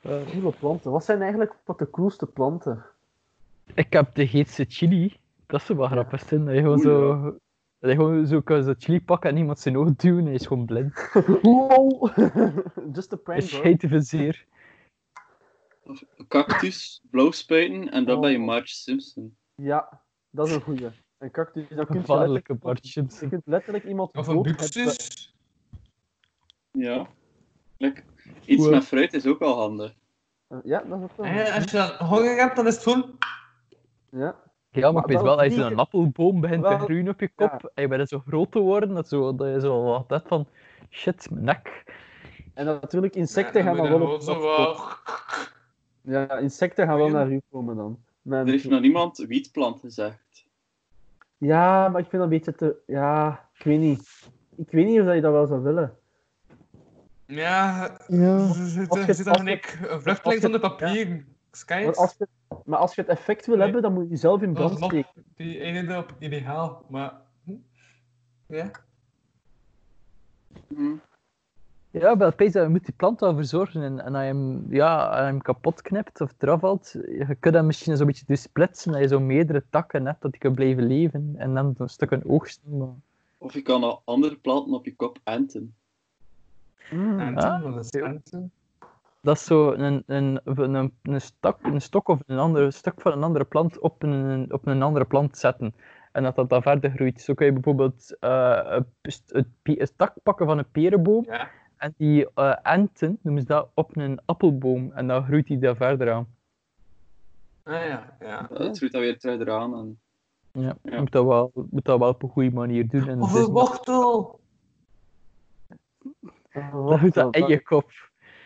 C: Eh,
D: Coole planten. Wat zijn eigenlijk wat de coolste planten?
C: ik heb de heetste chili. Dat is wel grappig. hè. Dat je gewoon
E: Oeh,
C: zo... Dat je gewoon zo kan zo chili pakken en iemand zijn oog duwen en hij is gewoon blind.
D: LOL! Just a
C: Hij
D: prank, hoor.
C: scheidt even zeer.
E: Of een cactus, blauw spuiten en dan
D: Oh.
E: ben je Marge Simpson.
D: Ja, dat is een goeie. Een cactus, dan kun je letterlijk,
C: Gevaarlijke Bart
D: je
C: Simpson.
D: kunt letterlijk iemand
F: of een
D: doodhebben.
F: buxus.
E: Ja. Lek. Iets
C: Oeh.
E: met fruit is ook al handig.
D: eh, Ja, dat is ook wel.
F: En als je dan honger hebt, dan is het gewoon...
D: Ja.
C: Ja, maar,
D: Maar
C: ik weet
D: wel
C: wel, als je
D: die-
C: een appelboom begint
D: wel-
C: te groeien op je
D: ja.
C: kop en je bent zo groot te worden, dat, zo, dat je zo wat hebt van shit, mijn nek.
D: En dan natuurlijk, insecten
F: Ja,
D: gaan dan
F: moet
D: wel
F: je
D: op
F: gewoon
D: je
F: zo
D: pad
F: wat-
D: komen. Ja, insecten gaan wel naar u komen dan. Mijn-
E: Er heeft nog niemand wietplant gezegd.
D: Ja, maar ik vind dat een beetje te... Ja, ik weet niet. Ik weet niet of dat je dat wel zou willen.
F: Ja,
C: Ja.
F: ze
D: Als je-
F: zitten- zitten
D: als
F: dan
D: je-
F: ik een vluchteling
D: als je-
F: zonder papier.
D: Maar
F: Skype.
D: als je, maar als je het effect wil
F: Nee. Oh,
D: hebben, dan moet je jezelf in
F: Dat
D: brand
F: is lap,
D: steken.
F: die ene erop ideaal, maar... hm? Ja.
E: Hm.
C: Ja, bij Pees, je moet die plant wel verzorgen. En, en als, je hem, ja, als je hem kapot knipt of eraf haalt, je kunt hem misschien zo'n beetje splitsen. Dat je zo meerdere takken hebt, dat die kunnen blijven leven. En dan een stuk een oogst. Maar...
E: Of je kan al andere planten op je kop enten.
D: Mm.
F: En
C: Ah,
F: toen, wat Hm? is
C: heel-
F: en toen?
C: Dat is zo een, een, een, een, stok, een stok of een andere, stuk van een andere plant op een, op een andere plant zetten. En dat dat dan verder groeit. Zo kun je bijvoorbeeld eh, een, pst- een pe- een tak pakken van een perenboom
F: Ja.
C: en die eh, enten, noemen ze dat, op een appelboom. En dan groeit die daar verder aan.
F: Ah ja, ja.
E: Ja, Dat groeit dan weer terug eraan. En...
C: Ja,
E: Ja.
C: Je moet dat, wel, je moet dat wel op een goede manier doen. En dus
F: Of
C: het is
F: een
C: nog-
F: wortel!
C: dat doet dat in je kop.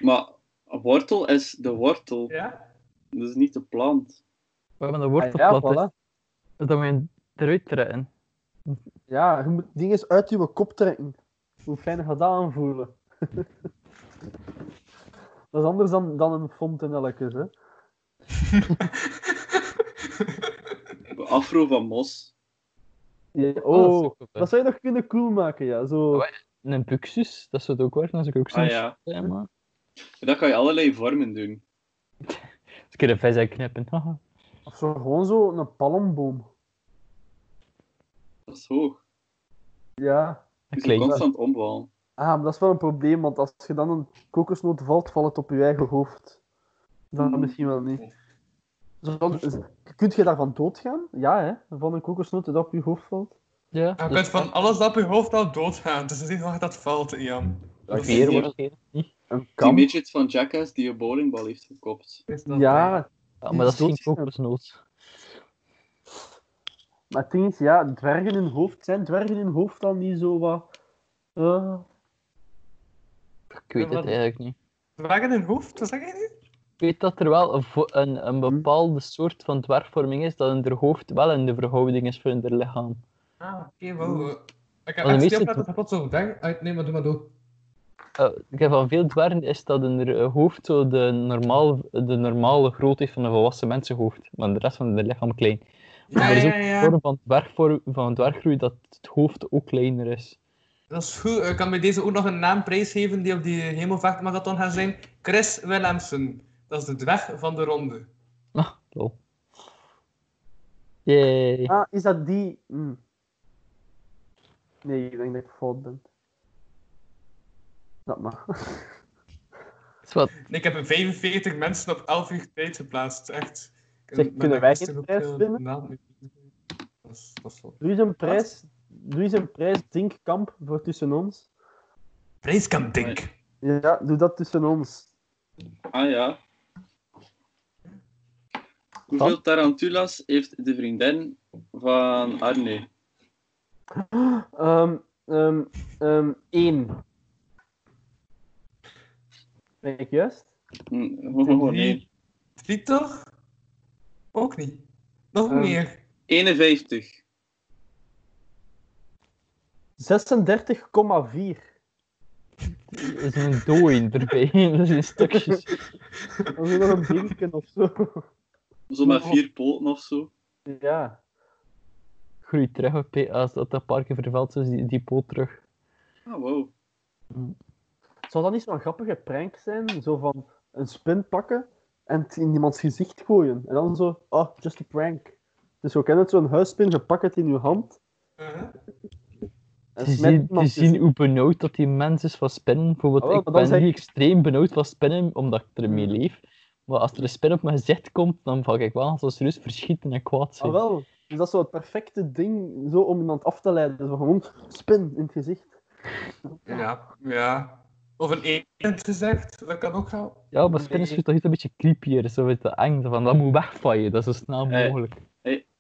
E: Maar een wortel is de wortel,
F: Ja?
E: dus niet de plant.
C: Maar dan
D: Ah,
C: wordt dat
D: ja,
C: plat.
D: voilà.
C: is. Dan moet je hem eruit trekken.
D: ja, je moet dingen eens uit je kop trekken. Hoe fijn gaat dat aanvoelen? dat is anders dan, dan een fontenelkes, hè.
E: De afro van mos.
D: Ja,
C: dat is
D: oh,
C: ook wel
D: dat zou je nog kunnen cool maken, ja.
F: Oh,
D: Zo,
C: Wat? Een buxus, dat zou het ook werken als ik ook zo'n
E: Ah ja.
C: shit heb, maar-
E: Dat kan je allerlei vormen doen.
C: Ze kunnen vis uitknippen. haha.
D: of zo, gewoon zo een palmboom.
E: Dat is hoog.
D: Ja.
E: Je moet
C: Klein.
E: constant omvallen.
D: Ah, maar dat is wel een probleem, want als je dan een kokosnoot valt, valt het op je eigen hoofd. Dat
E: Hmm.
D: misschien wel niet. Zo, kunt je daarvan doodgaan? Ja, hè. Van een kokosnoot dat op je hoofd valt.
C: Ja,
F: Je kunt van alles dat op je hoofd wel doodgaan, dus het is niet waar dat valt, Ian.
C: dat
E: is hier.
C: waarschijnlijk niet.
D: Een
E: Die
D: kamp.
E: midget van Jackass die een bowlingbal heeft gekopt.
F: Is dat
D: Ja,
C: Ja, maar dat is geen
D: Doodgaan.
C: kokosnoot.
D: Maar het ding is, ja, dwergen in hoofd zijn dwergen in hoofd dan niet zo wat. eh,
C: Ik weet het eigenlijk niet.
F: Dwergen in hoofd, wat zeg je nu?
C: Ik weet dat er wel een, vo- een, een bepaalde soort van dwergvorming is dat in haar hoofd wel in de verhouding is voor in haar lichaam.
F: Ah, oké, wow. Ik heb
D: Oh,
C: de
F: echt
C: meeste
F: stil dat ik plots zo denk. Ah, nee, maar doe maar door.
C: Eh, ik heb van veel dwergen is dat in haar eh, hoofd zo de, normaal, de normale grootte van een volwassen mensenhoofd, maar de rest van het lichaam klein.
F: Ja,
C: Maar er is ook
F: ja,
C: een
F: ja.
C: vorm van, dwergvorm, van dwerggroei dat het hoofd ook kleiner is.
F: Dat is goed. Ik kan bij deze ook nog een naambrijs geven die op die hemelvaartmarathon gaat zijn. Chris Willemsen. Dat is de dwerg van de ronde.
C: Ah, lol. Yay.
D: Ah, is dat die. hm. Hmm. Nee, ik denk dat ik fout ben. Dat mag.
C: Is wat.
F: Nee, ik heb 45 mensen op 11 uur tijd geplaatst. Echt.
D: Zeg,
F: Ik-
D: kunnen
F: mijn
D: wij
F: gasten
D: geen
F: ook,
D: prijs
F: eh,
D: winnen?
F: naam niet weten. Dat is- dat is wel-
D: Doe eens een prijs. Doe eens een prijs, Dinkkamp, voor tussen ons.
F: Prijskamp, denk.
D: Ja, doe dat tussen ons.
E: Ah ja. Hoeveel tarantulas heeft de vriendin van Arne?
D: Ehm ehm ehm één. Ben ik juist?
E: Hm, Oh, nee.
F: Drie toch? Ook niet. Nog
D: Ehm,
F: meer.
E: 51.
D: 36,4.
C: Er is een dooi erbij. Er zijn stukjes.
D: Dat is nog een binken of zo.
E: Zo met vier poten of zo.
D: Ja.
C: Groeit terug op P- als dat dat parkje vervalt, dus die, die poot terug.
E: Ah, wow.
D: Zou dat niet zo'n grappige prank zijn? Zo van een spin pakken en het in iemands gezicht gooien. En dan zo, oh, just a prank. Dus zo kennen het, zo'n huisspin, je pakt het in je hand.
F: Eh,
D: En
C: Te
D: smijt
C: zien, te
D: iemands
C: zien hoe benauwd dat die mens is van spinnen.
D: Ah,
C: Bijvoorbeeld,
D: wel,
C: ik
D: maar dan
C: ben
D: zeg- Hmm.
C: niet extreem benauwd van spinnen, omdat ik ermee leef. Maar als er een spin op mijn gezicht komt, dan val ik wel zo serieus verschieten en kwaad
D: Ah,
C: zijn.
D: wel. Dus dat is zo het perfecte ding zo om iemand af te leiden. Dus gewoon spin in het gezicht.
F: Ja, ja. Of een eend gezegd, dat kan ook wel.
C: ja, maar spinnen
D: Nee.
C: is toch iets een beetje creepier, zo met de eng. zo Van, dat moet weg van je, dat is zo snel
E: Eh.
C: mogelijk.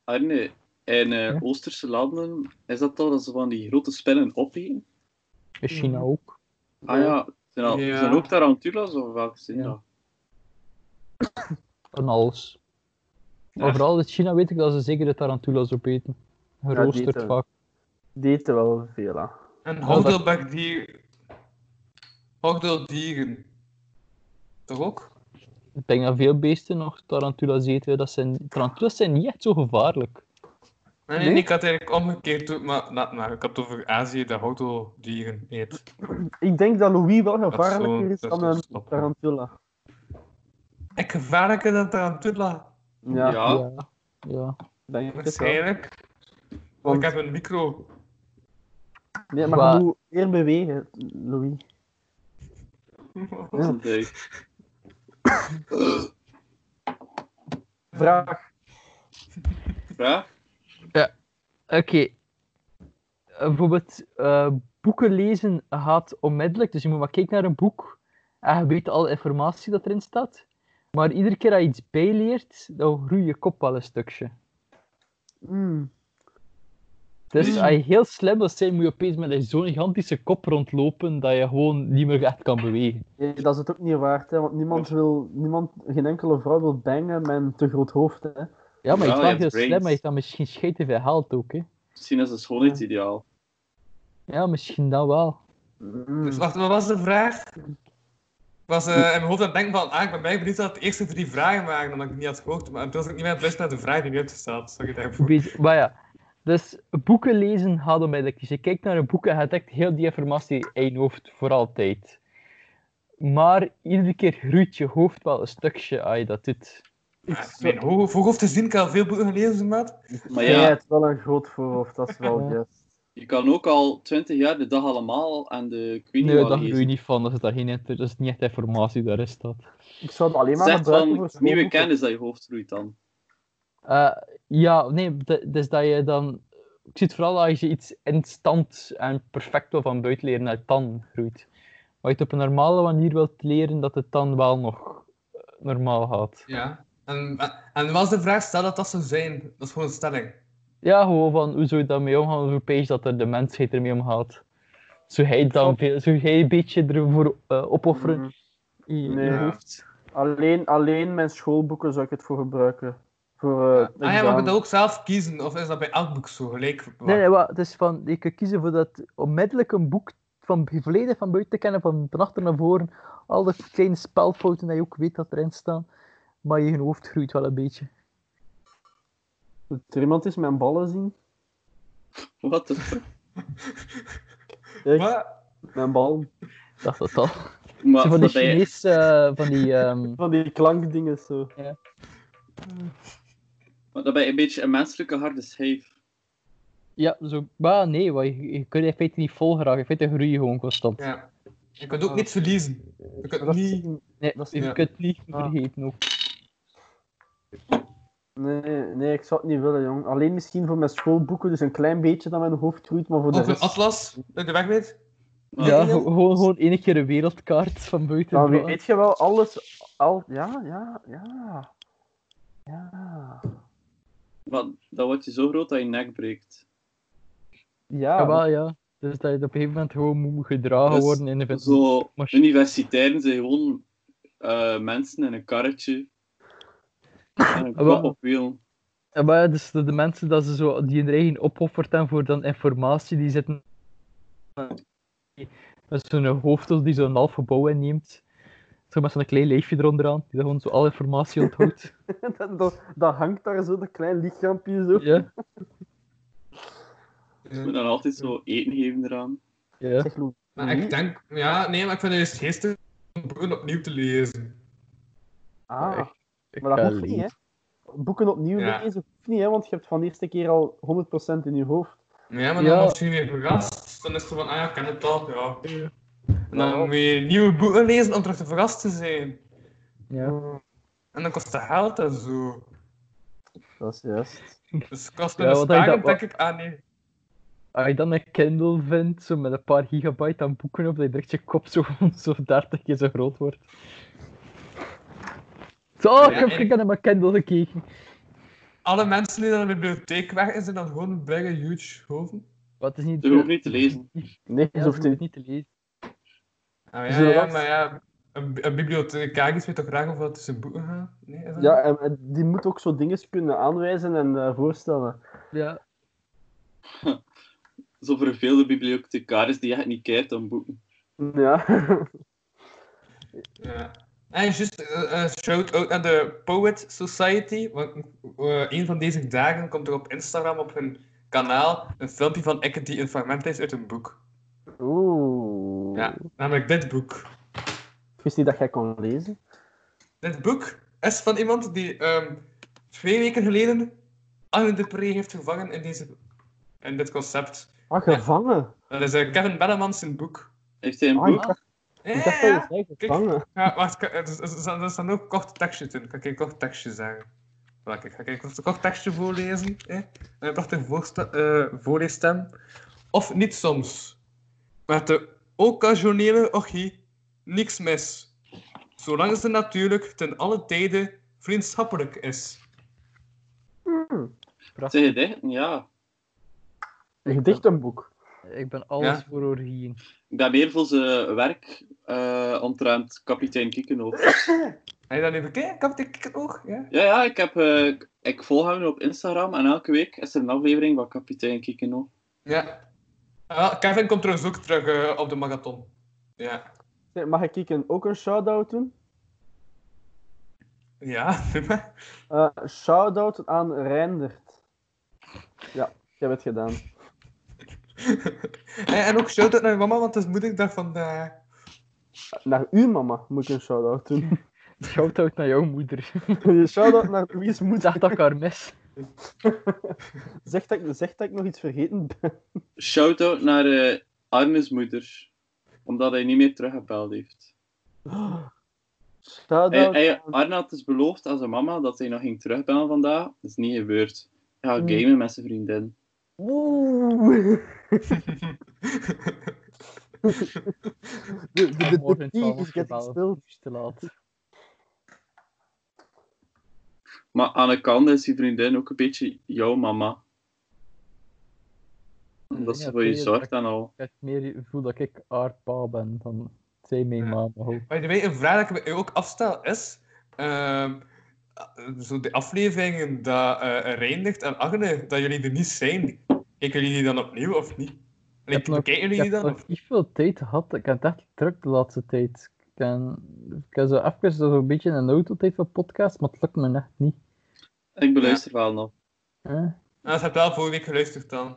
E: Arne, in eh,
C: Ja?
E: Oosterse landen is dat toch dat ze van die grote spinnen opeten?
C: In China
D: Hmm.
C: ook.
E: Ah ja, zijn, al,
F: Ja.
E: zijn ook tarantulas of welke zijn
C: Ja.
E: dat?
C: Van alles. Maar
E: Ja.
C: vooral in China weet ik dat ze zeker de tarantulas opeten. Geroosterd
D: eten we.
C: vaak.
D: Deed er wel veel aan.
F: En
C: dat-
F: hordelbakdier. Hordeldieren. Toch ook?
C: Ik denk dat veel beesten nog tarantulas eten. Dat zijn... Tarantulas zijn niet echt zo gevaarlijk.
F: Nee, nee,
D: Nee?
F: ik had eigenlijk omgekeerd doen, maar laat maar. Ik had het over Azië dat hordeldieren eet.
D: Ik denk dat Louis wel
F: Dat is
D: gevaarlijker
F: zo-
D: is
F: dat
D: dan
F: is
D: een
F: zo slap.
D: tarantula.
F: Ik gevaarlijker dan tarantula.
D: Ja,
E: Ja.
C: Ja. ja.
D: denk ik het wel.
F: Waarschijnlijk. Want
D: Want-
F: ik heb een micro.
D: Nee, maar
C: Waar-
D: je moet meer bewegen, Louis. Ja.
E: Dat is
D: Vraag.
E: een vraag.
C: Oké. Eh, Bijvoorbeeld, eh, boeken lezen gaat onmiddellijk. Dus je moet maar kijken naar een boek. En je weet alle informatie dat erin staat. Maar iedere keer dat je iets bijleert, dan groeit je kop wel een stukje.
D: Mm.
C: Dus
E: Mm.
C: als je heel slim wilt zijn, moet je opeens met een zo'n gigantische kop rondlopen dat je gewoon niet meer echt kan bewegen.
D: Nee, dat is het ook niet waard, hè, want niemand wil, niemand, geen enkele vrouw wil bangen met een te groot hoofd. Hè.
C: Ja, maar je
E: Ja,
C: is
E: je
C: wel
E: hebt
C: heel slim, maar je
E: brains.
C: hebt dan misschien scheet te veel geld ook, hè.
E: Misschien is het schoonheidsideaal.
C: Ja, misschien dan wel.
D: Mm.
F: Dus wacht, wat was de vraag? Ik was eh, in mijn hoofd aan het denken van, ah, ik ben blij benieuwd dat het de eerste drie vragen waren, omdat ik het niet had gehoord. Maar toen was ik niet meer aan het luisteren naar de vraag die nu uitgesteld. Sorry daarvoor.
C: Weet- maar ja, dus boeken lezen gaat onmiddellijk. Dus je kijkt naar een boek en je dekt heel die informatie in je hoofd voor altijd. Maar iedere keer groeit je hoofd wel een stukje als je dat doet. Ah,
F: Maar Mijn ho- voorhoofd is zien, ik heb al veel boeken gelezen, maat.
E: Maar
D: Jij
E: ja,
D: hebt wel een groot voorhoofd, dat is wel
C: Ja.
D: juist.
E: je kan ook al 20 jaar de dag allemaal aan de Queen
C: Nee, daar
E: lezen.
C: groei je niet van. Dat is, daar geen, inter- dat is niet echt informatie, daar is dat.
D: Ik zou het alleen maar
E: Zeg
D: gebruiken
E: van
D: voor
E: nieuwe
D: schoolboeken.
E: kennis dat je hoofd groeit dan.
C: Eh, ja, nee, d- dus dat je dan... Ik zie het vooral als je iets instant en perfect wil van buiten leren, dat het dan groeit. Maar je het op een normale manier wilt leren, dat het dan wel nog eh, normaal gaat.
F: Ja. En, en was de vraag, stel dat dat zou zijn. Dat is gewoon een stelling.
C: Ja, gewoon van hoe zou je daarmee omgaan? Hoe pees dat er de mensheid ermee omgaat? Zou hij dan veel, zou jij een beetje ervoor eh, opofferen?
D: Mm.
C: in je
D: Nee.
C: hoofd?
D: Alleen, alleen mijn schoolboeken zou ik het voor gebruiken. Voor, eh,
F: Ah ja, maar je
D: examen.
F: kunt dat ook zelf kiezen. Of is dat bij elk boek zo gelijk?
C: Nee, nee, wat, het is van, je kunt kiezen voor dat onmiddellijk een boek van volledig van buiten te kennen, van, van achter naar voren. Al de kleine spelfouten dat je ook weet dat erin staan. Maar je hoofd groeit wel een beetje.
D: Moet er iemand eens mijn ballen zien?
E: Wat de fuck?
D: Echt,
F: Wat?
D: mijn ballen.
C: Dat is dat al.
E: Maar
C: Zo van die
E: dat ben je-
C: Chinese, eh, van die... ehm,
D: Van die klankdingen zo.
E: maar dat ben je een beetje een menselijke harde schijf.
C: Ja, zo, maar nee, want je, je kunt in feite niet volgraag. In feite groei je gewoon constant.
F: Ja. Je kunt ook niets verliezen. Je kunt
D: Dat is-
F: niet...
C: Nee,
D: dat is-
C: je
F: ja.
C: kunt niet
D: Ah.
C: vergeten ook.
D: Nee, nee, ik zou het niet willen, jong. Alleen misschien voor mijn schoolboeken, dus een klein beetje dat mijn hoofd groeit, maar voor de
F: Of een
D: rest...
F: atlas uit de weg weet.
E: Maar
C: ja,
D: ik denk-
C: gewoon, gewoon één keer een wereldkaart van buiten.
D: Dan
C: brengen.
D: weet je wel alles... Al... Ja, ja, ja. Ja.
E: Maar dan word je zo groot dat je nek breekt.
D: Ja,
C: Ja, wel, ja. Dus dat je op een gegeven moment gewoon moet gedragen
E: Dus
C: worden in de
E: Zo,
C: machine.
E: universitairen zijn gewoon eh, mensen in een karretje. En een
C: Wel-
E: kop op wiel.
C: Ja, maar ja, dus de, de mensen dat ze zo, die hun eigen opofferd hebben voor dan informatie, die zitten met zo'n hoofdel die zo'n half gebouw inneemt. Zo met zo'n klein leefje eronder aan, die dan gewoon zo al informatie onthoudt.
D: dat, dat, dat hangt daar zo, dat klein lichaampje zo.
C: ja,
E: Je moet dan altijd zo eten geven eraan.
C: ja.
D: Zeg, Lou,
F: Maar ik denk... Ja, nee, maar ik vind het juist geestig om boeken opnieuw te lezen.
D: Ah,
C: Echt, ik
D: maar dat
C: ga
D: hoeft niet, hè.
C: lezen.
D: Boeken opnieuw
F: Ja.
D: lezen hoeft niet, hè, want je hebt van de eerste keer al 100% in je hoofd.
F: Ja, maar
C: Ja.
F: dan word je weer verrast. Dan is het zo van, ah ja, ik ken het al, ja. En dan moet je nieuwe boeken lezen om terug te verrast te zijn.
C: Ja.
F: En dan kost het geld en zo.
D: Dat is juist.
F: Dus kost
C: Ja,
F: kunnen
C: wat
F: sparen,
C: denk je dat-
F: denk ik, ah nee.
C: Als je dan een Kindle vindt, zo met een paar gigabyte aan boeken op, dat je direct je kop zo, zo 30 keer zo groot wordt. Zo, oh, ik heb
F: Ja,
C: ik heb naar mijn Kindle gekeken.
F: Alle mensen die naar de bibliotheek werken, zijn dan gewoon bruggen huge hoven.
C: Wat is niet...
E: Je hoeft niet te lezen.
D: Nee,
C: Ja,
D: je
C: ze
D: hoeft
C: hoeven het
D: niet.
C: niet te lezen.
F: Ah,
D: Is
F: ja,
D: dat
F: ja,
D: wat?
F: maar ja, een, een bibliothecaris weet toch graag of dat tussen boeken gaat? Nee, is dat
D: Ja,
F: niet?
D: en, en die moet ook zo dingen kunnen aanwijzen en eh, voorstellen.
C: Ja,
E: Zo verveelde bibliothecaris die echt niet keert aan boeken.
D: Ja.
F: Ja. En juist, eh, eh, shout-out aan de Poet Society, want eh, een van deze dagen komt er op Instagram op hun kanaal een filmpje van Ikke die een fragment leest uit een boek.
D: Oeh.
F: Ja, namelijk dit boek.
D: Ik wist niet dat jij kon lezen.
F: Dit boek is van iemand die ehm, twee weken geleden Anne de Pre heeft gevangen in, deze, in dit concept.
D: Ah, gevangen.
F: Dat is eh, Kevin Bellemans zijn boek.
E: Heeft hij een
D: Ah, ik
E: boek?
D: dacht,
F: Ja,
D: ik
F: ja,
D: dacht dat je zei
F: ja.
D: gevangen.
F: Ja, wacht, ka- er is- er is- er staan ook kort tekstje in. Kan ik een kort tekstje zeggen? Wacht, ik ga ik een kort- kort tekstje voorlezen. Hè? Een prachtige voorsta- eh, voorleesstem. Of niet soms. Met de occasionele orgie niks mis. Zolang ze natuurlijk ten alle tijden vriendschappelijk is.
E: Zeg je dit? Ja.
D: Hmm. Een gedichtenboek.
C: ik ben alles
F: Ja.
C: voor orgieën.
E: Ik ben meer voor zijn werk eh omtrent kapitein Kiekenhoofd.
F: Heb je dat nu bekeken? Kan ik het ook? Ja?
E: Ja, ja, ik, heb, eh, ik- ik volg hem op Instagram en elke week is er een aflevering van Kapitein Kikino.
F: ja. Ah, Kevin komt trouwens ook terug eh, op de marathon. Ja.
D: Zeg, Mag ik ik een- ook een shout-out doen?
F: Ja, doe maar.
D: Eh shout-out aan Reindert. Ja, ik heb het gedaan.
F: en, en ook shout-out naar mijn mama, want het is moederdag vandaag.
D: Naar uw mama moet ik een shout-out doen.
C: Shout-out naar jouw moeder.
D: shout-out naar Louise
C: Moet
D: moeder.
C: echt dat ik haar mis.
D: Zeg dat, ik- zeg dat ik nog iets vergeten ben.
E: Shout-out naar eh, Arnes moeder, omdat hij niet meer teruggebeld heeft. Hij,
D: Shout-out
E: hij- Arne had dus beloofd aan zijn mama dat hij nog ging terugbellen vandaag. Dat is niet gebeurd. Hij gaat
D: Hmm.
E: gamen met zijn vriendin.
D: Oeh. De, de,
C: Ik
D: de,
C: heb
D: de,
C: morgen
D: tea
C: twaalf
D: is getting
C: gebeld.
D: spilled.
C: Het is te laat.
E: Maar aan de kant is die vriendin ook een beetje jouw mama. Omdat
C: Ja,
E: ze voor je
C: oké,
E: zorgt
C: dat-
E: en al.
C: Ik heb meer het gevoel dat ik haar pa ben dan zij mijn
F: Ja.
C: mama. ook.
F: By the way, een vraag die ik me ook afstel is... ehm, zo de afleveringen dat eh Reindert en Agne, dat jullie er niet zijn. Kijken jullie die dan opnieuw of niet? En
C: heb
F: ik,
C: nog-
F: kijken
C: Ik
F: jullie die
C: heb
F: dan?
C: nog
F: Of...
C: niet veel tijd gehad. Ik heb het echt druk de laatste tijd. Ik heb, ik heb zo even zo een beetje een autotijd voor podcast, maar het lukt me echt niet.
E: Ik beluister wel nog.
C: Hè?
F: Ah, dat heb wel vorige week geluisterd dan.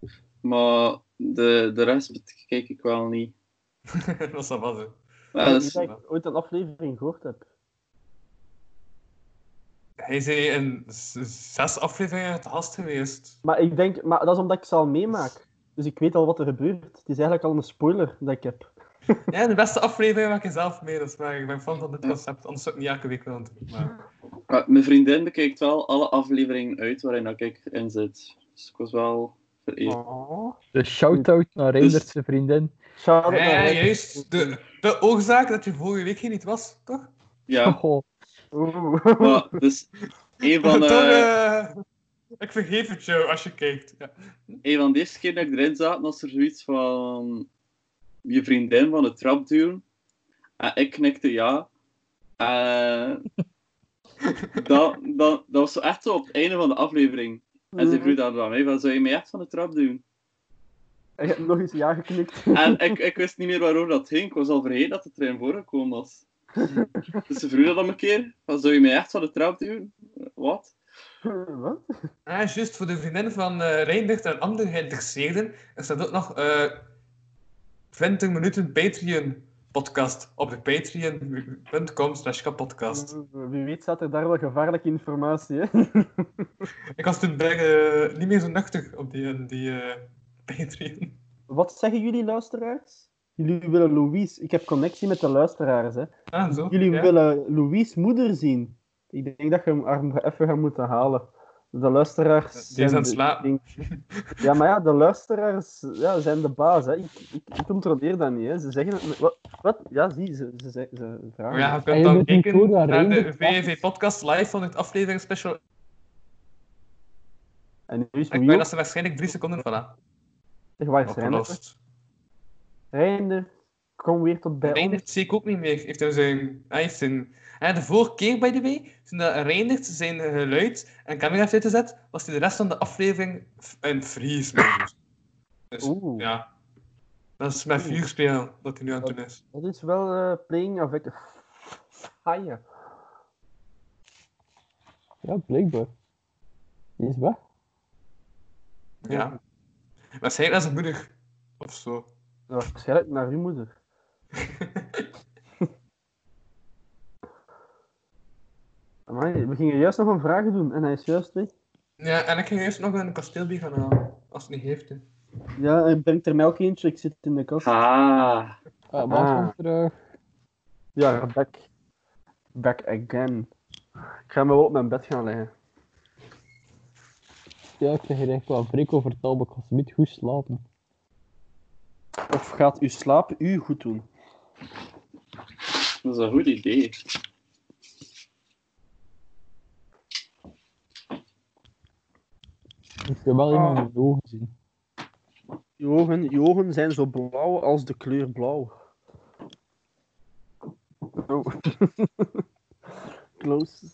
E: Maar de, de rest kijk ik wel niet.
F: dat is dan wel zo.
E: Maar dat is-
D: Ik denk dat ik ooit een aflevering gehoord heb.
F: Ja, Hij zei in z- zes afleveringen te gast geweest.
D: Maar ik denk, maar dat is omdat ik ze al meemaak. Dus ik weet al wat er gebeurt. Het is eigenlijk al een spoiler dat ik heb.
F: Ja, de beste aflevering maak je zelf mee, dat is waar. Ik ben fan van dit concept, anders zou ik niet elke week willen doen. Maar...
E: Maar Ah, mijn vriendin bekijkt wel alle afleveringen uit waarin dat ik in zit. Dus ik was wel vereerd.
D: Oh.
C: Dus shout-out naar Reindert's vriendin.
D: Shout-out
F: Ja, ja,
D: naar Rijn.
F: juist. De, de oorzaak dat je vorige week hier niet was, toch?
E: Ja,
C: Oh,
D: Oeh.
E: maar dus een van,
F: toch
E: eh
F: eh, ik vergeef het jou als je kijkt. Ja.
E: een van de eerste keer dat ik erin zat, was er zoiets van je vriendin van de trap duwen. En ik knikte ja. En dat, dat, dat was zo echt zo op het einde van de aflevering. En ze vroeg dan aan mij, van, zou je mij echt van de trap duwen?
D: Ik heb nog eens ja geknikt.
E: En ik, ik wist niet meer waarover dat ging. Ik was al vergeten dat de trein voorgekomen was. Dus ze vroeg dat dan een keer. Van, zou je mij echt van de trap duwen? Wat?
D: Wat?
F: Ah, juist, voor de vriendin van eh Reindert en andere geïnteresseerden is dat ook nog eh 20 minuten Patreon-podcast op de patreon.com slash kapotkast.
D: Wie weet staat er daar wel gevaarlijke informatie. Hè?
F: Ik was toen bij, eh, niet meer zo nuchter op die, eh, die eh, Patreon.
D: Wat zeggen jullie luisteraars? Jullie willen Louise. Ik heb connectie met de luisteraars. Hè.
F: Ah, zo.
D: Jullie
F: ja.
D: willen Louise moeder zien. Ik denk dat je hem even gaat moeten halen. De luisteraars.
F: Die
D: zijn
F: is aan het
D: de-
F: slapen.
D: Ja, maar ja, de luisteraars ja, zijn de baas. Hè. Ik, ik, ik controleer dat niet. Hè. Ze zeggen. het me- Wat? wat? Ja, zie, ze, ze, ze, ze vragen.
F: Maar ja,
C: En
F: je kunt
C: je
F: dan
C: moet niet
F: kijken
C: voor dat
F: naar de
C: Reindert wacht.
F: VVV-podcast live van het aflevering special.
D: En nu is
F: Ik ben
D: Louise
F: dat ze waarschijnlijk drie seconden, voilà,
D: opgelost.
F: opgelost.
D: Reinder, kom weer tot bij ons.
F: Reindert zie ik ook niet meer. Heeft hem zijn, hij heeft zijn... En de vorige keer, by the way, toen dat Reindert zijn geluid en camera heeft uitgezet, was hij de rest van de aflevering f- in freeze mode. Dus,
D: Oeh.
F: ja. Dat is met vuur spelen dat hij nu aan het doen is.
D: Dat is wel eh, playing of fire.
C: ja, blijkbaar. Die is weg.
F: Ja. Waarschijnlijk naar zijn moeder. Of zo.
D: Waarschijnlijk naar uw moeder. Amai, we gingen juist nog een vraag doen en hij is juist weg.
F: Ja, en ik ging eerst nog een kasteelbier gaan halen. Als het niet heeft, hè.
D: Ja, en brengt er melk eentje, ik zit in de kast.
E: Ah.
C: Ah, Bas
D: Ah.
C: komt terug.
D: Ja, back. Back again. Ik ga me wel op mijn bed gaan leggen.
C: Ja, ik zeg hier echt wel een preek over het album. Ik ga ze niet goed slapen.
D: Of gaat uw slaap u goed doen?
E: Dat is een goed idee.
C: Ik heb wel iemand in mijn ogen zien.
D: Je ogen, je ogen zijn zo blauw als de kleur blauw. Oh. Close.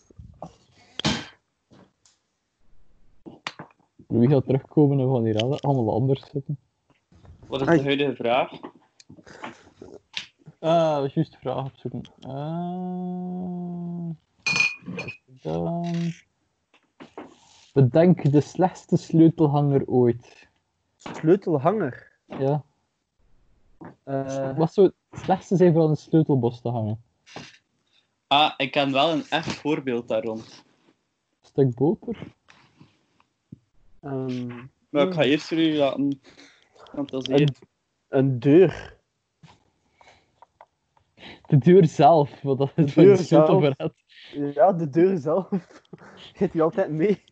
C: Wie gaat terugkomen en van hier alle- allemaal anders zitten?
E: Wat is
D: Ai.
E: de huidige vraag?
C: Ah, dat is juist de vraag opzoeken. Ah, dan. Bedenk de slechtste sleutelhanger ooit.
D: Sleutelhanger.
C: Ja.
D: Eh,
C: Wat zou het slechtste zijn voor aan een sleutelbos te hangen?
E: Ah, ik ken wel een echt voorbeeld daar rond.
C: Stuk boter?
D: ehm,
E: Maar ik ga eerst jullie laten fantaseren.
D: een, een deur.
C: De deur zelf, want dat is
D: De
C: waar je
D: deur
C: sleutel
D: zelf.
C: voor hebt.
D: Ja, de deur zelf. Geet die altijd mee.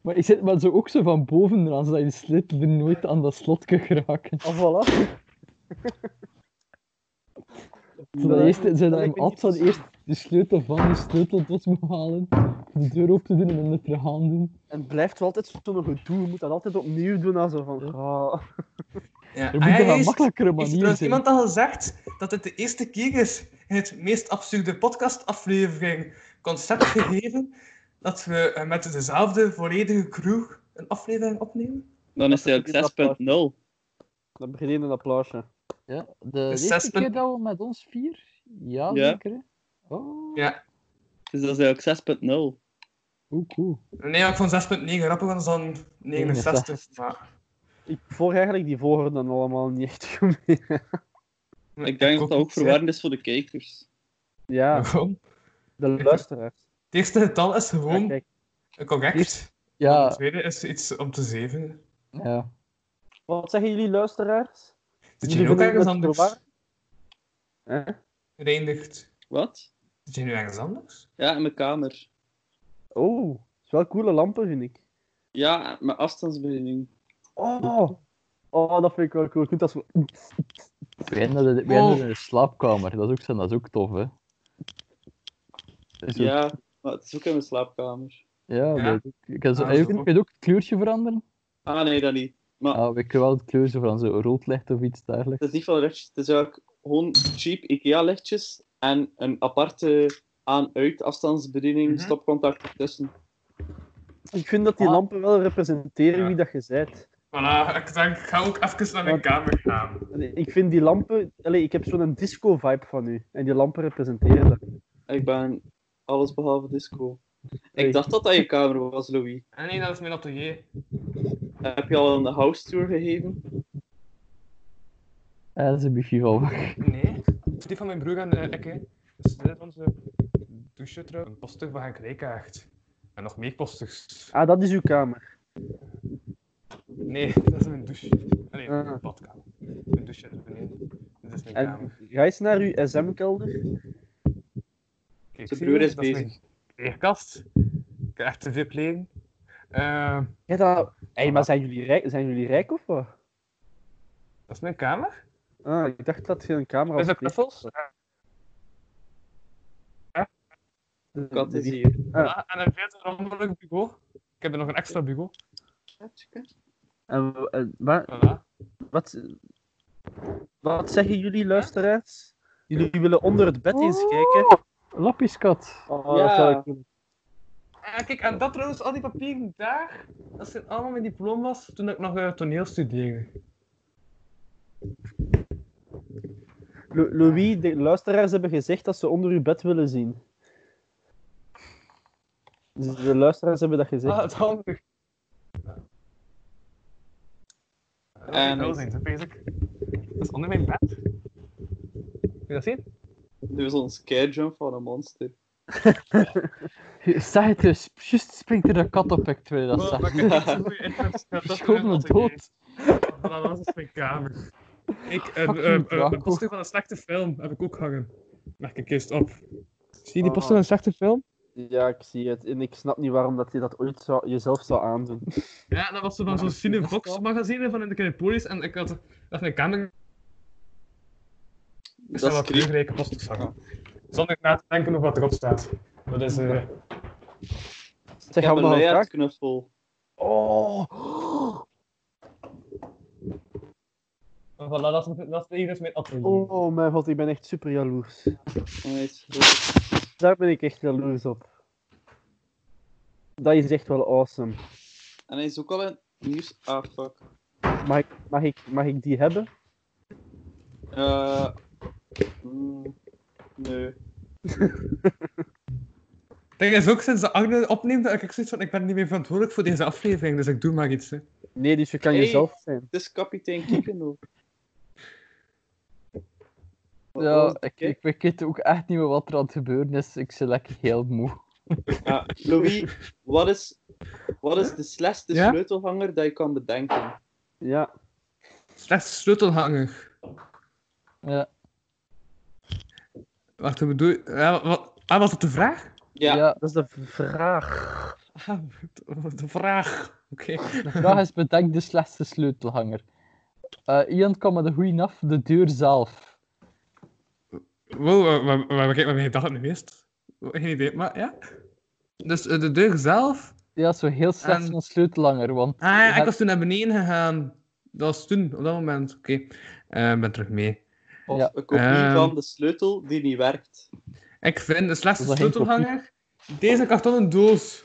C: Maar je zit maar zo ook zo van bovenaan, zodat je sleutel er nooit aan dat slot kan geraken.
D: Ah, voilà.
C: Zodat je eerst,
D: dat
C: zodat je hem
D: lijkt me
C: altijd zo
D: niet-
C: eerst de sleutel van de sleutelbos moet halen, de deur open te doen en dan het weer gaan doen.
D: En het blijft wel altijd zo'n gedoe. Je moet dat altijd opnieuw doen. Als zo van, ah.
C: Er
F: Ja. Ah,
C: moet
F: ja,
C: toch een
F: juist.
C: makkelijkere
F: Is
C: manier
F: trouwens
C: zijn.
F: iemand al gezegd dat het de eerste keer is in het meest absurde podcastaflevering concept gegeven dat we eh, met dezelfde volledige crew een aflevering opnemen?
E: Dan is hij
D: dat is
E: ook 6.0.
D: Dan begin je een applausje.
C: Ja, de
F: Dus
C: eerste
F: zes
C: keer
F: punt-
C: dat we met ons vier? Ja,
E: Ja.
C: zeker. hè? Oh,
F: Ja.
E: Dus dat is eigenlijk 6.0.
C: hoe cool.
F: Nee, ik vond 6.9 grappig, want dat is dan 69. Maar
D: Ik volg eigenlijk die volgorde allemaal niet echt goed meer.
E: Ik denk dat dat ook
F: niet, hè.
E: verwarrend is voor de kijkers.
D: Ja,
F: Waarom?
D: de luisteraars.
F: Het eerste getal is
D: Ja,
F: gewoon
D: kijk.
F: correct. Het
C: Ja,
F: tweede is iets om te zeven.
C: ja.
D: Wat zeggen jullie luisteraars?
F: Zit je
D: Jullie
F: nu ook
D: vinden
F: ergens
D: het
F: anders?
D: verwarrend? Hè?
F: Reindigt.
E: Wat?
F: Zit je nu ergens anders?
E: Ja, in mijn kamer.
D: Oh, het is wel coole lampen, vind ik.
E: Ja, mijn afstandsbediening.
D: Oh, oh dat vind ik wel cool. Ik vind dat zo...
C: We eindigen we
F: Oh.
C: eindigen in de slaapkamer. Dat is ook, zo- dat is ook tof, hè? Dat is ook-
E: Ja, maar het is ook in mijn slaapkamer.
C: ja,
F: Ja.
C: dat is ook- ik kan zo-
F: Ah,
C: en je
F: zo.
C: kunt- kun je ook het kleurtje veranderen?
E: Ah, nee, dat niet. Maar
C: Ah, we kunnen wel het kleurtje veranderen, zo rood licht of iets dergelijks.
E: het is niet veel lichtjes. Het is eigenlijk gewoon cheap IKEA-lichtjes en een aparte aan-uit afstandsbediening,
F: Mhm.
E: stopcontact ertussen.
D: Ik vind dat die
C: Ah.
D: lampen wel representeren
F: Ja.
D: wie dat je bent.
F: Voilà, ik, denk, ik ga ook even naar mijn
D: Wat?
F: kamer gaan.
D: Allee, Ik vind die lampen... Allee, ik heb zo'n disco-vibe van u. En die lampen representeren dat.
E: Ik ben alles behalve disco.
D: Hey.
E: Ik dacht dat dat je kamer was, Louis.
F: Ah nee, dat is mijn atelier.
E: Heb je al een house tour gegeven?
C: Ah, dat is een biefje van weg.
F: Nee. Die van mijn broer en uh, Ekke. Dus dit is onze douche trouwens. Een poster van een krijkaart. En nog meer posters.
D: Ah, dat is uw kamer.
F: Nee, dat is mijn douche. Ah, Nee,
D: Ah.
F: mijn badkamer. Mijn douche is beneden. Dit is mijn
D: En
F: kamer.
D: ga eens naar uw SM-kelder.
F: Kijk,
E: Zijn
F: zie
E: broer
F: je?
E: is
F: Dat
E: bezig.
F: mijn kleerkast. Ik heb echt te veel kleren. Eh,
D: Ja, dat... Hey, maar zijn jullie, rijk, zijn jullie rijk of wat?
F: dat is mijn
E: Oh,
F: kamer.
D: Ah, ik dacht dat je een camera
F: Dat is de
D: had.
F: knuffels.
E: Ah.
D: De-
E: Kat
D: de-
E: is hier.
F: Voilà, En een veel te rommelig bureau. Ik heb er nog een extra bureau.
D: En, w- en wa-
F: Voilà.
D: wat, wat zeggen jullie luisteraars? Jullie willen onder het bed eens kijken.
C: Lapjeskat.
D: Oh,
E: Ja.
D: dat zou ik doen.
F: Ah, kijk, en dat trouwens, al die papieren daar, dat zijn allemaal mijn diploma's toen ik nog eh, toneel studeerde.
D: Lo- Louis, de luisteraars hebben gezegd dat ze onder uw bed willen zien. Dus de luisteraars hebben dat gezegd.
F: Ah, het handig. Dat is
E: En-
F: wel zijn, dat weet ik. Dat is onder mijn bed. Kun je dat zien?
E: Nu is ons jump van een monster.
C: Zeg het dus, juist springt er een kat op, ik wil dat
F: Oh, maar
C: zeggen.
F: ik heb niet zo'n goede internet. Ja, dat is
C: Schoon me
F: als ik
C: dood.
F: weet. Voilà, dat is mijn kamer. Ik, een,
C: Fuck
F: een,
C: you,
F: een- een
C: Draco.
F: poster van een slechte film heb ik ook hangen. Merk ik eerst op. Zie je die poster
D: Ah.
F: van een slechte film?
D: Ja, ik zie het. En ik snap niet waarom dat je dat ooit zou, jezelf zou aandoen.
F: Ja, dat was zo van zo'n Cinevox magazine van in de Kinepolis en ik had dat mijn kamer
E: Dat
F: dat
E: is
F: wel
E: creepy.
F: kleurrijke posters hangen. Zonder na te denken over wat erop staat. Dat is... eh,
E: Ik
D: Zeg, gaan
E: heb een
D: we nog een vraag?
E: luiaardknuffel.
D: Oh,
F: voilà, dat is, dat is, hier is mijn atelier.
D: oh mijn god, ik ben echt super jaloers.
E: Nice. goed.
D: Daar ben ik echt jaloers op. Dat is echt wel awesome.
E: En hij is ook al een nieuws... Ah, fuck.
D: Mag ik, mag ik, mag ik die hebben?
E: Eh, mm, nee.
F: Dat is ook sinds de Agne opneemt dat ik zoiets van ik ben niet meer verantwoordelijk voor deze aflevering, dus ik doe maar iets. Hè.
D: Nee, dus je kan
E: Hey.
D: jezelf zijn.
E: Het is kapitein Kikendo. Wat
D: Oh,
E: was
C: Ja,
E: het?
C: ik, ik, ik weet ook echt niet meer wat er aan het gebeuren is. Ik zit lekker heel moe.
E: Ja, Louis, wat is, wat is de slechtste
F: Ja?
E: sleutelhanger dat je kan bedenken?
D: Ja.
F: Slechts sleutelhanger.
C: Ja,
F: Wacht, hoe bedoel je? Ja, wat, ah, was dat de vraag?
E: Ja,
C: ja.
D: Dat is de v- vraag.
F: Ah, de vraag. Oké.
C: de vraag is: bedenk de slechtste sleutelhanger. Eh, Ian kan met de goeie af, de deur zelf.
F: Wow, waar- waar waar ben ik met mijn gedachten nu eerst? Geen idee, maar ja. Dus eh, de deur zelf.
C: Ja, zo heel slecht
F: En-
C: van sleutelhanger. Want
F: Ah ja,
C: je
F: ik
C: hebt-
F: was toen naar beneden gegaan. Dat was toen, op dat moment. Oké, Eh, ik ben terug mee.
E: Of
C: Ja.
E: een kopie
F: Ehm.
E: van de sleutel die niet werkt.
F: Ik vind de slechtste
C: Dat is geen
F: sleutelhanger deze kartonnen doos.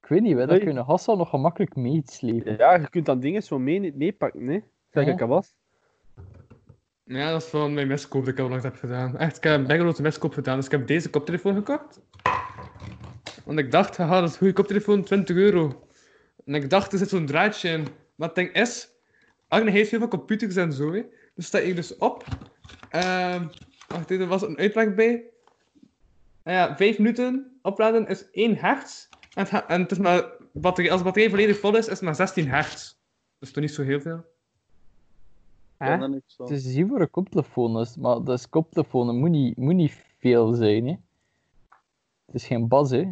C: ik weet niet, hè, dat
D: Nee.
C: kunnen Hassan nog gemakkelijk mee iets slepen.
D: Ja, je kunt dan dingen zo mee, meepakken, hè? Zeg
C: Ja.
D: ik al was.
F: Ja, dat is van mijn miskoop dat ik al lang heb gedaan. Echt, ik heb een bijgeloofde miskoop gedaan, dus ik heb deze koptelefoon gekocht. Want ik dacht, haha, dat is een goede koptelefoon, 20 euro. En ik dacht, er zit zo'n draadje in. Maar het ding is, Agne heeft heel veel computers en zo, hè. Dus sta ik dus op. Ehm wacht, er was een uitleg bij. Nou ja, vijf minuten opladen is 1 hertz. En, het, ha- en het is maar batterij, als de batterij volledig vol is, is het maar 16 hertz. Dus toch niet zo heel veel.
C: Hè?
E: dan niks van.
C: Het is hier voor een koptelefoon is, maar dat is koptelefoon, dat moet niet, moet niet veel zijn. Hè. Het is geen bas, hè.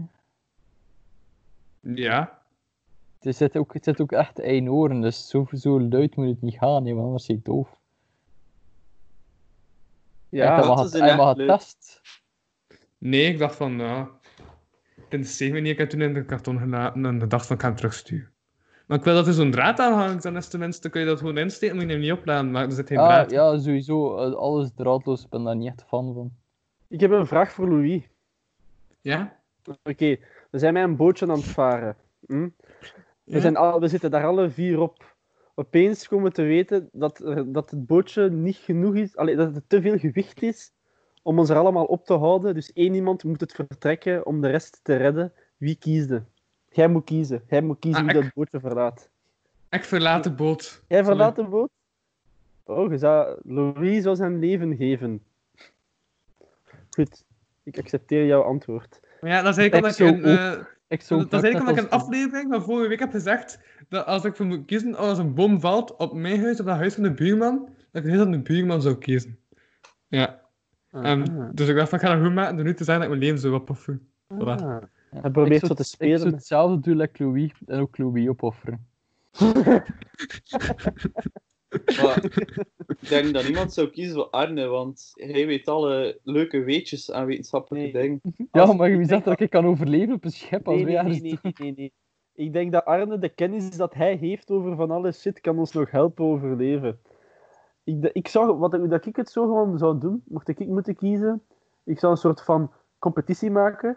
F: Ja.
C: Het zit ook, het zit ook echt één oren, dus zo, zo luid moet het niet gaan, hè, want anders is het doof.
D: Ja,
C: hij
E: dat
C: mag
E: is
C: het,
E: een
C: hij
E: echt
C: mag het
E: leuk.
C: test.
F: Nee, ik dacht van, nou... Dit is zeker niet, ik heb toen in de karton gelaten en dacht van, ik ga hem terugsturen. Maar ik wil dat er zo'n draad aan hangt, dan is tenminste, kun je dat gewoon insteken, moet je hem niet opladen, maar er zit geen
C: Ah, Ja,
F: draad in.
C: ja, sowieso, eh, alles draadloos, ik ben daar niet echt fan van.
D: Ik heb een vraag voor Louis.
F: Ja?
D: Oké, we zijn met een bootje aan het varen. Hm? We,
F: Ja.
D: zijn al, we zitten daar alle vier op. Opeens komen we te weten dat, er- dat het bootje niet genoeg is, allee, dat het te veel gewicht is om ons er allemaal op te houden. Dus één iemand moet het vertrekken om de rest te redden. Wie kiesde? Jij moet kiezen. Jij moet kiezen
F: Ah,
D: wie
F: ik-
D: dat bootje verlaat.
F: Ik verlaat de boot.
D: Jij verlaat de boot? Oh, je zou... Louis zou zijn leven geven. Goed, ik accepteer jouw antwoord.
F: Maar Ja, dat is eigenlijk omdat ik
C: Echt zo
F: een, eh,
C: Ik
F: dat
C: zou
F: is eigenlijk omdat ik
C: aflevering.
F: een aflevering van vorige week heb gezegd dat als ik voor moet kiezen, als een boom valt op mijn huis, op dat huis van de buurman, dat ik het huis van de buurman zou kiezen. Ja. En, dus ik dacht van, ik ga dat goed maken door nu te zeggen dat ik mijn leven zo wat poffen. Voilà.
D: Hij probeert zo te
C: Ik
D: spelen.
C: zou hetzelfde doen als Louis, en ook Louis opofferen.
E: Maar ik denk dat niemand zou kiezen voor Arne, want hij weet alle leuke weetjes aan wetenschappelijke
D: Nee.
E: dingen.
C: Ja,
D: Als-
C: maar wie
D: ik denk
C: zegt dat ik kan overleven op een schip als
D: Nee,
C: wij
D: nee, nee,
C: ergens
D: nee, nee, nee, nee. Ik denk dat Arne de kennis dat hij heeft over van alles shit kan ons nog helpen overleven. Ik, de- ik zou, wat ik, dat ik het zo gewoon zou doen, mocht ik moeten kiezen, ik zou een soort van competitie maken.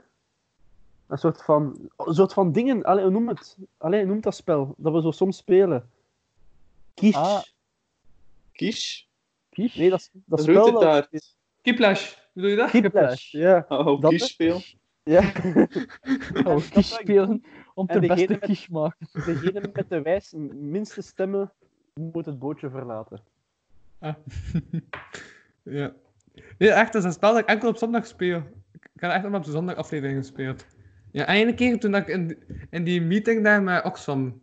D: Een soort van, een soort van dingen, allee, hoe noem het. Allee, hoe noem dat spel, dat we zo soms spelen. Kies.
C: Ah.
E: Kies?
C: Kies?
D: Nee, dat, dat spel dat...
E: Routetaart.
F: Kiplash, bedoel je dat?
D: Kiplash, Ja.
E: Oh,
D: Dat-
E: kies speel.
D: ja.
C: gaan we Oh, kies spelen om
D: En
C: de
D: degene
C: beste
D: met-
C: kies te maken.
D: Degene met de wijs, minste stemmen moet het bootje verlaten.
F: Ah. ja. Nee, echt, dat is een spel dat ik enkel op zondag speel. Ik ik heb echt allemaal op de zondag aflevering gespeeld. Ja, en ene keer toen dat ik in, in die meeting daar met Oxfam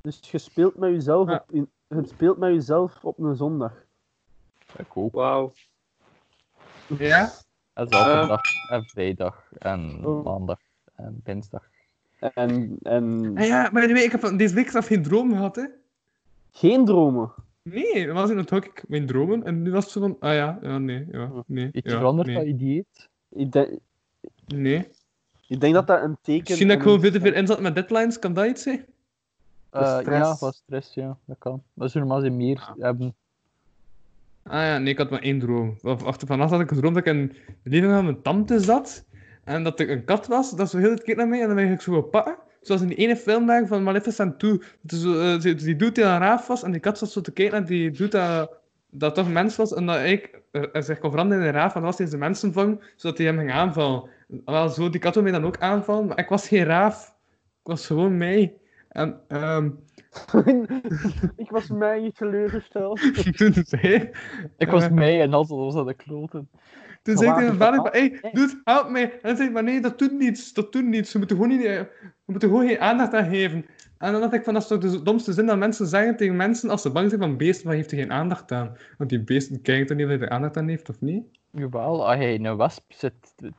D: Dus je speelt met jezelf
F: Ja.
D: op, in, je speelt met jezelf op een zondag.
C: Ik ook.
E: Wauw.
F: Ja?
C: En
F: Eh.
C: zaterdag, en eh, vrijdag, en
D: Oh.
C: maandag, en dinsdag.
D: En, en
F: Ah ja, maar anyway, ik heb van deze week zelf geen droom gehad, hè?
D: geen dromen.
F: Nee, dan was in het ook ik mijn dromen. En nu was het zo van, ah ja, ja nee, ja, nee.
C: Iets
F: ja,
C: veranderd
F: nee,
C: van je dieet?
D: Ik, denk-
F: Nee.
D: ik denk dat dat een teken...
F: Misschien dat
D: en
F: ik gewoon
D: een-
F: veel te veel in zat met deadlines, kan dat iets zijn?
C: Eh,
D: stress.
C: ja, van stress, ja, dat kan. Maar zullen maar ze meer hebben.
F: Ah ja, nee, ik had maar één droom. Of achter vannacht had ik een droom dat ik in de living van mijn tante zat. En dat er een kat was, dat ze heel het keek naar mij en dan ben ik zo gaan pakken. Zoals in die ene film daar van Maleficent toe. Dat ze, eh, ze- die doet die aan een raaf was en die kat zat zo te kijken naar die doet dat, dat toch een mens was. En dat ik eh, zich kon veranderen in een raaf en dan was hij zijn mensenvorm, zodat hij hem ging aanvallen. Wel, zo, die kat wil mij dan ook aanvallen, maar ik was geen raaf. Ik was gewoon mij. En ehm,
D: ik was mij niet teleurgesteld.
F: toen zei
C: Ik was
F: Eh.
C: mee en altijd was dat de kloten.
F: Toen zei ik
D: Gewaagde
F: tegen mijn vader, van, hey,
D: verhaal.
F: dude, help mij. En hij zei, maar nee, dat doet niets, dat doet niets. We moeten gewoon, niet, eh, we moeten gewoon geen aandacht aan geven. En dan dacht ik van, dat is toch de domste zin dat mensen zeggen tegen mensen als ze bang zijn van beesten, waar heeft hij geen aandacht aan? Want die beesten kijken toch niet of hij er aandacht aan heeft, of niet?
C: Jawel, als hij een wesp zit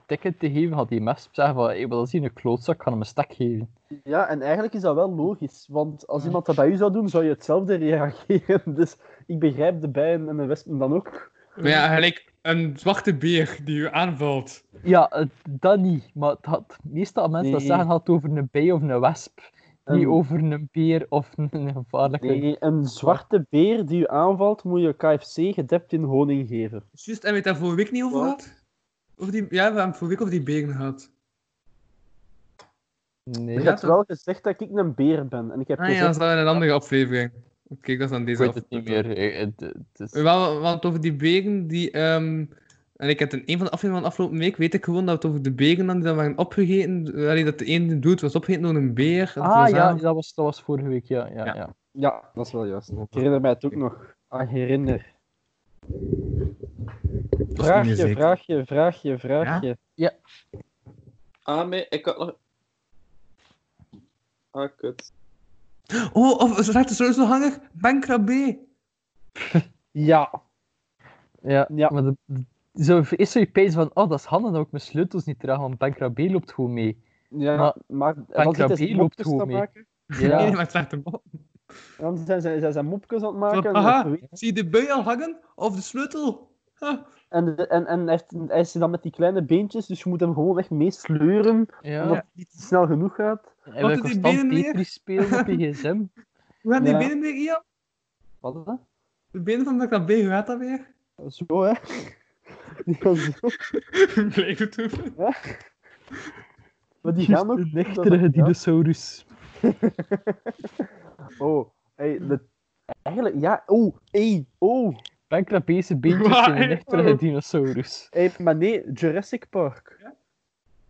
C: tikken te geven, had die wesp zeggen van, ik wil zien een klootzak, ik ga hem een stek geven.
D: Ja, en eigenlijk is dat wel logisch. Want als
F: Ja.
D: iemand dat bij u zou doen, zou je hetzelfde reageren. Dus ik begrijp de bijen en de wespen dan ook.
F: Maar ja, gelijk een zwarte beer die u aanvalt.
C: Ja, eh, dat niet, maar het had, meestal als mensen
D: Nee.
C: dat zeggen, had het over een bij of een wesp. Niet
D: Een-
C: over een beer of een, een gevaarlijke...
D: Nee, een zwarte beer die u aanvalt, moet je KFC gedept in honing geven.
F: Juist, en weet daar vorige week niet over
E: Wat?
F: gehad? Of die, ja, we hebben vorige week over die beren gehad.
C: Nee.
D: Ik
F: Ja,
D: heb
F: toch?
D: wel gezegd dat ik een beer ben. En ik heb
F: Ah ja, dat
D: gezegd...
F: is wel in een andere aflevering. Oké, dat is dan
C: Ik
F: deze
C: weet het niet
F: aflevering.
C: meer. eh, het- het is-
F: Wel, want over die beken die. ehm, en ik heb in een van de afleveringen van afgelopen week weet ik gewoon dat het over de beken dan die dan waren opgegeten. eh, allee, dat de ene doet was opgegeten door een beer. en
C: Ah
F: toen
C: ja,
F: zagen-
C: dat was, dat was vorige week, ja. ja,
F: Ja.
C: ja.
D: Ja, dat is wel juist. Ik herinner mij het ook nog. Ah, herinner.
G: Dat is niet meer
D: Vraagje,
G: zeker.
D: vraagje, vraagje, vraagje.
E: Ah, nee, ik had nog... Ah, kut.
F: Oh, of is het sowieso hangig? Bankrabé.
D: Ja.
C: Ja,
D: Ja.
C: maar de, de- zo, is zo je pees van, oh, dat is handig dat ik mijn sleutels niet draag, want Bankrabé loopt gewoon mee.
D: ja
C: Maar-
D: maar, maar dan
C: Pancrabie
D: zit hij
C: loopt
D: mopjes te
C: gewoon mee.
D: maken.
C: Ja,
F: Nee, maar slecht op.
D: Dan zijn zij zijn, zijn mopjes aan het
F: Van,
D: maken. en
F: aha.
D: dat weet-
F: Zie je de bui al hangen? Of de sleutel? Huh.
D: En, de- en, en hij, heeft, hij is dan met die kleine beentjes, dus je moet hem gewoon echt meesleuren,
C: ja.
D: omdat het niet snel genoeg gaat.
C: En we
F: Wat doet die
C: constant
F: benen weer?
C: Tetris spelen op je gsm.
F: Hoe gaan die
D: Ja.
F: benen weer, Ian?
D: Wat is dat?
F: De benen van Bankrabé, hoe gaat dat weer?
D: Zo, hè. Die gaan zo.
F: Blijf het doen.
D: Maar die
C: Juist
D: gaan ook...
C: een dus-
D: dat-
C: nechtere
D: ja.
C: dinosaurus.
D: Oh, hey, de... Eigenlijk, ja. Oh, hey, oh.
C: Bankrabése beentjes zijn een
F: Waar?
C: nechtere dinosaurus.
D: Hey, maar nee, Jurassic Park.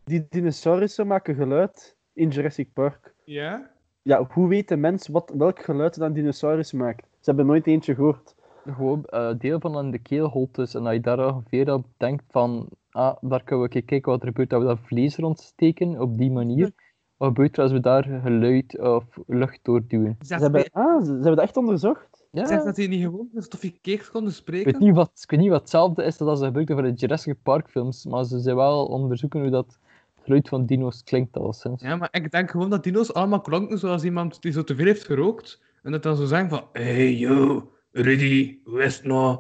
D: Die dinosaurussen maken geluid in Jurassic Park.
F: Ja?
D: Ja, hoe weet de mens wat, welk geluid een dinosaurus maakt? Ze hebben nooit eentje gehoord.
C: Gewoon eh, deel van aan de keelholtes. En dat je daar ongeveer aan denkt van... Ah, daar kunnen we een keer kijken wat er gebeurt. Dat we dat vlees rondsteken op die manier. Wat gebeurt er als we daar geluid of lucht door duwen?
D: Ze
F: Zegt
D: hebben, ah, ze, ze hebben dat echt onderzocht.
C: Ja,
F: Zegt dat hij niet gewoon een stoffie cakes kon
C: ik,
F: bespreken?
C: weet niet wat, ik weet niet wat hetzelfde is dat als ze gebruikten voor de Jurassic Park films. Maar ze zijn wel onderzoeken hoe dat geluid van dino's klinkt. Al sinds.
F: Ja, maar ik denk gewoon dat dino's allemaal klonken zoals iemand die zo te veel heeft gerookt. En dat dan zo zeggen van, hey yo, Rudy, hoe is het nou?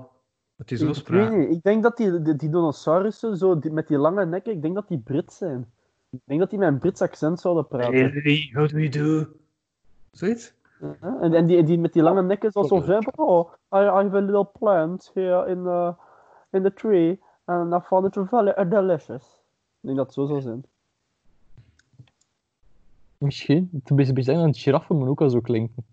F: Dat die zo
D: ik, weet
F: spraken.
D: niet, ik denk dat die, die, die dinosaurussen, zo, die- met die lange nekken, ik denk dat die Brit zijn. Ik denk dat die met een Brits accent zouden
F: Hey
D: praten.
F: Rudy, how do we do? Zoiets?
D: Ja, En, en die, die met die lange nekken, zoals zo'n vrouw. Oh, I, I have a little plant here in the, in the tree. And I found it very delicious. Ik denk dat het zo zou zijn.
C: Misschien. Toen ben je bezig dat giraffen maar ook al zo klinken.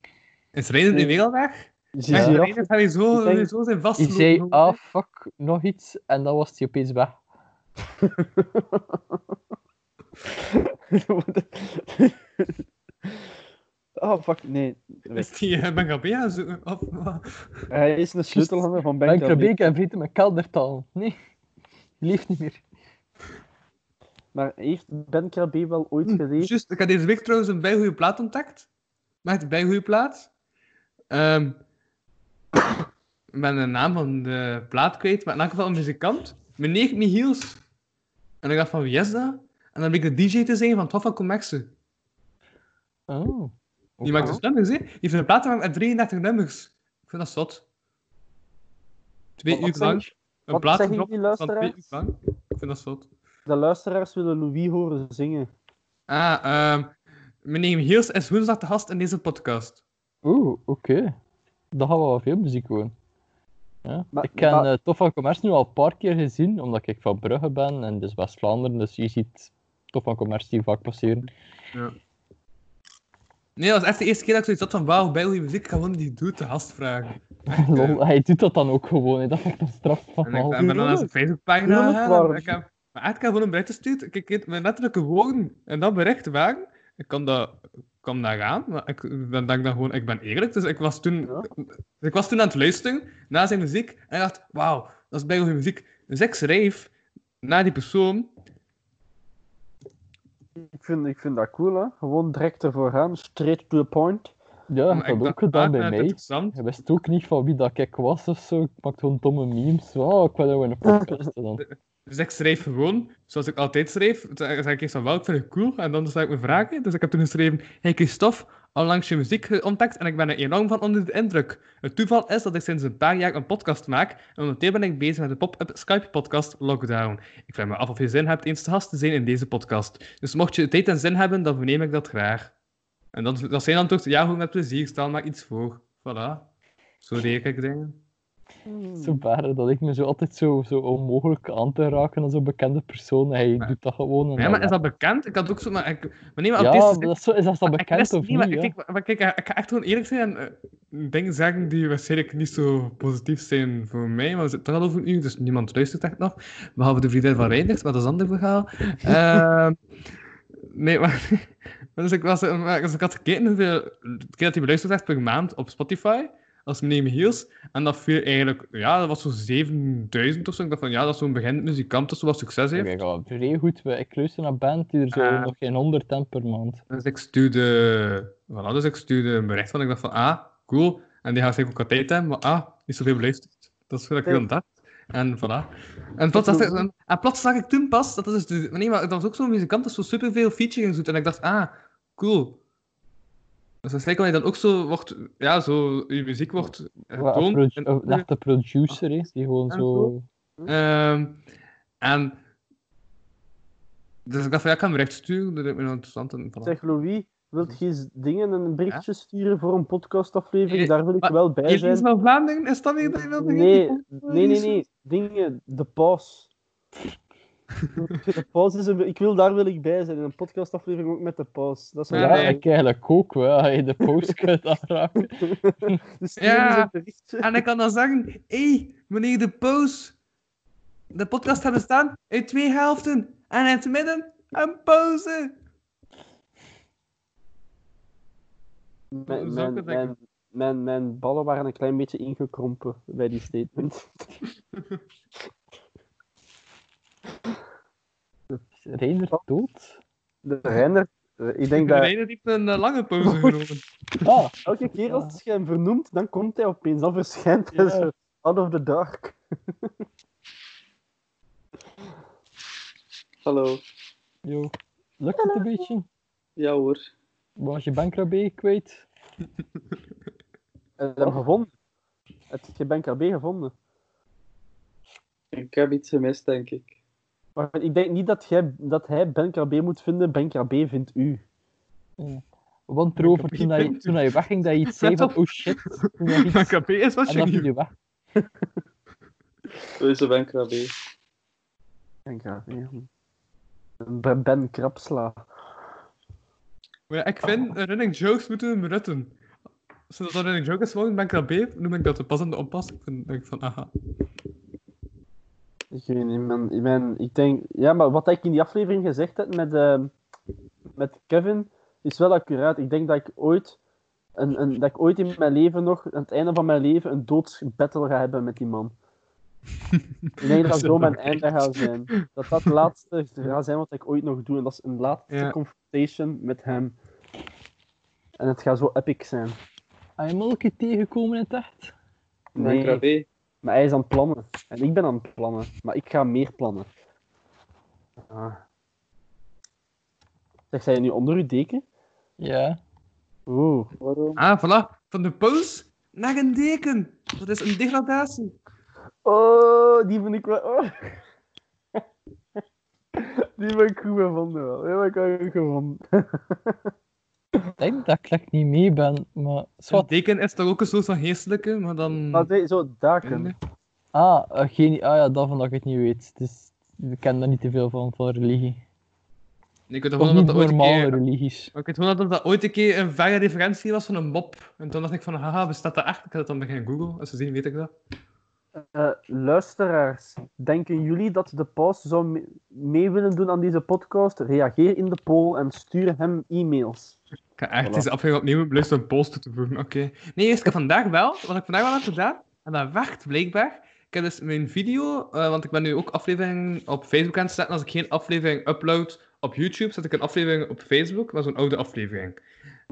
F: Is Reiner nu weer al weg?
D: Die
F: Ja,
D: giraffe-
F: Reiner gaat hij zo,
D: Ik denk-
F: hij zo zijn
C: Die
F: vastlopen.
C: zei, ah fuck, nog iets. En dan was hij opeens weg.
D: oh, fuck, nee.
F: Is die uh, Bengabea zo? Of, wat?
D: Hij is een sleutelhanger van
C: Ben ik
D: Bankrabé.
C: en vreten met keldertaal. Nee, die leeft niet meer.
D: Maar heeft Bankrabé wel ooit
C: Hm.
D: geleefd?
F: Hm, Juist, ik had deze week trouwens een bijgoeie plaat ontdekt. Maar het bijgoeie plaat. Ehm, ik ben de naam van de plaat kwijt, maar in elk geval een muzikant. Meneer Michiels. En ik dacht van, wie is dat? En dan bleek de DJ te zijn van Tof van Comexe.
C: Oh.
F: Die maakt dus nummers, hè? Die heeft een plaat met 33 nummers. Ik vind dat zot. Twee
D: Wat
F: uur
D: zeg-
F: lang. Een
D: wat
F: plaat
D: zeggen
F: gedropt
D: jullie,
F: van twee uur
D: luisteraars?
F: lang. Ik vind dat zot.
D: De luisteraars willen Louis horen zingen.
F: Ah, ehm, meneer Michiels is woensdag de gast in deze podcast.
C: Oeh, oké. Dan gaan we wel veel muziek horen. Ja.
D: Maar-
C: ik ken
F: Ah.
D: maar-
C: eh, Tof van Commerce nu al een paar keer gezien, omdat ik van Brugge ben en dus West-Vlaanderen, dus je ziet Tof van Commerce hier vaak passeren.
F: Nee, dat was echt de eerste keer dat ik zoiets had van wauw, bij die muziek, ik ga gewoon die doet de gast vragen.
C: Lol, hij doet dat dan ook gewoon, hè. dat vind ik een straf
F: En
C: van
F: ik
C: al.
F: ben dan naar zijn
D: tuurlijk.
F: Facebookpagina
D: Tuurlijk,
F: gegaan
D: waarom
F: en ik heb, maar echt, ik heb gewoon een bericht gestuurd, ik heb mijn letterlijke woorden en dat bericht waren. Ik kan dat, ik kan daar gaan, maar ik ben, denk dan gewoon, ik ben eerlijk, dus ik was toen, ik was toen aan het luisteren naar zijn muziek en ik dacht, wauw, dat is bij goede muziek. Dus ik schreef naar die persoon,
D: Ik vind, ik vind dat cool, hè. Gewoon direct ervoor gaan, straight to the point.
C: Ja, hij
F: maar
C: had dat
F: ik
C: ook
F: dacht,
C: gedaan
F: ah,
C: bij
F: dat is
C: mij.
F: Interessant.
C: Hij wist ook niet van wie dat ik was of zo. Ik maakte gewoon domme memes. Oh, ik wil jou in een podcast. En dan.
F: Dus ik schreef gewoon, zoals ik altijd schreef. Toen zei ik eerst van, wel, ik vind het cool. En dan stel ik me vragen. Dus ik heb toen geschreven, hey Christophe, onlangs je muziek ontdekt en ik ben er enorm van onder de indruk. Het toeval is dat ik sinds een paar jaar een podcast maak en momenteel ben ik bezig met de pop-up Skype-podcast Lockdown. Ik vraag me af of je zin hebt eens te gast te zijn in deze podcast. Dus mocht je tijd en zin hebben, dan verneem ik dat graag. En dan, dat zijn dan toch, ja, goed met plezier, stel maar iets voor. Voilà. Zo deed ik dingen.
C: Zo waren dat ik me zo altijd zo, zo onmogelijk aan te raken aan zo'n bekende persoon. Hij
F: Maar-
C: doet dat gewoon. en
F: Ja, maar
C: dan-
F: is dat bekend? Ik had ook zo, maar ik, maar nee, maar
C: ja,
F: artiesten
C: maar
F: zijn-
C: dat is, zo, is dat dan
F: Maar ik
C: bekend
F: wist
C: of niet?
F: niet, maar
C: ja?
F: kijk, maar kijk, ik ga echt gewoon eerlijk zijn en eh, dingen zeggen die waarschijnlijk niet zo positief zijn voor mij, maar we zitten toch al over een uur, dus niemand luistert echt nog, behalve de vriendin van Reinders, maar dat is een ander verhaal. Ehm, nee, maar... eh, maar Dus ik, was, maar dus ik had gekeken hoeveel keer dat hij beluisterd werd per maand op Spotify, als meneer Michiels. En dat viel eigenlijk, ja, dat was zo'n 7000 of zo. Ik dacht van, ja, dat is zo'n begin muzikant dat zo wat succes heeft.
C: Ik ga vrij goed. we- Ik luister naar band die er zo
F: Ah.
C: nog geen 100 ten per maand.
F: Dus ik stuurde, voilà, dus ik stuurde een bericht van, ik dacht van, ah, cool. En die gaat zeker ook wat tijd hebben, maar ah, niet zoveel beluisterd. Dat is wat ik
D: Nee.
F: dan dacht. En voilà. En plots, dacht ik, en, en plots zag ik toen pas, dat is dus, nee, maar dat was ook zo'n muzikant dat zo superveel featuring doet. En ik dacht, ah, cool. Dus waarschijnlijk omdat je dan ook zo wordt, ja, zo, je muziek wordt
C: Wat een
F: getoond.
C: produ- een echte producer is, die gewoon
F: En
C: zo...
F: Ehm, en, dus ik dacht van, ja, ik kan hem recht sturen, dat is me interessant. En, voilà.
D: Zeg Louis, wilt
F: Hm.
D: je eens dingen een berichtje sturen voor een podcastaflevering?
F: Eh,
D: Daar wil ik
F: maar
D: wel bij
F: Elise
D: zijn.
F: van Vlaanderen, is dat niet dat je dat niet-
D: Nee, nee, nee, nee. Dingen, de paus. De paus is een... Ik wil, daar wil ik bij zijn. In een podcastaflevering ook met de paus. Dat is wel
F: Ja,
C: Ja,
F: nee.
C: ik eigenlijk ook wel. Als je de post kunt aanraken.
D: Dus
F: Ja.
D: ja. een berichtje.
F: En ik kan dan zeggen, hé, hey, meneer De Poos, de podcast gaat bestaan uit twee helften en in het midden een pauze. Zo
D: Mijn,
F: zou
D: mijn,
F: ik het
D: mijn, mijn, mijn ballen waren een klein beetje ingekrompen bij die statement.
C: Reiner dood?
D: De renner, eh, ik denk
F: De
D: dat
F: ene heeft een eh, lange pauze genomen.
C: Ah,
D: elke keer als je hem vernoemt, dan komt hij opeens. Dan verschijnt hij
C: Ja.
D: zo out of the dark.
E: Hallo.
C: joh. Lukt het een beetje?
E: Ja hoor.
C: Was je bankrabé kwijt?
D: En hij heeft hem gevonden. Het je Ben KB gevonden.
E: Ik heb iets gemist, denk ik.
D: Maar ik denk niet dat, jij, dat hij Ben KB moet vinden. Ben KB vindt u.
C: Want erover, toen hij, toen hij wegging, dat je iets zei van, oh shit. Toen hij iets-
F: KP is wat
C: en dan viel je weg.
E: Hoe is de bankrabé?
D: Ben KB. Ben, ben Krapsla.
F: Ja, ik vind, eh, running jokes moeten hem rutten. Als dat een running joke is, gewoon ben ik dat beef, noem ik dat de passende onpas. Ik vind- denk ik van, aha.
D: Ik weet niet, man. Ik, ben, ik denk... Ja, maar wat ik in die aflevering gezegd heb met, ehm, met Kevin, is wel accuraat. Ik denk dat ik ooit... Een, een, dat ik ooit in mijn leven nog, aan het einde van mijn leven, een doodsbattle ga hebben met die man. Ik denk dat dat zo mijn einde gaat zijn. Dat dat het laatste gaat zijn wat ik ooit nog doe. En dat is een laatste
F: Ja.
D: confrontation met hem. En het gaat zo epic zijn.
C: Heb je hem al een keer tegengekomen in het echt?
D: Nee,
E: Bankrabé?
D: maar hij is aan het plannen. En ik ben aan het plannen. Maar ik ga meer plannen. Ah. Zeg, zijn je nu onder uw deken?
C: Ja.
D: Oeh.
E: Waarom?
F: Ah, voilà. Van de pauze naar een deken. Dat is een degradatie.
D: Oh, die vind ik wel... Oh. Die ben ik goed gevonden wel. Die ben ik wel goed gevonden.
C: Ik denk dat ik echt niet mee ben, maar...
F: Een
C: Zwat.
F: deken is toch ook een soort van geestelijke, maar dan...
D: Maar nee, zo, daken.
F: Einde.
C: Ah, eh, geen, ah ja, dat van dat ik het niet weet. Het is, ik ken daar niet te veel van, van religie.
F: Nee, Ik weet toch
C: Of
F: wel
C: niet
F: dat dat ooit een
C: normale
F: keer-
C: religies.
F: Maar ik weet gewoon dat dat ooit een keer een verre referentie was van een mop. En toen dacht ik van, haha, bestaat dat echt? Ik had het dan beginnen Google. Als ze zien, weet ik dat.
D: Eh, luisteraars, denken jullie dat de paus zou me- mee willen doen aan deze podcast? Reageer in de poll en stuur hem e-mails.
F: Ik ga echt deze aflevering opnieuw beluisteren om post toe te voegen. Oké. Nee, eerst, ik heb vandaag wel, wat ik vandaag wel heb gedaan, en dat werkt blijkbaar. Ik heb dus mijn video, eh, want ik ben nu ook afleveringen op Facebook aan het zetten. Als ik geen aflevering upload op YouTube, zet ik een aflevering op Facebook. Dat is een oude aflevering.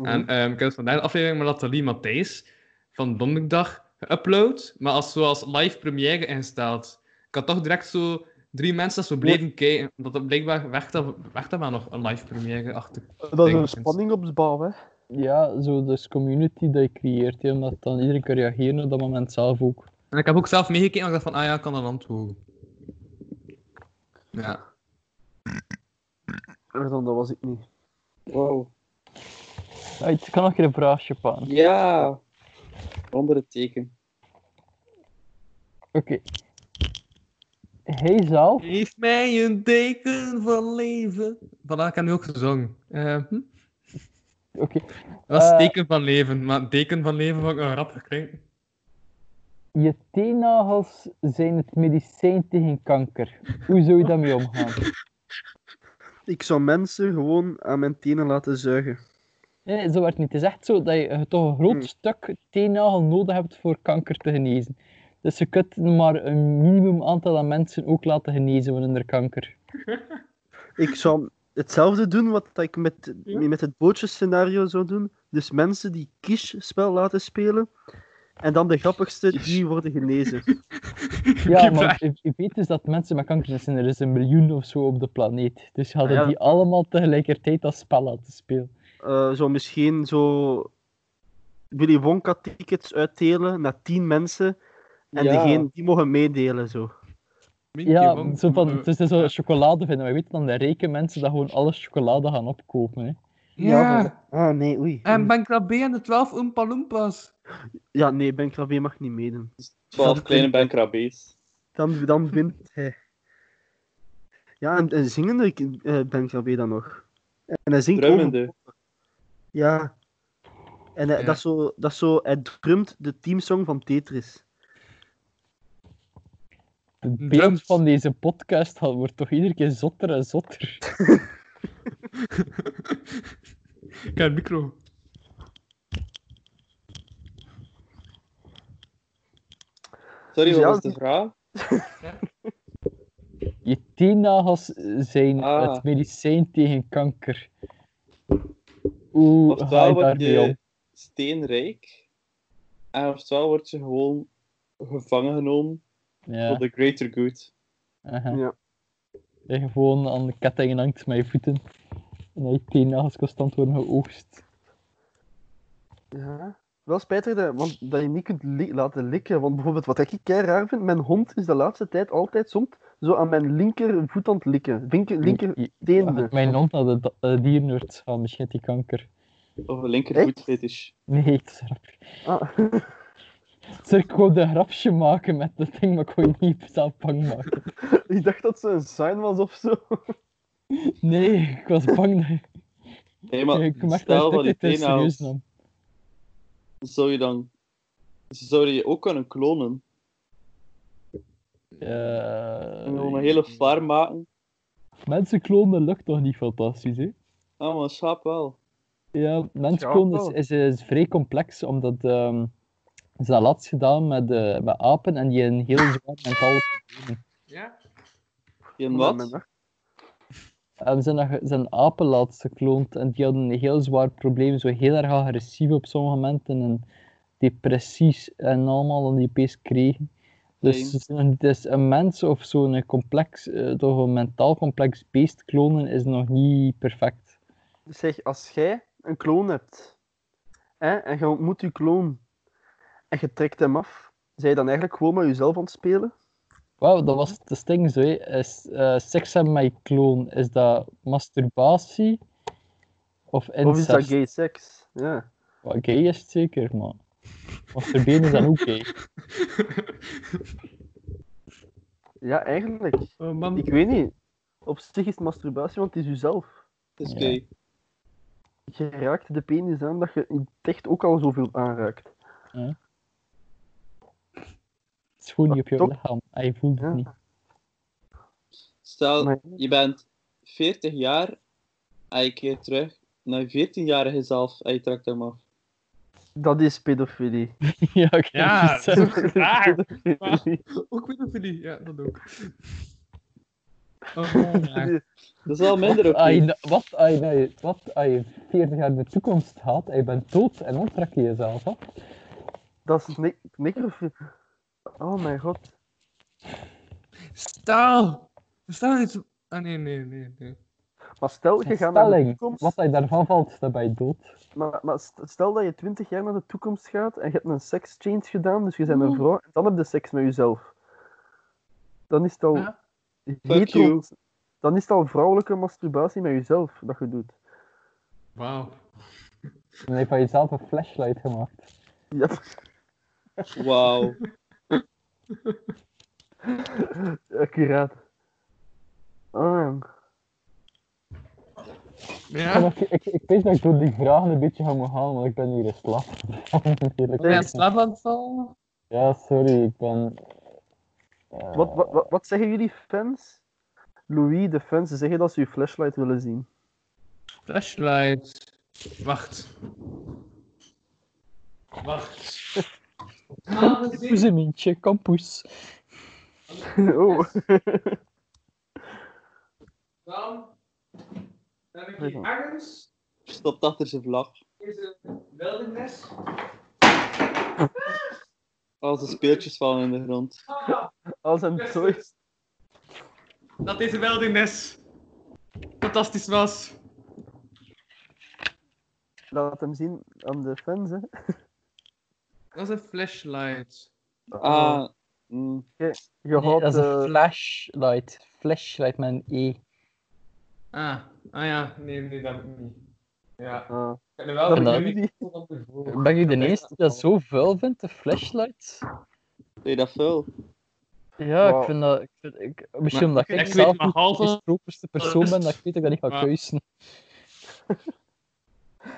F: En ehm, ik heb dus vandaag een aflevering met Nathalie Matthijs van donderdag geüpload, maar als zoals live première ingesteld. Ik had toch direct zo drie mensen dat zo bleven kijken, omdat dat blijkbaar werkt dat, werkt dat maar nog, een live première achter.
D: Dat is
F: denk
D: een
F: ik.
D: spanning op bouw, hè?
C: Ja, zo dus community dat je creëert, hè, omdat dan iedereen kan reageren op dat moment zelf ook.
F: En ik heb ook zelf meegekeken en ik dacht van, ah ja, ik kan dat antwoorden. Ja.
D: Pardon, dat was ik niet.
E: Wow.
C: Ah, ik kan nog een keer een vraagje pakken. Oké,
E: Ja! Onder het teken.
C: hij zelf,
F: Geef mij een teken van leven. Vandaag ik heb nu ook gezongen. Eh, hm?
C: oké,
F: Dat is
C: Eh.
F: teken van leven, maar teken van leven vond ik een rap geklinkt.
C: je teennagels zijn het medicijn tegen kanker. Hoe zou je daarmee omgaan?
D: Ik zou mensen gewoon aan mijn tenen laten zuigen.
C: Nee, zo werd niet. Het is echt zo dat je eh, toch een groot
D: Hmm.
C: stuk teennagel nodig hebt voor kanker te genezen. Dus je kunt maar een minimum aantal aan mensen ook laten genezen van hun kanker.
D: Ik zou hetzelfde doen wat dat ik met,
F: Ja.
D: met het bootjesscenario zou doen. Dus mensen die Kish-spel laten spelen. En dan de grappigste, die worden genezen.
C: Ja, maar je, je weet dus dat mensen met kanker zijn. Er is een miljoen of zo op de planeet. Dus je hadden
D: Ja.
C: die allemaal tegelijkertijd dat spel laten spelen.
D: Eh, zo misschien zo Willy Wonka tickets uitdelen naar tien mensen. En
C: Ja.
D: degene die mogen meedelen zo.
F: Minkje,
C: Ja,
F: want-
C: zo van,
F: eh,
C: het is dus zo chocolade vinden. Maar je weet dan de rijke mensen dat gewoon alles chocolade gaan opkopen. Hè.
F: Ja,
D: Ah nee, oei.
F: en Bankrabé en de 12 Oompa Loompas.
D: Ja, nee, Ben Krabbe mag niet meedoen.
E: 12 kleine bankrabbees.
D: Dan, dan wint hij. Ja, en, en zingende eh, Ben Krabbe dan nog. En hij zingt ook.
E: Drummende.
D: Ja. En hij,
F: Ja.
D: Dat, is zo, dat is zo, hij drumt de teamsong van Tetris.
C: Het beeld
F: Drums.
C: van deze podcast al wordt toch iedere keer zotter en zotter.
F: Ik heb een micro.
E: Sorry, wat
D: Ja,
E: was de
D: die-
E: vraag?
C: Je teennagels zijn
E: Ah.
C: het medicijn tegen kanker. Hoe ga
E: Oftewel
C: je
E: word
C: daarmee om?
E: je steenrijk. En oftewel word je gewoon gevangen genomen
C: Ja,
E: voor de greater good.
C: aha.
D: Ja.
C: Dat je gewoon aan de ketting hangt met je voeten. En dat je teennagels constant worden geoogst.
D: Ja. Wel spijtig dat, want dat je niet kunt li- laten likken. Want bijvoorbeeld, wat ik kei raar vind, mijn hond is de laatste tijd altijd soms zo aan mijn linkervoet aan het likken. Linker, linker
C: Je- je-
D: teende.
C: Ah, Mijn hond had de da- eh, dierenarts gaan, misschien heeft hij kanker.
E: Of een linkervoet fetish.
C: Nee, het is een grapje.
D: Ah.
C: Sir, ik wilde een grapje maken met dat ding, maar ik kon je niet zelf bang maken.
D: ik dacht dat ze een sign was of zo.
C: Nee, ik was bang dat je-
E: Nee, maar
C: ik merkte
E: stel
C: dat
E: van
C: je
E: die
C: dit te serieus
E: teenhouders,
C: nam.
E: zou je dan... Zou je ook kunnen klonen?
C: Eh,
E: En gewoon een hele farm maken?
C: Mensen klonen lukt toch niet fantastisch, hè?
E: Ah, maar schaap wel.
C: Ja,
D: Ja,
C: menskloon
D: wel.
C: is, is, is vrij complex, omdat ehm, ze dat laatst gedaan met, eh, met apen en die een heel zwaar mentaal...
F: Ja?
E: Je een
D: Mijn nacht.
E: wat?
C: En ze hebben zijn apen laatst gekloond en die hadden een heel zwaar probleem, zo heel erg agressief op sommige momenten en depressies en allemaal dan die pees kregen. Dus
E: Fijn.
C: het is nog niet- het is een mens of zo'n complex, eh, toch een mentaal complex beest klonen is nog niet perfect.
D: Zeg, als jij een kloon hebt hè, en je ontmoet je kloon en je trekt hem af, zij je dan eigenlijk gewoon met jezelf aan het spelen?
C: Wauw, dat was de sting zo. hè. Is, eh, seks hebben met je kloon, is dat masturbatie of incest?
D: Of is dat gay seks? Ja.
C: Wel, gay is het zeker, man. Masturberen is dan ook gay.
D: ja, eigenlijk.
F: Oh, man.
D: Ik weet niet. Op zich is het masturbatie, want het is jezelf.
E: Het is
C: Ja.
E: gay.
D: Je raakt de penis aan dat je in het echt ook al zoveel aanraakt.
C: Het is gewoon niet op
D: Toch?
C: jouw lichaam. En je voelt het
D: Ja.
C: niet.
E: Stel,
D: Maar-
E: je bent 40 jaar en je keert terug naar je 14-jarige zelf en ah, je trekt hem af.
D: Dat is pedofilie.
C: ja, oké.
F: Ja,
C: dus, eh,
F: Ah,
D: Pedofilie.
F: ook pedofilie. Ja, dat ook. Oh, ja.
E: Dat is wel minder oké.
C: wat als je na- nou, Wat als je naar je- wat als je 40 jaar in de toekomst gaat en je bent dood en dan trek je jezelf af?
D: Dat is nik nikkerfi- Oh mijn god.
F: Stel! Stel iets... Ah, nee, nee, nee. nee.
D: Maar stel, je
C: Een
D: gaat naar de
C: Stelling.
D: toekomst.
C: Wat als je daarvan valt, dan ben je dood.
D: Maar, maar st- stel dat je 20 jaar naar de toekomst gaat en je hebt een sekschange gedaan, dus je bent een vrouw, en dan heb je seks met jezelf. Dan is het al.
F: Ja.
D: hetero,
E: you.
D: dan is het al vrouwelijke masturbatie met jezelf dat je doet.
F: Wauw.
C: Dan heb je van jezelf een flashlight gemaakt.
D: Ja,
E: Wauw.
D: accuraat. Ah,
C: Ja,
F: Ja?
C: maar Ik, ik, ik weet dat ik door die vragen een beetje ga moeten gaan, want ik ben hier in slaap. gevallen, eerlijk
F: Ben je in
C: gezegd.
F: slaap aan het vallen?
C: Ja, sorry, ik ben. eh,
D: wat, wat, wat, wat zeggen jullie fans? Louis, de fans zeggen dat ze je flashlight willen zien.
F: Flashlight. Wacht. Wacht.
C: Poezemintje, campus.
D: Oh.
F: Dan heb ik
D: hier
F: ergens
E: Stopt achter zijn vlag.
F: is een wildernis.
E: Al zijn speeltjes vallen in de grond.
D: Als hem zo
F: Dat deze wildernis fantastisch was.
D: Laat hem zien aan de fans, hè.
F: Dat is een flashlight.
E: Ah, mm,
D: Eh, Je houdt...
C: dat is een
D: eh,
C: flashlight. Flashlight met een E.
F: Ah, ah ja, nee, nee, dat heb ik niet. Ja, ik
D: ah.
F: heb er wel
D: Dat
F: een
C: dan-
F: jullie-
C: Ben je de eerste die dat zo vuil vindt, de flashlight?
E: deed dat veel.
C: Ja,
D: Wow.
C: ik vind dat... Ik vind, ik, misschien
F: Maar
C: omdat
F: ik
C: ik,
F: weet
C: zelf
F: maar
C: niet
F: halve-
C: de properste persoon ben, dat ik weet dat ik dat niet ga
F: Maar-
C: kruisen.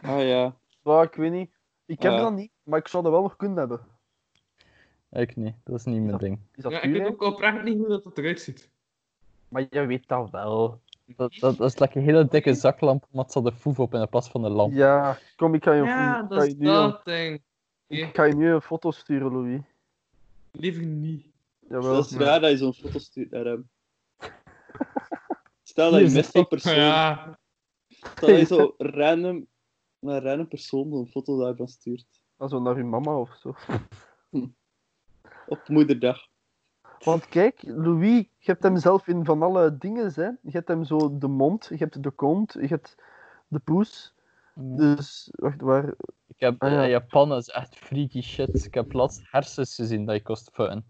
E: Ah ja.
D: Ja, ik weet niet. Ik heb
E: Ja.
D: dat niet, maar ik zou dat wel nog kunnen hebben.
C: Ik nee, dat is niet mijn ding.
D: Is dat
F: Ja, ik
D: puur,
F: weet
D: hè?
F: ook oprecht niet hoe dat het eruit ziet.
D: Maar je weet dat wel.
C: Dat, dat, dat is like een hele dikke zaklamp, maar het zat de foef op in plaats van de lamp.
D: Ja, kom, ik ga je,
F: Ja,
D: ik
F: dat
D: ga
F: is
D: je nu,
F: dat ding.
D: ik ga je nu een foto sturen, Louis.
F: Liever niet.
D: Jawel.
E: Dat is
F: maar-
E: raar dat je zo'n foto stuurt naar hem. Stel dat
C: Hier
E: je
C: is
E: mist
C: een
E: die persoon.
F: Ja,
E: Stel dat je zo random, naar een random persoon zo'n foto daarvan stuurt.
D: Dat is wel naar uw mama of zo.
E: Op moederdag.
D: Want kijk, Louis, je hebt hem zelf in van alle dingen, hè. Je hebt hem zo de mond, je hebt de kont, je hebt de poes. Dus, wacht, waar...
C: Ik heb
D: Ah, ja.
C: eh, Japan, dat is echt freaky shit. Ik heb laatst hersens gezien dat je kost fucken.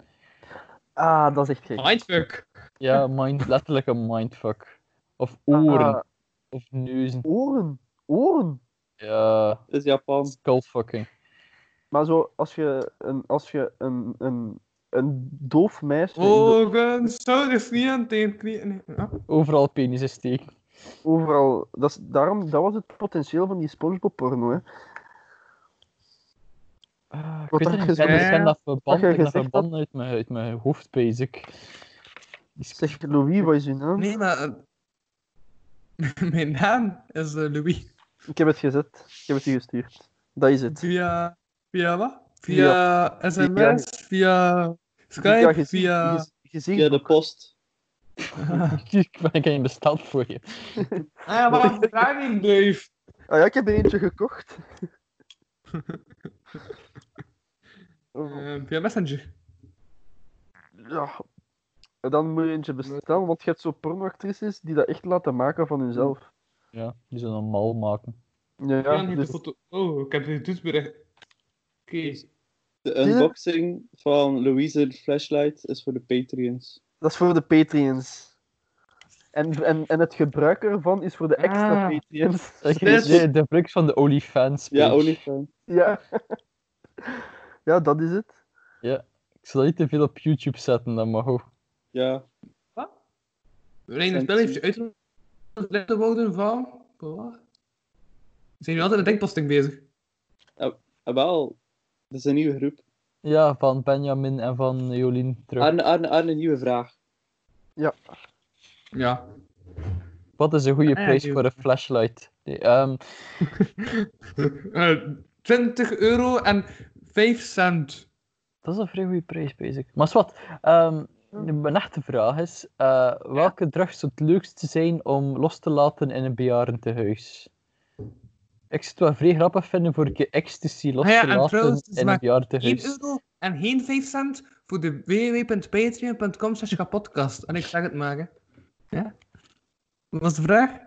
D: Ah, dat is echt gek.
F: mindfuck.
C: Ja, mind, letterlijk een mindfuck. Of oren,
D: Ah,
C: of neuzen.
D: oren. Oren.
C: Ja,
E: Dat is Japan.
C: skullfucking.
D: Maar zo, als je een, als je een, een, een doof meisje in de-
F: Oh, Ogen, schouders, niet aan tegenknieën. Nee. Ah,
C: Overal penissen steken.
D: overal... Dat, is, daarom, dat was het potentieel van die Spongebob-porno, hè.
C: Ah, ik
D: Wat
C: weet
D: heb
C: het
D: je
C: niet, ik ken- ik ken
F: gezegd?
C: dat verband,
D: Wat heb je
C: ik ben
D: gezegd
C: verband uit mijn, uit mijn hoofd, basic.
D: Zeg, Louis, wat is uw naam?
F: Nee, maar... eh, Mijn naam is eh, Louis.
D: Ik heb het gezet. Ik heb het u gestuurd. Dat is het.
F: Via... Via wat? Via sms, via
D: Ja,
F: Skype,
D: gezien-
F: via...
D: gez- gezien
E: Via de post.
C: Ik ben ik in besteld voor je.
F: Ah ja, waarom draai je niet, Dave?
D: Ah ja, ik heb er eentje gekocht. Oh,
F: Eh, Via Messenger.
D: ja. En Dan moet je eentje bestellen, want je hebt zo pornoactrices die dat echt laten maken van hunzelf.
C: Ja, die zullen een mal maken.
D: Ja,
F: Ja,
D: ja,
F: niet
D: dus
F: de foto. Oh, ik heb dit toetsbericht. Oké.
E: De
D: je?
E: unboxing van Louise Flashlight is voor de Patreons.
D: dat is voor de Patreons. En, en, en het gebruik ervan is voor de extra
F: Ah.
D: Patreons.
C: Ik
F: Yes.
C: de, de brug van de OnlyFans.
E: Ja,
C: page.
E: OnlyFans.
D: Ja. ja, dat is het.
C: Ik zal niet te veel op YouTube zetten, dan maar goed.
E: Ja.
F: We brengen het spel even uit om lid te worden van... Wat? Zijn jullie altijd met denkposting bezig?
E: En Ah, wel, dat is een nieuwe groep.
C: Ja, van Benjamin en van Jolien terug.
E: Arne, Arne, Arne, nieuwe vraag.
F: Ja.
C: Wat is een goede
F: Ah, ja,
C: prijs
F: die-
C: voor een flashlight? Nee, ehm,
F: Eh, 20 euro en 5 cent.
C: dat is een vrij goede prijs, basic. Maar zwart, ehm,
F: Oh.
C: mijn echte vraag is: eh, welke drugs zou het leukste zijn om los te laten in een bejaardentehuis? Ik zou het wel vrij grappig vinden voor een keer ecstasy los
F: Ah ja,
C: te
F: en
C: laten
F: trouwens, het is
C: in een
F: maar
C: bejaardentehuis.
F: 1 euro en geen 5 cent voor de www.patreon.com slash kapodcast. En ik zeg het maar, hè. Ja? Wat was de vraag?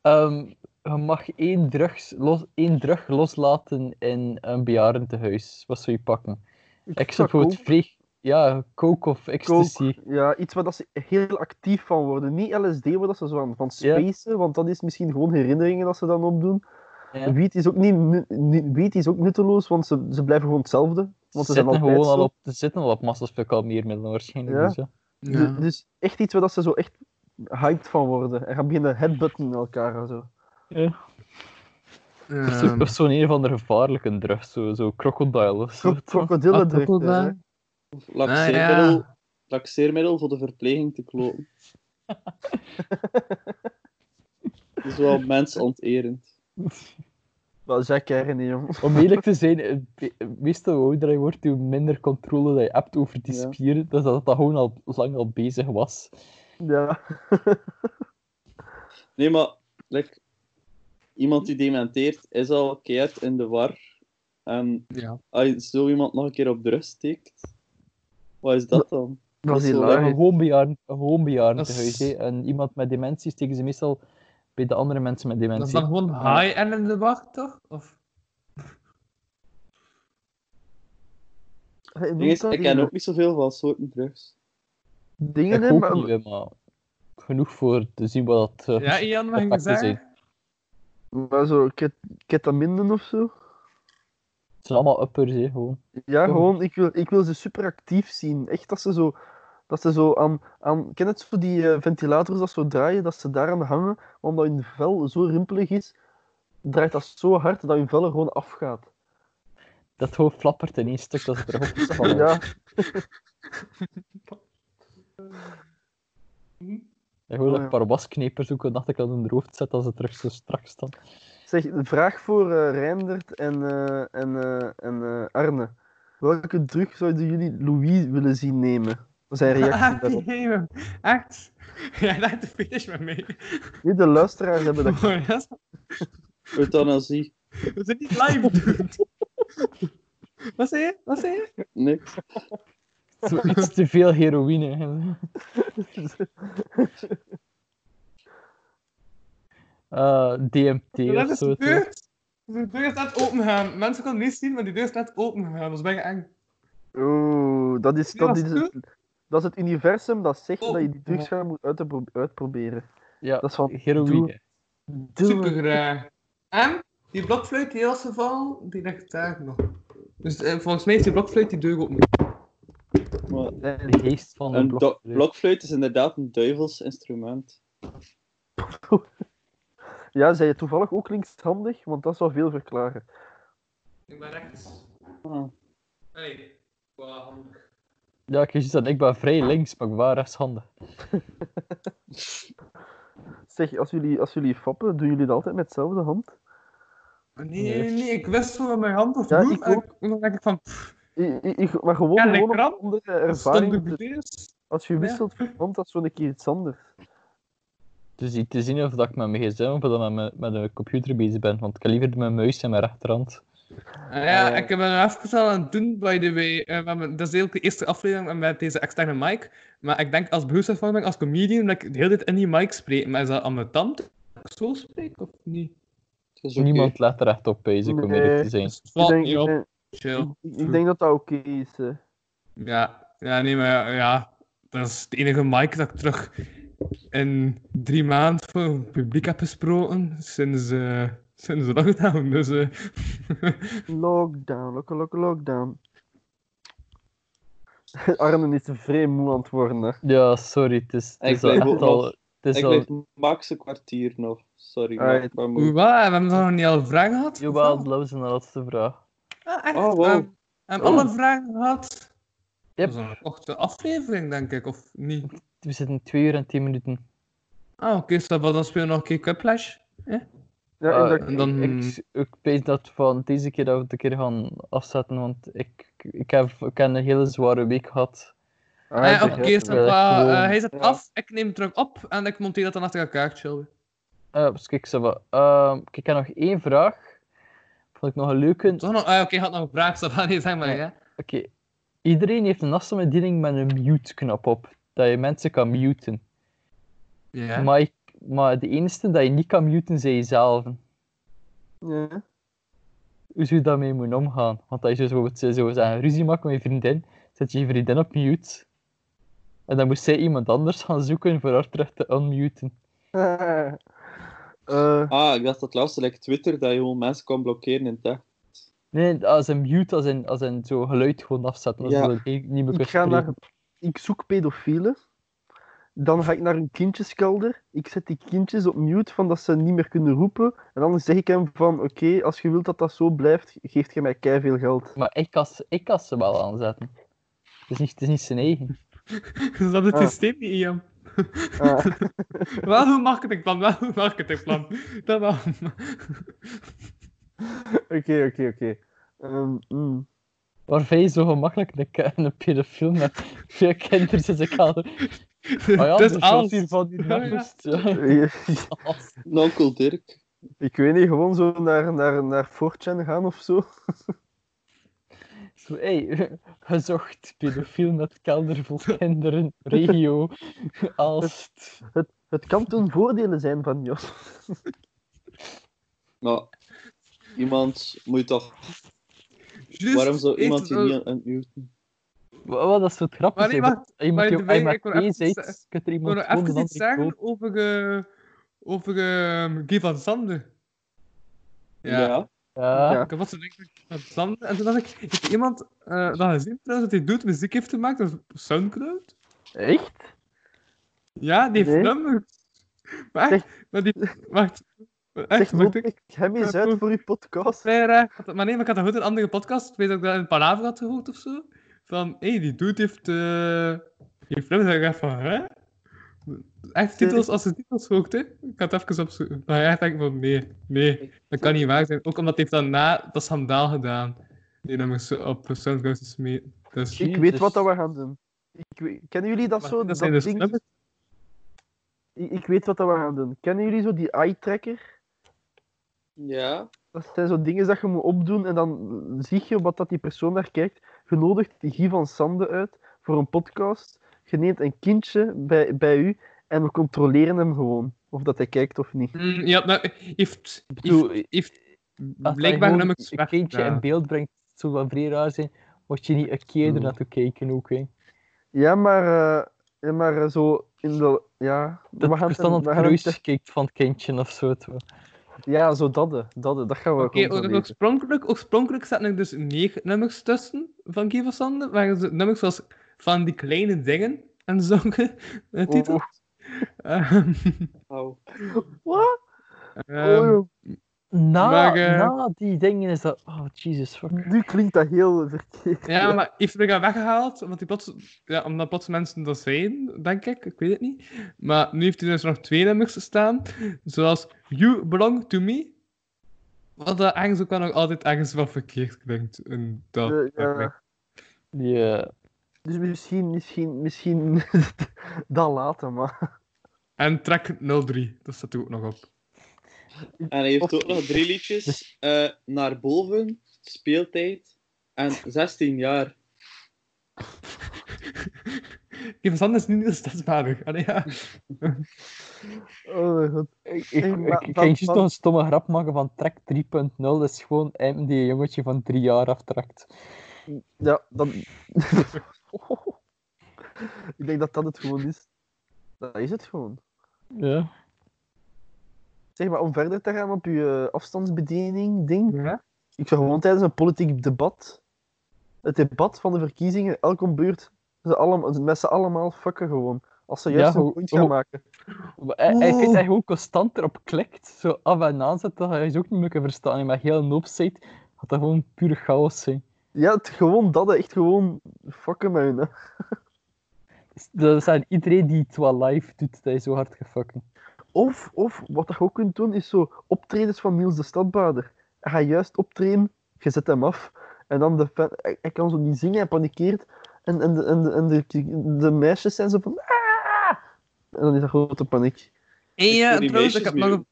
C: Ehm, je mag één, drugs los, één drug loslaten in een bejaardentehuis. Wat zou je pakken? Ik zou
D: zou
C: bijvoorbeeld
D: coke-
C: vreeg... Ja, coke of ecstasy.
D: coke, Ja, iets waar dat ze heel actief van worden. Niet LSD, waar dat ze zo aan van
C: Ja.
D: spacen, want dat is misschien gewoon herinneringen dat ze dan opdoen.
C: Ja.
D: Wiet is ook niet, nu- nu- wiet is ook nutteloos, want ze, ze blijven gewoon hetzelfde. Want ze
C: ze
D: zijn
C: zitten
D: altijd
C: gewoon
D: zo.
C: al op, ze zitten al op massaspecalmeermiddelen waarschijnlijk.
D: Ja.
C: Dus, ja.
D: Du- Dus echt iets waar dat ze zo echt hyped van worden. En gaan beginnen headbutten in elkaar en zo.
C: Of zo- Of zo'n een van de gevaarlijke drugs, zo, zo crocodile of zo. Ah,
D: Kro- Krokodillen drukt, hè.
E: Of laxeermiddel,
F: Ah, ja.
E: laxeermiddel voor de verpleging te kloten. dat is wel mensonterend.
D: Wel, Jack Herren, jong.
C: Om eerlijk te zijn, het be- eh, meestal hoe ouder je wordt, hoe minder controle dat je hebt over die
D: Ja.
C: spier. Dus dat dat gewoon al lang al bezig was.
D: Ja.
E: Nee, maar like, iemand die dementeert is al keihard in de war. En
F: Ja.
E: als je zo iemand nog een keer op de rust steekt, wat is dat dan?
D: Dat was
E: is
D: die
E: wel
C: Bij
D: laag.
C: een
D: hè.
C: woonbejaarden, een woonbejaarden
F: Dat
C: te
F: is-
C: huis. hè. En iemand met dementie steken ze meestal bij de andere mensen met
F: Dat is
C: dementie.
F: dan gewoon high en in de war, toch? Of...
D: Hij noemt
E: Ding is,
D: dat
E: ik
D: die
E: ken ook niet zoveel van soorten drugs.
D: Dingen
C: Ik
D: in,
C: ook
D: maar...
C: niet, hè, maar genoeg voor te zien wat dat... eh,
F: Ja, Ian, mag ik
C: Aparte
F: zeggen?
C: zin.
D: maar zo, ket- ketaminden of zo.
C: Het zijn allemaal uppers, hè, gewoon.
D: Ja,
C: Kom.
D: gewoon, ik wil, ik wil ze super actief zien. Echt dat ze zo, dat ze zo aan, aan ken het zo die eh, ventilators dat zo draaien, dat ze daaraan hangen, omdat hun vel zo rimpelig is, draait dat zo hard dat hun vel er gewoon afgaat.
C: Dat hoofd flappert in één stuk dat ze terug op is gevallen.
D: Ja,
C: En gewoon
D: Oh,
C: een
D: ja.
C: paar wasknepers zoeken, dacht ik dat in haar hoofd zet als ze terug zo strak staan.
D: zeg, een vraag voor eh Reindert en, eh, en, eh, en eh, Arne. Welke drug zouden jullie Louis willen zien nemen? Zijn reactie
F: Ah,
D: daarop.
F: nee, echt? Jij lijkt de fetish met mee.
D: Nu, de luisteraars hebben dat.
F: Oh, ja,
E: Euthanasie,
F: We zijn niet live, dude. Wat zei je? Wat zei je?
E: niks.
C: Zo iets te veel heroïne. hè. Eh, DMT
F: Dat
C: of
F: is
C: zo.
F: de
C: het is.
F: deur. De deur is net open gaan. Mensen konden niet zien, maar die deur is net open gaan. Dat is bijna eng.
D: Oeh, dat is,
F: Nee,
D: dat
F: dat is
D: is, dat is het universum dat zegt
F: Oh.
D: dat je die drugs gaan moet uitpro- uitproberen.
C: Ja,
D: Dat is van
C: heroïne.
F: Super graag. En die blokfluit die was gevallen, die ligt daar nog. Dus eh, volgens mij is die blokfluit die deur open.
E: Maar
C: De geest van de
E: een do-
C: blok.
E: blokfluit is inderdaad een duivels instrument.
D: Ja, zij je toevallig ook linkshandig? Want dat zou veel verklaren.
F: Ik ben echt.
E: Ah.
F: Nee. Wow.
C: Ja, ik zie dat ik ben vrij links, maar ik ben rechtshandig.
D: Zeg, als jullie, als jullie fappen, doen jullie dat altijd met dezelfde hand?
F: Nee, nee, nee, ik wist zo met mijn hand of
D: Ja,
F: hoe,
D: ik
F: en en dan denk ik van,
D: I- I- I- maar gewoon,
F: Ja, de
D: gewoon om
F: krab
D: andere
F: stond
D: ervaring.
F: ik
D: te-
F: bedeesd?
D: Als je wisselt van hand, dat is zo'n keer iets anders.
C: Dus niet te zien of dat ik met mijn gsm of dat ik met, mijn- met een computer bezig ben, want ik heb liever mijn muis in mijn rechterhand.
F: Ah ja,
D: Eh.
F: ik heb een afgetal aan het doen, by the way. Eh, we hebben- dat is eigenlijk de eerste aflevering met deze externe mic. Maar ik denk als beroepshervorming, als comedian, dat ik de hele tijd in die mic spreek. Maar is dat aan mijn tand dat ik zo spreek of niet?
E: Het is oké.
C: Niemand let er echt op, bezig om
D: Nee.
C: eerlijk te zijn.
F: Dus het valt
D: ik,
F: niet
D: denk,
F: op.
D: eh,
F: Chill.
D: ik, ik denk dat dat oké is. hè.
F: Ja, ja, nee, maar ja. Dat is de enige mic dat ik terug in drie maanden voor het publiek heb gesproken. Sinds, eh sinds de lockdown. Dus eh,
D: Lockdown, lock, lock, lockdown. Armen is vrij moe aan het worden.
F: Ah,
D: hè.
C: Ja, sorry, het is, het
E: Ik
C: is al
E: blijf
C: echt
E: ook
C: al...
E: nog-
C: Het is
E: Ik
C: al...
E: leef max een kwartier nog. Sorry,
D: Ah,
E: maar
D: het-
E: ik ben moe.
F: hoe wat? Hebben we nog niet al vragen gehad?
C: Jawel, dat was een laatste vraag.
F: Ah, echt?
E: Oh, wow.
F: Ehm, en alle vragen gehad?
C: Yep.
F: Dat is een korte aflevering, denk ik, of niet?
C: We zitten twee uur en tien minuten.
F: Ah, oké, ça va, dan spelen we nog een keer Cuplash.
D: Ja,
C: Ah,
D: en dat-
F: en dan-
C: Ik, ik weet dat van deze keer dat we het een keer gaan afzetten, want ik, ik, heb, ik heb een hele zware week gehad.
D: Ah,
F: Ah,
D: ik
F: ja,
D: begrijp
F: oké,
D: het.
F: ça
C: wel echt
F: va,
C: gewoon,
F: eh, hij zet
D: ja.
F: af, ik neem het terug op en ik monteer dat dan achter elkaar, chill.
C: Eh, dus kijk, ça va. Ehm, kijk, ik heb nog één vraag. Vond ik nog een leuke. Oké,
F: Toch nog, ah, oké, je had nog een vraag, ça va, nee, zeg maar, ja.
C: iedereen heeft een afstandsbediening met een mute-knop op. Dat je mensen kan muten.
F: Ja.
C: Maar, ik- maar de enige dat je niet kan muten, zijn jezelf.
D: Ja.
C: hoe zou je daarmee moeten omgaan? Want als je dus bijvoorbeeld zo een ruzie maakt met je vriendin, zet je je vriendin op mute. En dan moet zij iemand anders gaan zoeken voor haar terug te unmuten.
D: Eh,
E: Ah, ik dacht dat laatste, like Twitter, dat je gewoon mensen kan blokkeren in tech.
C: Nee, nee, als een mute, als een, als een zo geluid gewoon afzetten. Als
E: Ja.
C: je niet meer kunt
D: ik ga naar...
C: spreken.
D: Ik zoek pedofielen. Dan ga ik naar een kindjeskelder. Ik zet die kindjes op mute van dat ze niet meer kunnen roepen. En dan zeg ik hem van, oké, als je wilt dat dat zo blijft, geeft je mij kei veel geld.
C: Maar ik kan, ze- ik kan ze wel aanzetten. Het is niet, het is niet zijn eigen.
F: Is dat het
D: Ah.
F: systeem niet, Ian?
D: Ah,
F: Wel een marketingplan, wel een marketingplan. Dat wel.
D: Oké, oké, oké. Ehm, mm.
C: Waar vind je zo gemakkelijk een, ke- een pedofiel met veel kinderen in zijn kamer? Ah ja,
F: Het is
C: er zat
F: alles.
C: hier van die
F: Ja, ja.
C: nacht. Ja. Als-
E: Onkel Dirk.
D: Ik weet niet, gewoon zo naar, naar, naar 4chan gaan of zo.
C: Zo, hey, gezocht pedofiel met kelder vol kinderen, regio, Aalst.
D: Het kan toen voordelen zijn van Jos.
E: Maar iemand moet toch...
F: Juist,
E: Waarom zou
F: ik
E: iemand die
F: wil-
E: niet aan het muten?
C: Wa- Wat dat is het grappig.
F: Maar
C: zijn,
F: iemand-
C: dat iemand
F: maar
C: die
F: de
C: op
F: wij-
C: iMac
F: ik wil even
C: 2
F: zeggen-
C: zit, kunt er
F: Ik wil
C: iemand
F: nog
C: gewoon
F: even
C: een
F: iets
C: andere
F: zeggen over, eh, over eh, Guy van Sander. Ja.
C: Ja.
D: Ja.
F: Ik was zo denk ik van Sander. En toen dacht ik, heeft iemand eh dat gezien trouwens, dat hij doet muziek heeft gemaakt op Soundcloud?
D: Echt?
F: Ja, die heeft
D: Nee.
F: nummers. Wacht, maar die... Wacht. Echt,
D: Zeg,
F: wacht.
D: loop
F: ik-
D: ik hem eens uit voor uw podcast?
F: Nee, nee, ik had dat- maar nee, maar ik had dat goed in een andere podcast. Ik weet dat ik dat in Palaver had gehoord of zo. Van, hé, hey, die dude heeft... eh die film dat ik dacht van, hè? Echt titels als ze titels hoort, hè? Ik had het even opzoeken. Maar ja, ik denk van, nee, nee. Dat kan niet waar zijn. Ook omdat hij heeft dan na dat schandaal gedaan. Die nummers zo op Soundcloud is mee. Dus,
D: Ik weet wat dat we gaan doen. Ik weet- Kennen jullie dat
F: Maar
D: zo?
F: dat zijn dus
D: ding-
F: nummers.
D: Ik, ik weet wat dat we gaan doen. Kennen jullie zo die eye-tracker?
E: Ja.
D: Dat zijn zo dingen dat je moet opdoen en dan zie je wat dat die persoon daar kijkt. Je nodigt Guy van Sande uit voor een podcast. Je neemt een kindje bij, bij u en we controleren hem gewoon. Of dat hij kijkt of niet.
F: Mm, ja, nou, heeft...
C: bedoel,
F: heeft, heeft
C: Als hij
F: blijkbaar
C: gewoon
F: nummers
C: een kindje
F: weggedaan.
C: in beeld brengt, het zou wel vrij raar zijn. Mocht je niet een keer
D: Hmm.
C: ernaartoe kijken ook, hè.
D: Ja, maar, eh, ja, maar eh, zo in de. Ja,
C: Dat
D: het
C: Christian aan
D: we
C: het
D: gaan
C: kruis
D: het-
C: kijkt van het kindje of zo. toch.
D: Ja, zo dat, eh, dat, eh, dat gaan we
F: Oké, ook-
D: controleren.
F: oorspronkelijk, oorspronkelijk zaten er dus negen nummers tussen van Guy van Sande, waren ze nummers zoals van die kleine dingen en zulke eh, titels. Ehm,
E: Au.
D: Wat?
F: ehm,
D: oh,
C: Na,
F: Maar, eh,
C: na die dingen is dat... Oh, Jesus fuck.
D: nu klinkt dat heel verkeerd.
F: ja, maar heeft er gaan weggehaald, omdat, die plots, ja, omdat plots mensen dat zijn, denk ik, ik weet het niet. Maar nu heeft hij dus nog twee nummers staan, zoals You Belong To Me, wat dat ergens ook wel nog altijd ergens wel verkeerd klinkt. in dat
D: Eh, ja.
F: fragment.
C: Die, eh,
D: Dus misschien, misschien, misschien dat later, maar.
F: En track 03, dat staat er ook nog op.
E: En hij heeft ook nog drie liedjes. eh, naar boven, speeltijd en 16 jaar.
F: Kevin Sanders is nu niet stadsbaardig. Allee, ja.
D: Oh mijn god.
C: Ik, ik,
D: Hey, maar
C: ik- ik
D: van-
C: ging juist
D: van-
C: nog een stomme grap maken van Trek 3.0. Dat is gewoon M die een jongetje van drie jaar aftrakt.
D: Ja, dan. Ik denk dat dat het gewoon is. Dat is het gewoon.
C: Ja.
D: Zeg maar, om verder te gaan op je eh, afstandsbediening ding.
F: Ja.
D: Ik zou gewoon tijdens een politiek debat, het debat van de verkiezingen, elk om beurt, ze allemaal, met z'n allemaal fucken gewoon. Als ze juist
C: Ja,
D: een
C: hoe-
D: punt gaan
C: hoe-
D: maken.
C: Maar hij, hij,
F: Oeh.
C: vindt dat je gewoon constant erop klikt, zo af en aan zet, dat hij ze ook niet meer kan verstaan. Maar heel noop zit, gaat dat gewoon puur chaos zijn.
D: Ja, het, gewoon dat, hè. echt gewoon fucken met hun. hè.
C: Dus Dat zijn iedereen die het wel live doet, dat is zo hard gefucking.
D: Of, of wat je ook kunt doen, is zo optredens van Niels de Stadbader. Hij gaat juist optreden, je zet hem af. En dan de fan, hij, hij kan zo niet zingen, hij panikeert. En, en, de, en, de, en de, de meisjes zijn zo van... "Ah!" En dan is dat grote paniek.
F: En
E: wil
F: ja,
E: die
F: trouwens,
E: meisjes
F: ik heb
E: meer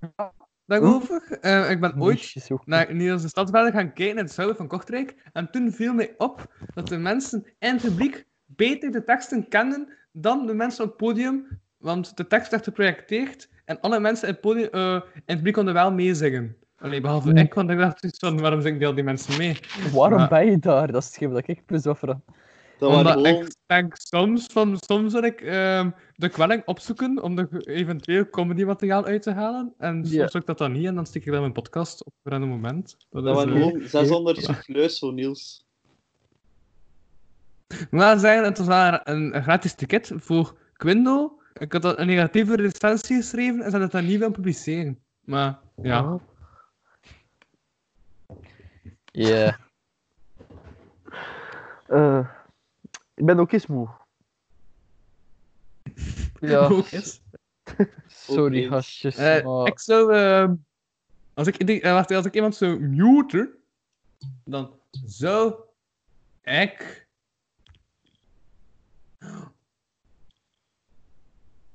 F: nog een daarover. Eh, ik ben ooit
C: Moesjes ook niet.
F: naar Nederlandse stadsbaarden gaan kijken in het zuiden van Kortrijk. En toen viel mij op dat de mensen in het publiek beter de teksten kenden dan de mensen op het podium. Want de tekst werd geprojecteerd en alle mensen in het, podium, eh, in het publiek konden wel meezingen. Allee, behalve
C: Hmm.
F: ik, want ik dacht zoiets van, waarom zingen die al die mensen mee?
C: Waarom
F: Maar-
C: ben je daar? Dat is hetgeen dat ik bezofferen.
E: Dat waren
F: Omdat
E: gewoon...
F: ik denk soms, van, soms wil ik ehm, de kwelling opzoeken om er eventueel comedymateriaal uit te halen. En
D: Ja.
F: soms lukt dat dan niet en dan stik ik dat in mijn podcast op een random moment. Dat
E: Dat
F: is,
E: waren
F: eh,
E: gewoon 600 souffleurs van Niels.
F: Ik moet wel zeggen, het was wel een, een gratis ticket voor Quindo. Ik had dan een negatieve recensie geschreven en ze hadden het dan niet willen publiceren. Maar ja,
D: Ah.
C: Ja.
D: Eh, ik ben ook eens moe.
C: Ja,
F: ook eens.
C: sorry
E: Oké.
C: gastjes.
F: Eh,
C: maar-
F: Ik zou ehm, Als ik, die- eh, wacht, als ik iemand zou muten, dan zou ik.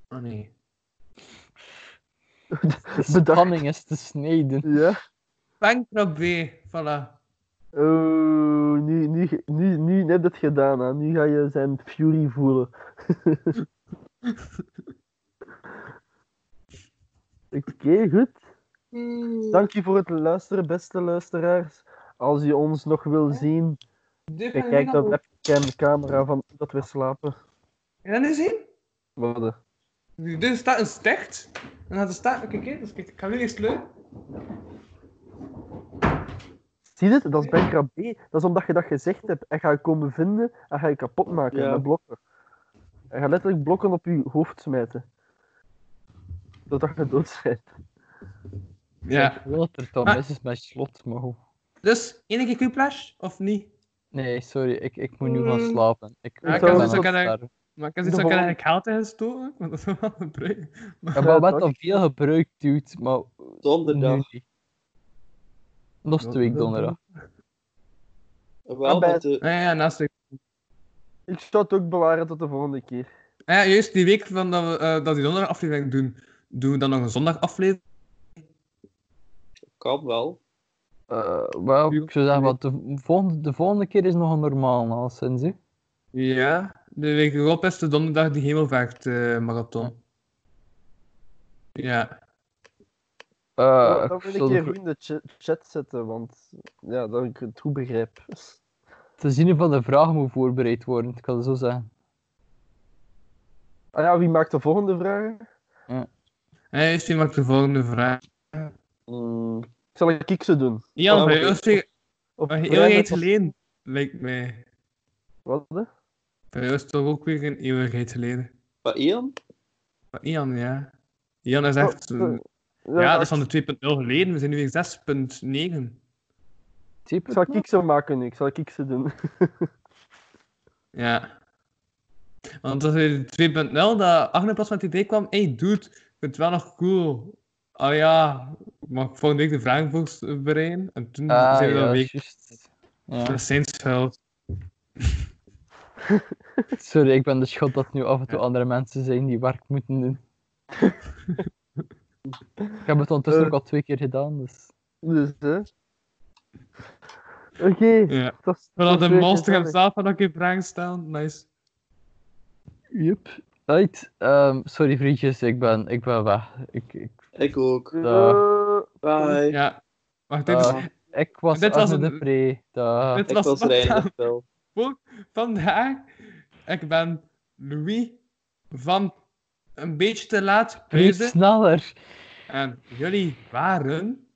F: Oh nee.
C: De
D: Bedankt.
C: spanning is te snijden.
D: Ja.
F: Pankra B, voilà.
D: Oh, nu, nu, nu, nu heb je het gedaan, hè. Nu ga je zijn fury voelen. Oké, goed. Dank je voor het luisteren, beste luisteraars. Als je ons nog wil zien,
F: De
D: bekijk de webcamcamera van dat we slapen.
F: En dan is hij.
D: Wat?
F: Er staat een sticht. En dan staat. Kijk, kijk, dus kijk, ik ga nu eerst leuk.
D: Zie je dit? Dat is Bankra B. Dat is omdat je dat gezegd hebt. En ga je komen vinden en ga je kapot maken
E: Ja.
D: met blokken. En ga letterlijk blokken op je hoofd smijten. Zodat je dood bent.
F: Ja.
C: Wat er dan
F: Ah.
C: mis is met slot, maar goed.
F: Dus, enige Q-flash of niet?
C: Nee, sorry, ik, ik moet nu gaan
F: Mm.
C: slapen. Ik,
F: Ja,
C: ik
D: ik kan
C: ben
D: ook
C: aan
F: zo-
C: het
F: kan ik-
C: sterven.
F: Maar ik heb zoiets
D: De
F: dat ik
D: vol-
F: eigenlijk geld in gestoken. Want dat is wel een breuk.
C: Ja, maar
D: Ja,
C: wat
D: toch?
C: al veel gebruikt, dude, maar nu
E: Donderdag.
C: niet. Nog twee week donderdag.
E: Wel,
D: Ah, bij-
E: met de...
F: Ja, ja, naast de...
D: Ik zou het ook bewaren tot de volgende keer.
F: Ah ja, juist die week van dat we eh, dat die donderdag aflevering doen, doen we dan nog een zondag aflevering.
E: Kan wel.
C: Eh, wel, ik zou zeggen, want de volgende, de volgende keer is nog een normaal, al sinds. hè.
F: Ja. De week erop is de donderdag die Hemelvaart eh, marathon. Ja.
C: Eh,
D: dat wil
C: zal
D: ik
C: de
D: hier
C: vro-
D: goed in de cha- chat zetten, want ja, dat ik het goed begrijp.
C: te zien van de vraag moet voorbereid worden, ik kan het zo zeggen.
D: Ah ja, wie maakt de volgende vragen?
F: En juist, die maakt de volgende vraag.
D: Hmm, Zal ik ik ze doen?
F: Jan
D: Ah,
F: van
D: oké.
F: Joosting,
D: Of
F: een
D: vragen
F: eeuwigheid
D: tot-
F: geleden, lijkt mij.
D: Wat? hè?
F: Van jou is toch ook weer een eeuwigheid geleden.
E: Maar Ian?
F: Maar Ian, ja. Ian is echt...
D: Oh, eh,
F: Ja, dat
D: ik-
F: is van de 2.0 geleden. We zijn nu weer 6.9.
C: Typ
D: Zal ik ze maken nu? Ik Zal ik ze doen?
F: Ja. Want dat is weer 2.0 dat Agne pas met het idee kwam. Hey dude, ik vind het wel nog cool. Oh ja, mag ik volgende week de vragen voorbereiden? En toen
C: Ah,
F: zijn we
C: ja,
F: dat week.
C: juist. Ja.
F: Dat is zijn schuld.
C: Sorry, ik ben de schuld dat nu af en toe andere mensen zijn die werk moeten doen. ik heb het ondertussen
D: Eh.
C: ook al twee keer gedaan, dus...
D: Dus, hè? Oké.
F: Ja.
D: dat is-
F: Maar
D: dat
F: dat de
D: is weer
F: monster hem
D: gezellig.
F: zelf van een keer vragen stellen. Nice.
C: Yep. Right. ehm, sorry vriendjes, ik ben, ik ben weg. Ik, ik,
E: Ik ook.
C: Dag.
E: Bye.
F: Ja. Wacht, dit, is-
C: Ah, ik was
F: Dit was
C: Arne
F: een-
C: de Pre. Dag.
F: dit
E: Ik
F: was,
E: was
F: wat dan
E: reinig wel.
F: vandaag. Ik ben Louis van een beetje te laat
C: Preet
F: huizen.
C: sneller.
F: En jullie waren...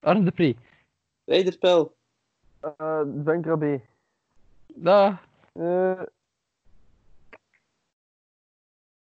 C: Arne de Pre.
E: Rijderspel.
D: Eh, Dank Rabé.
C: Dag.
D: Eh,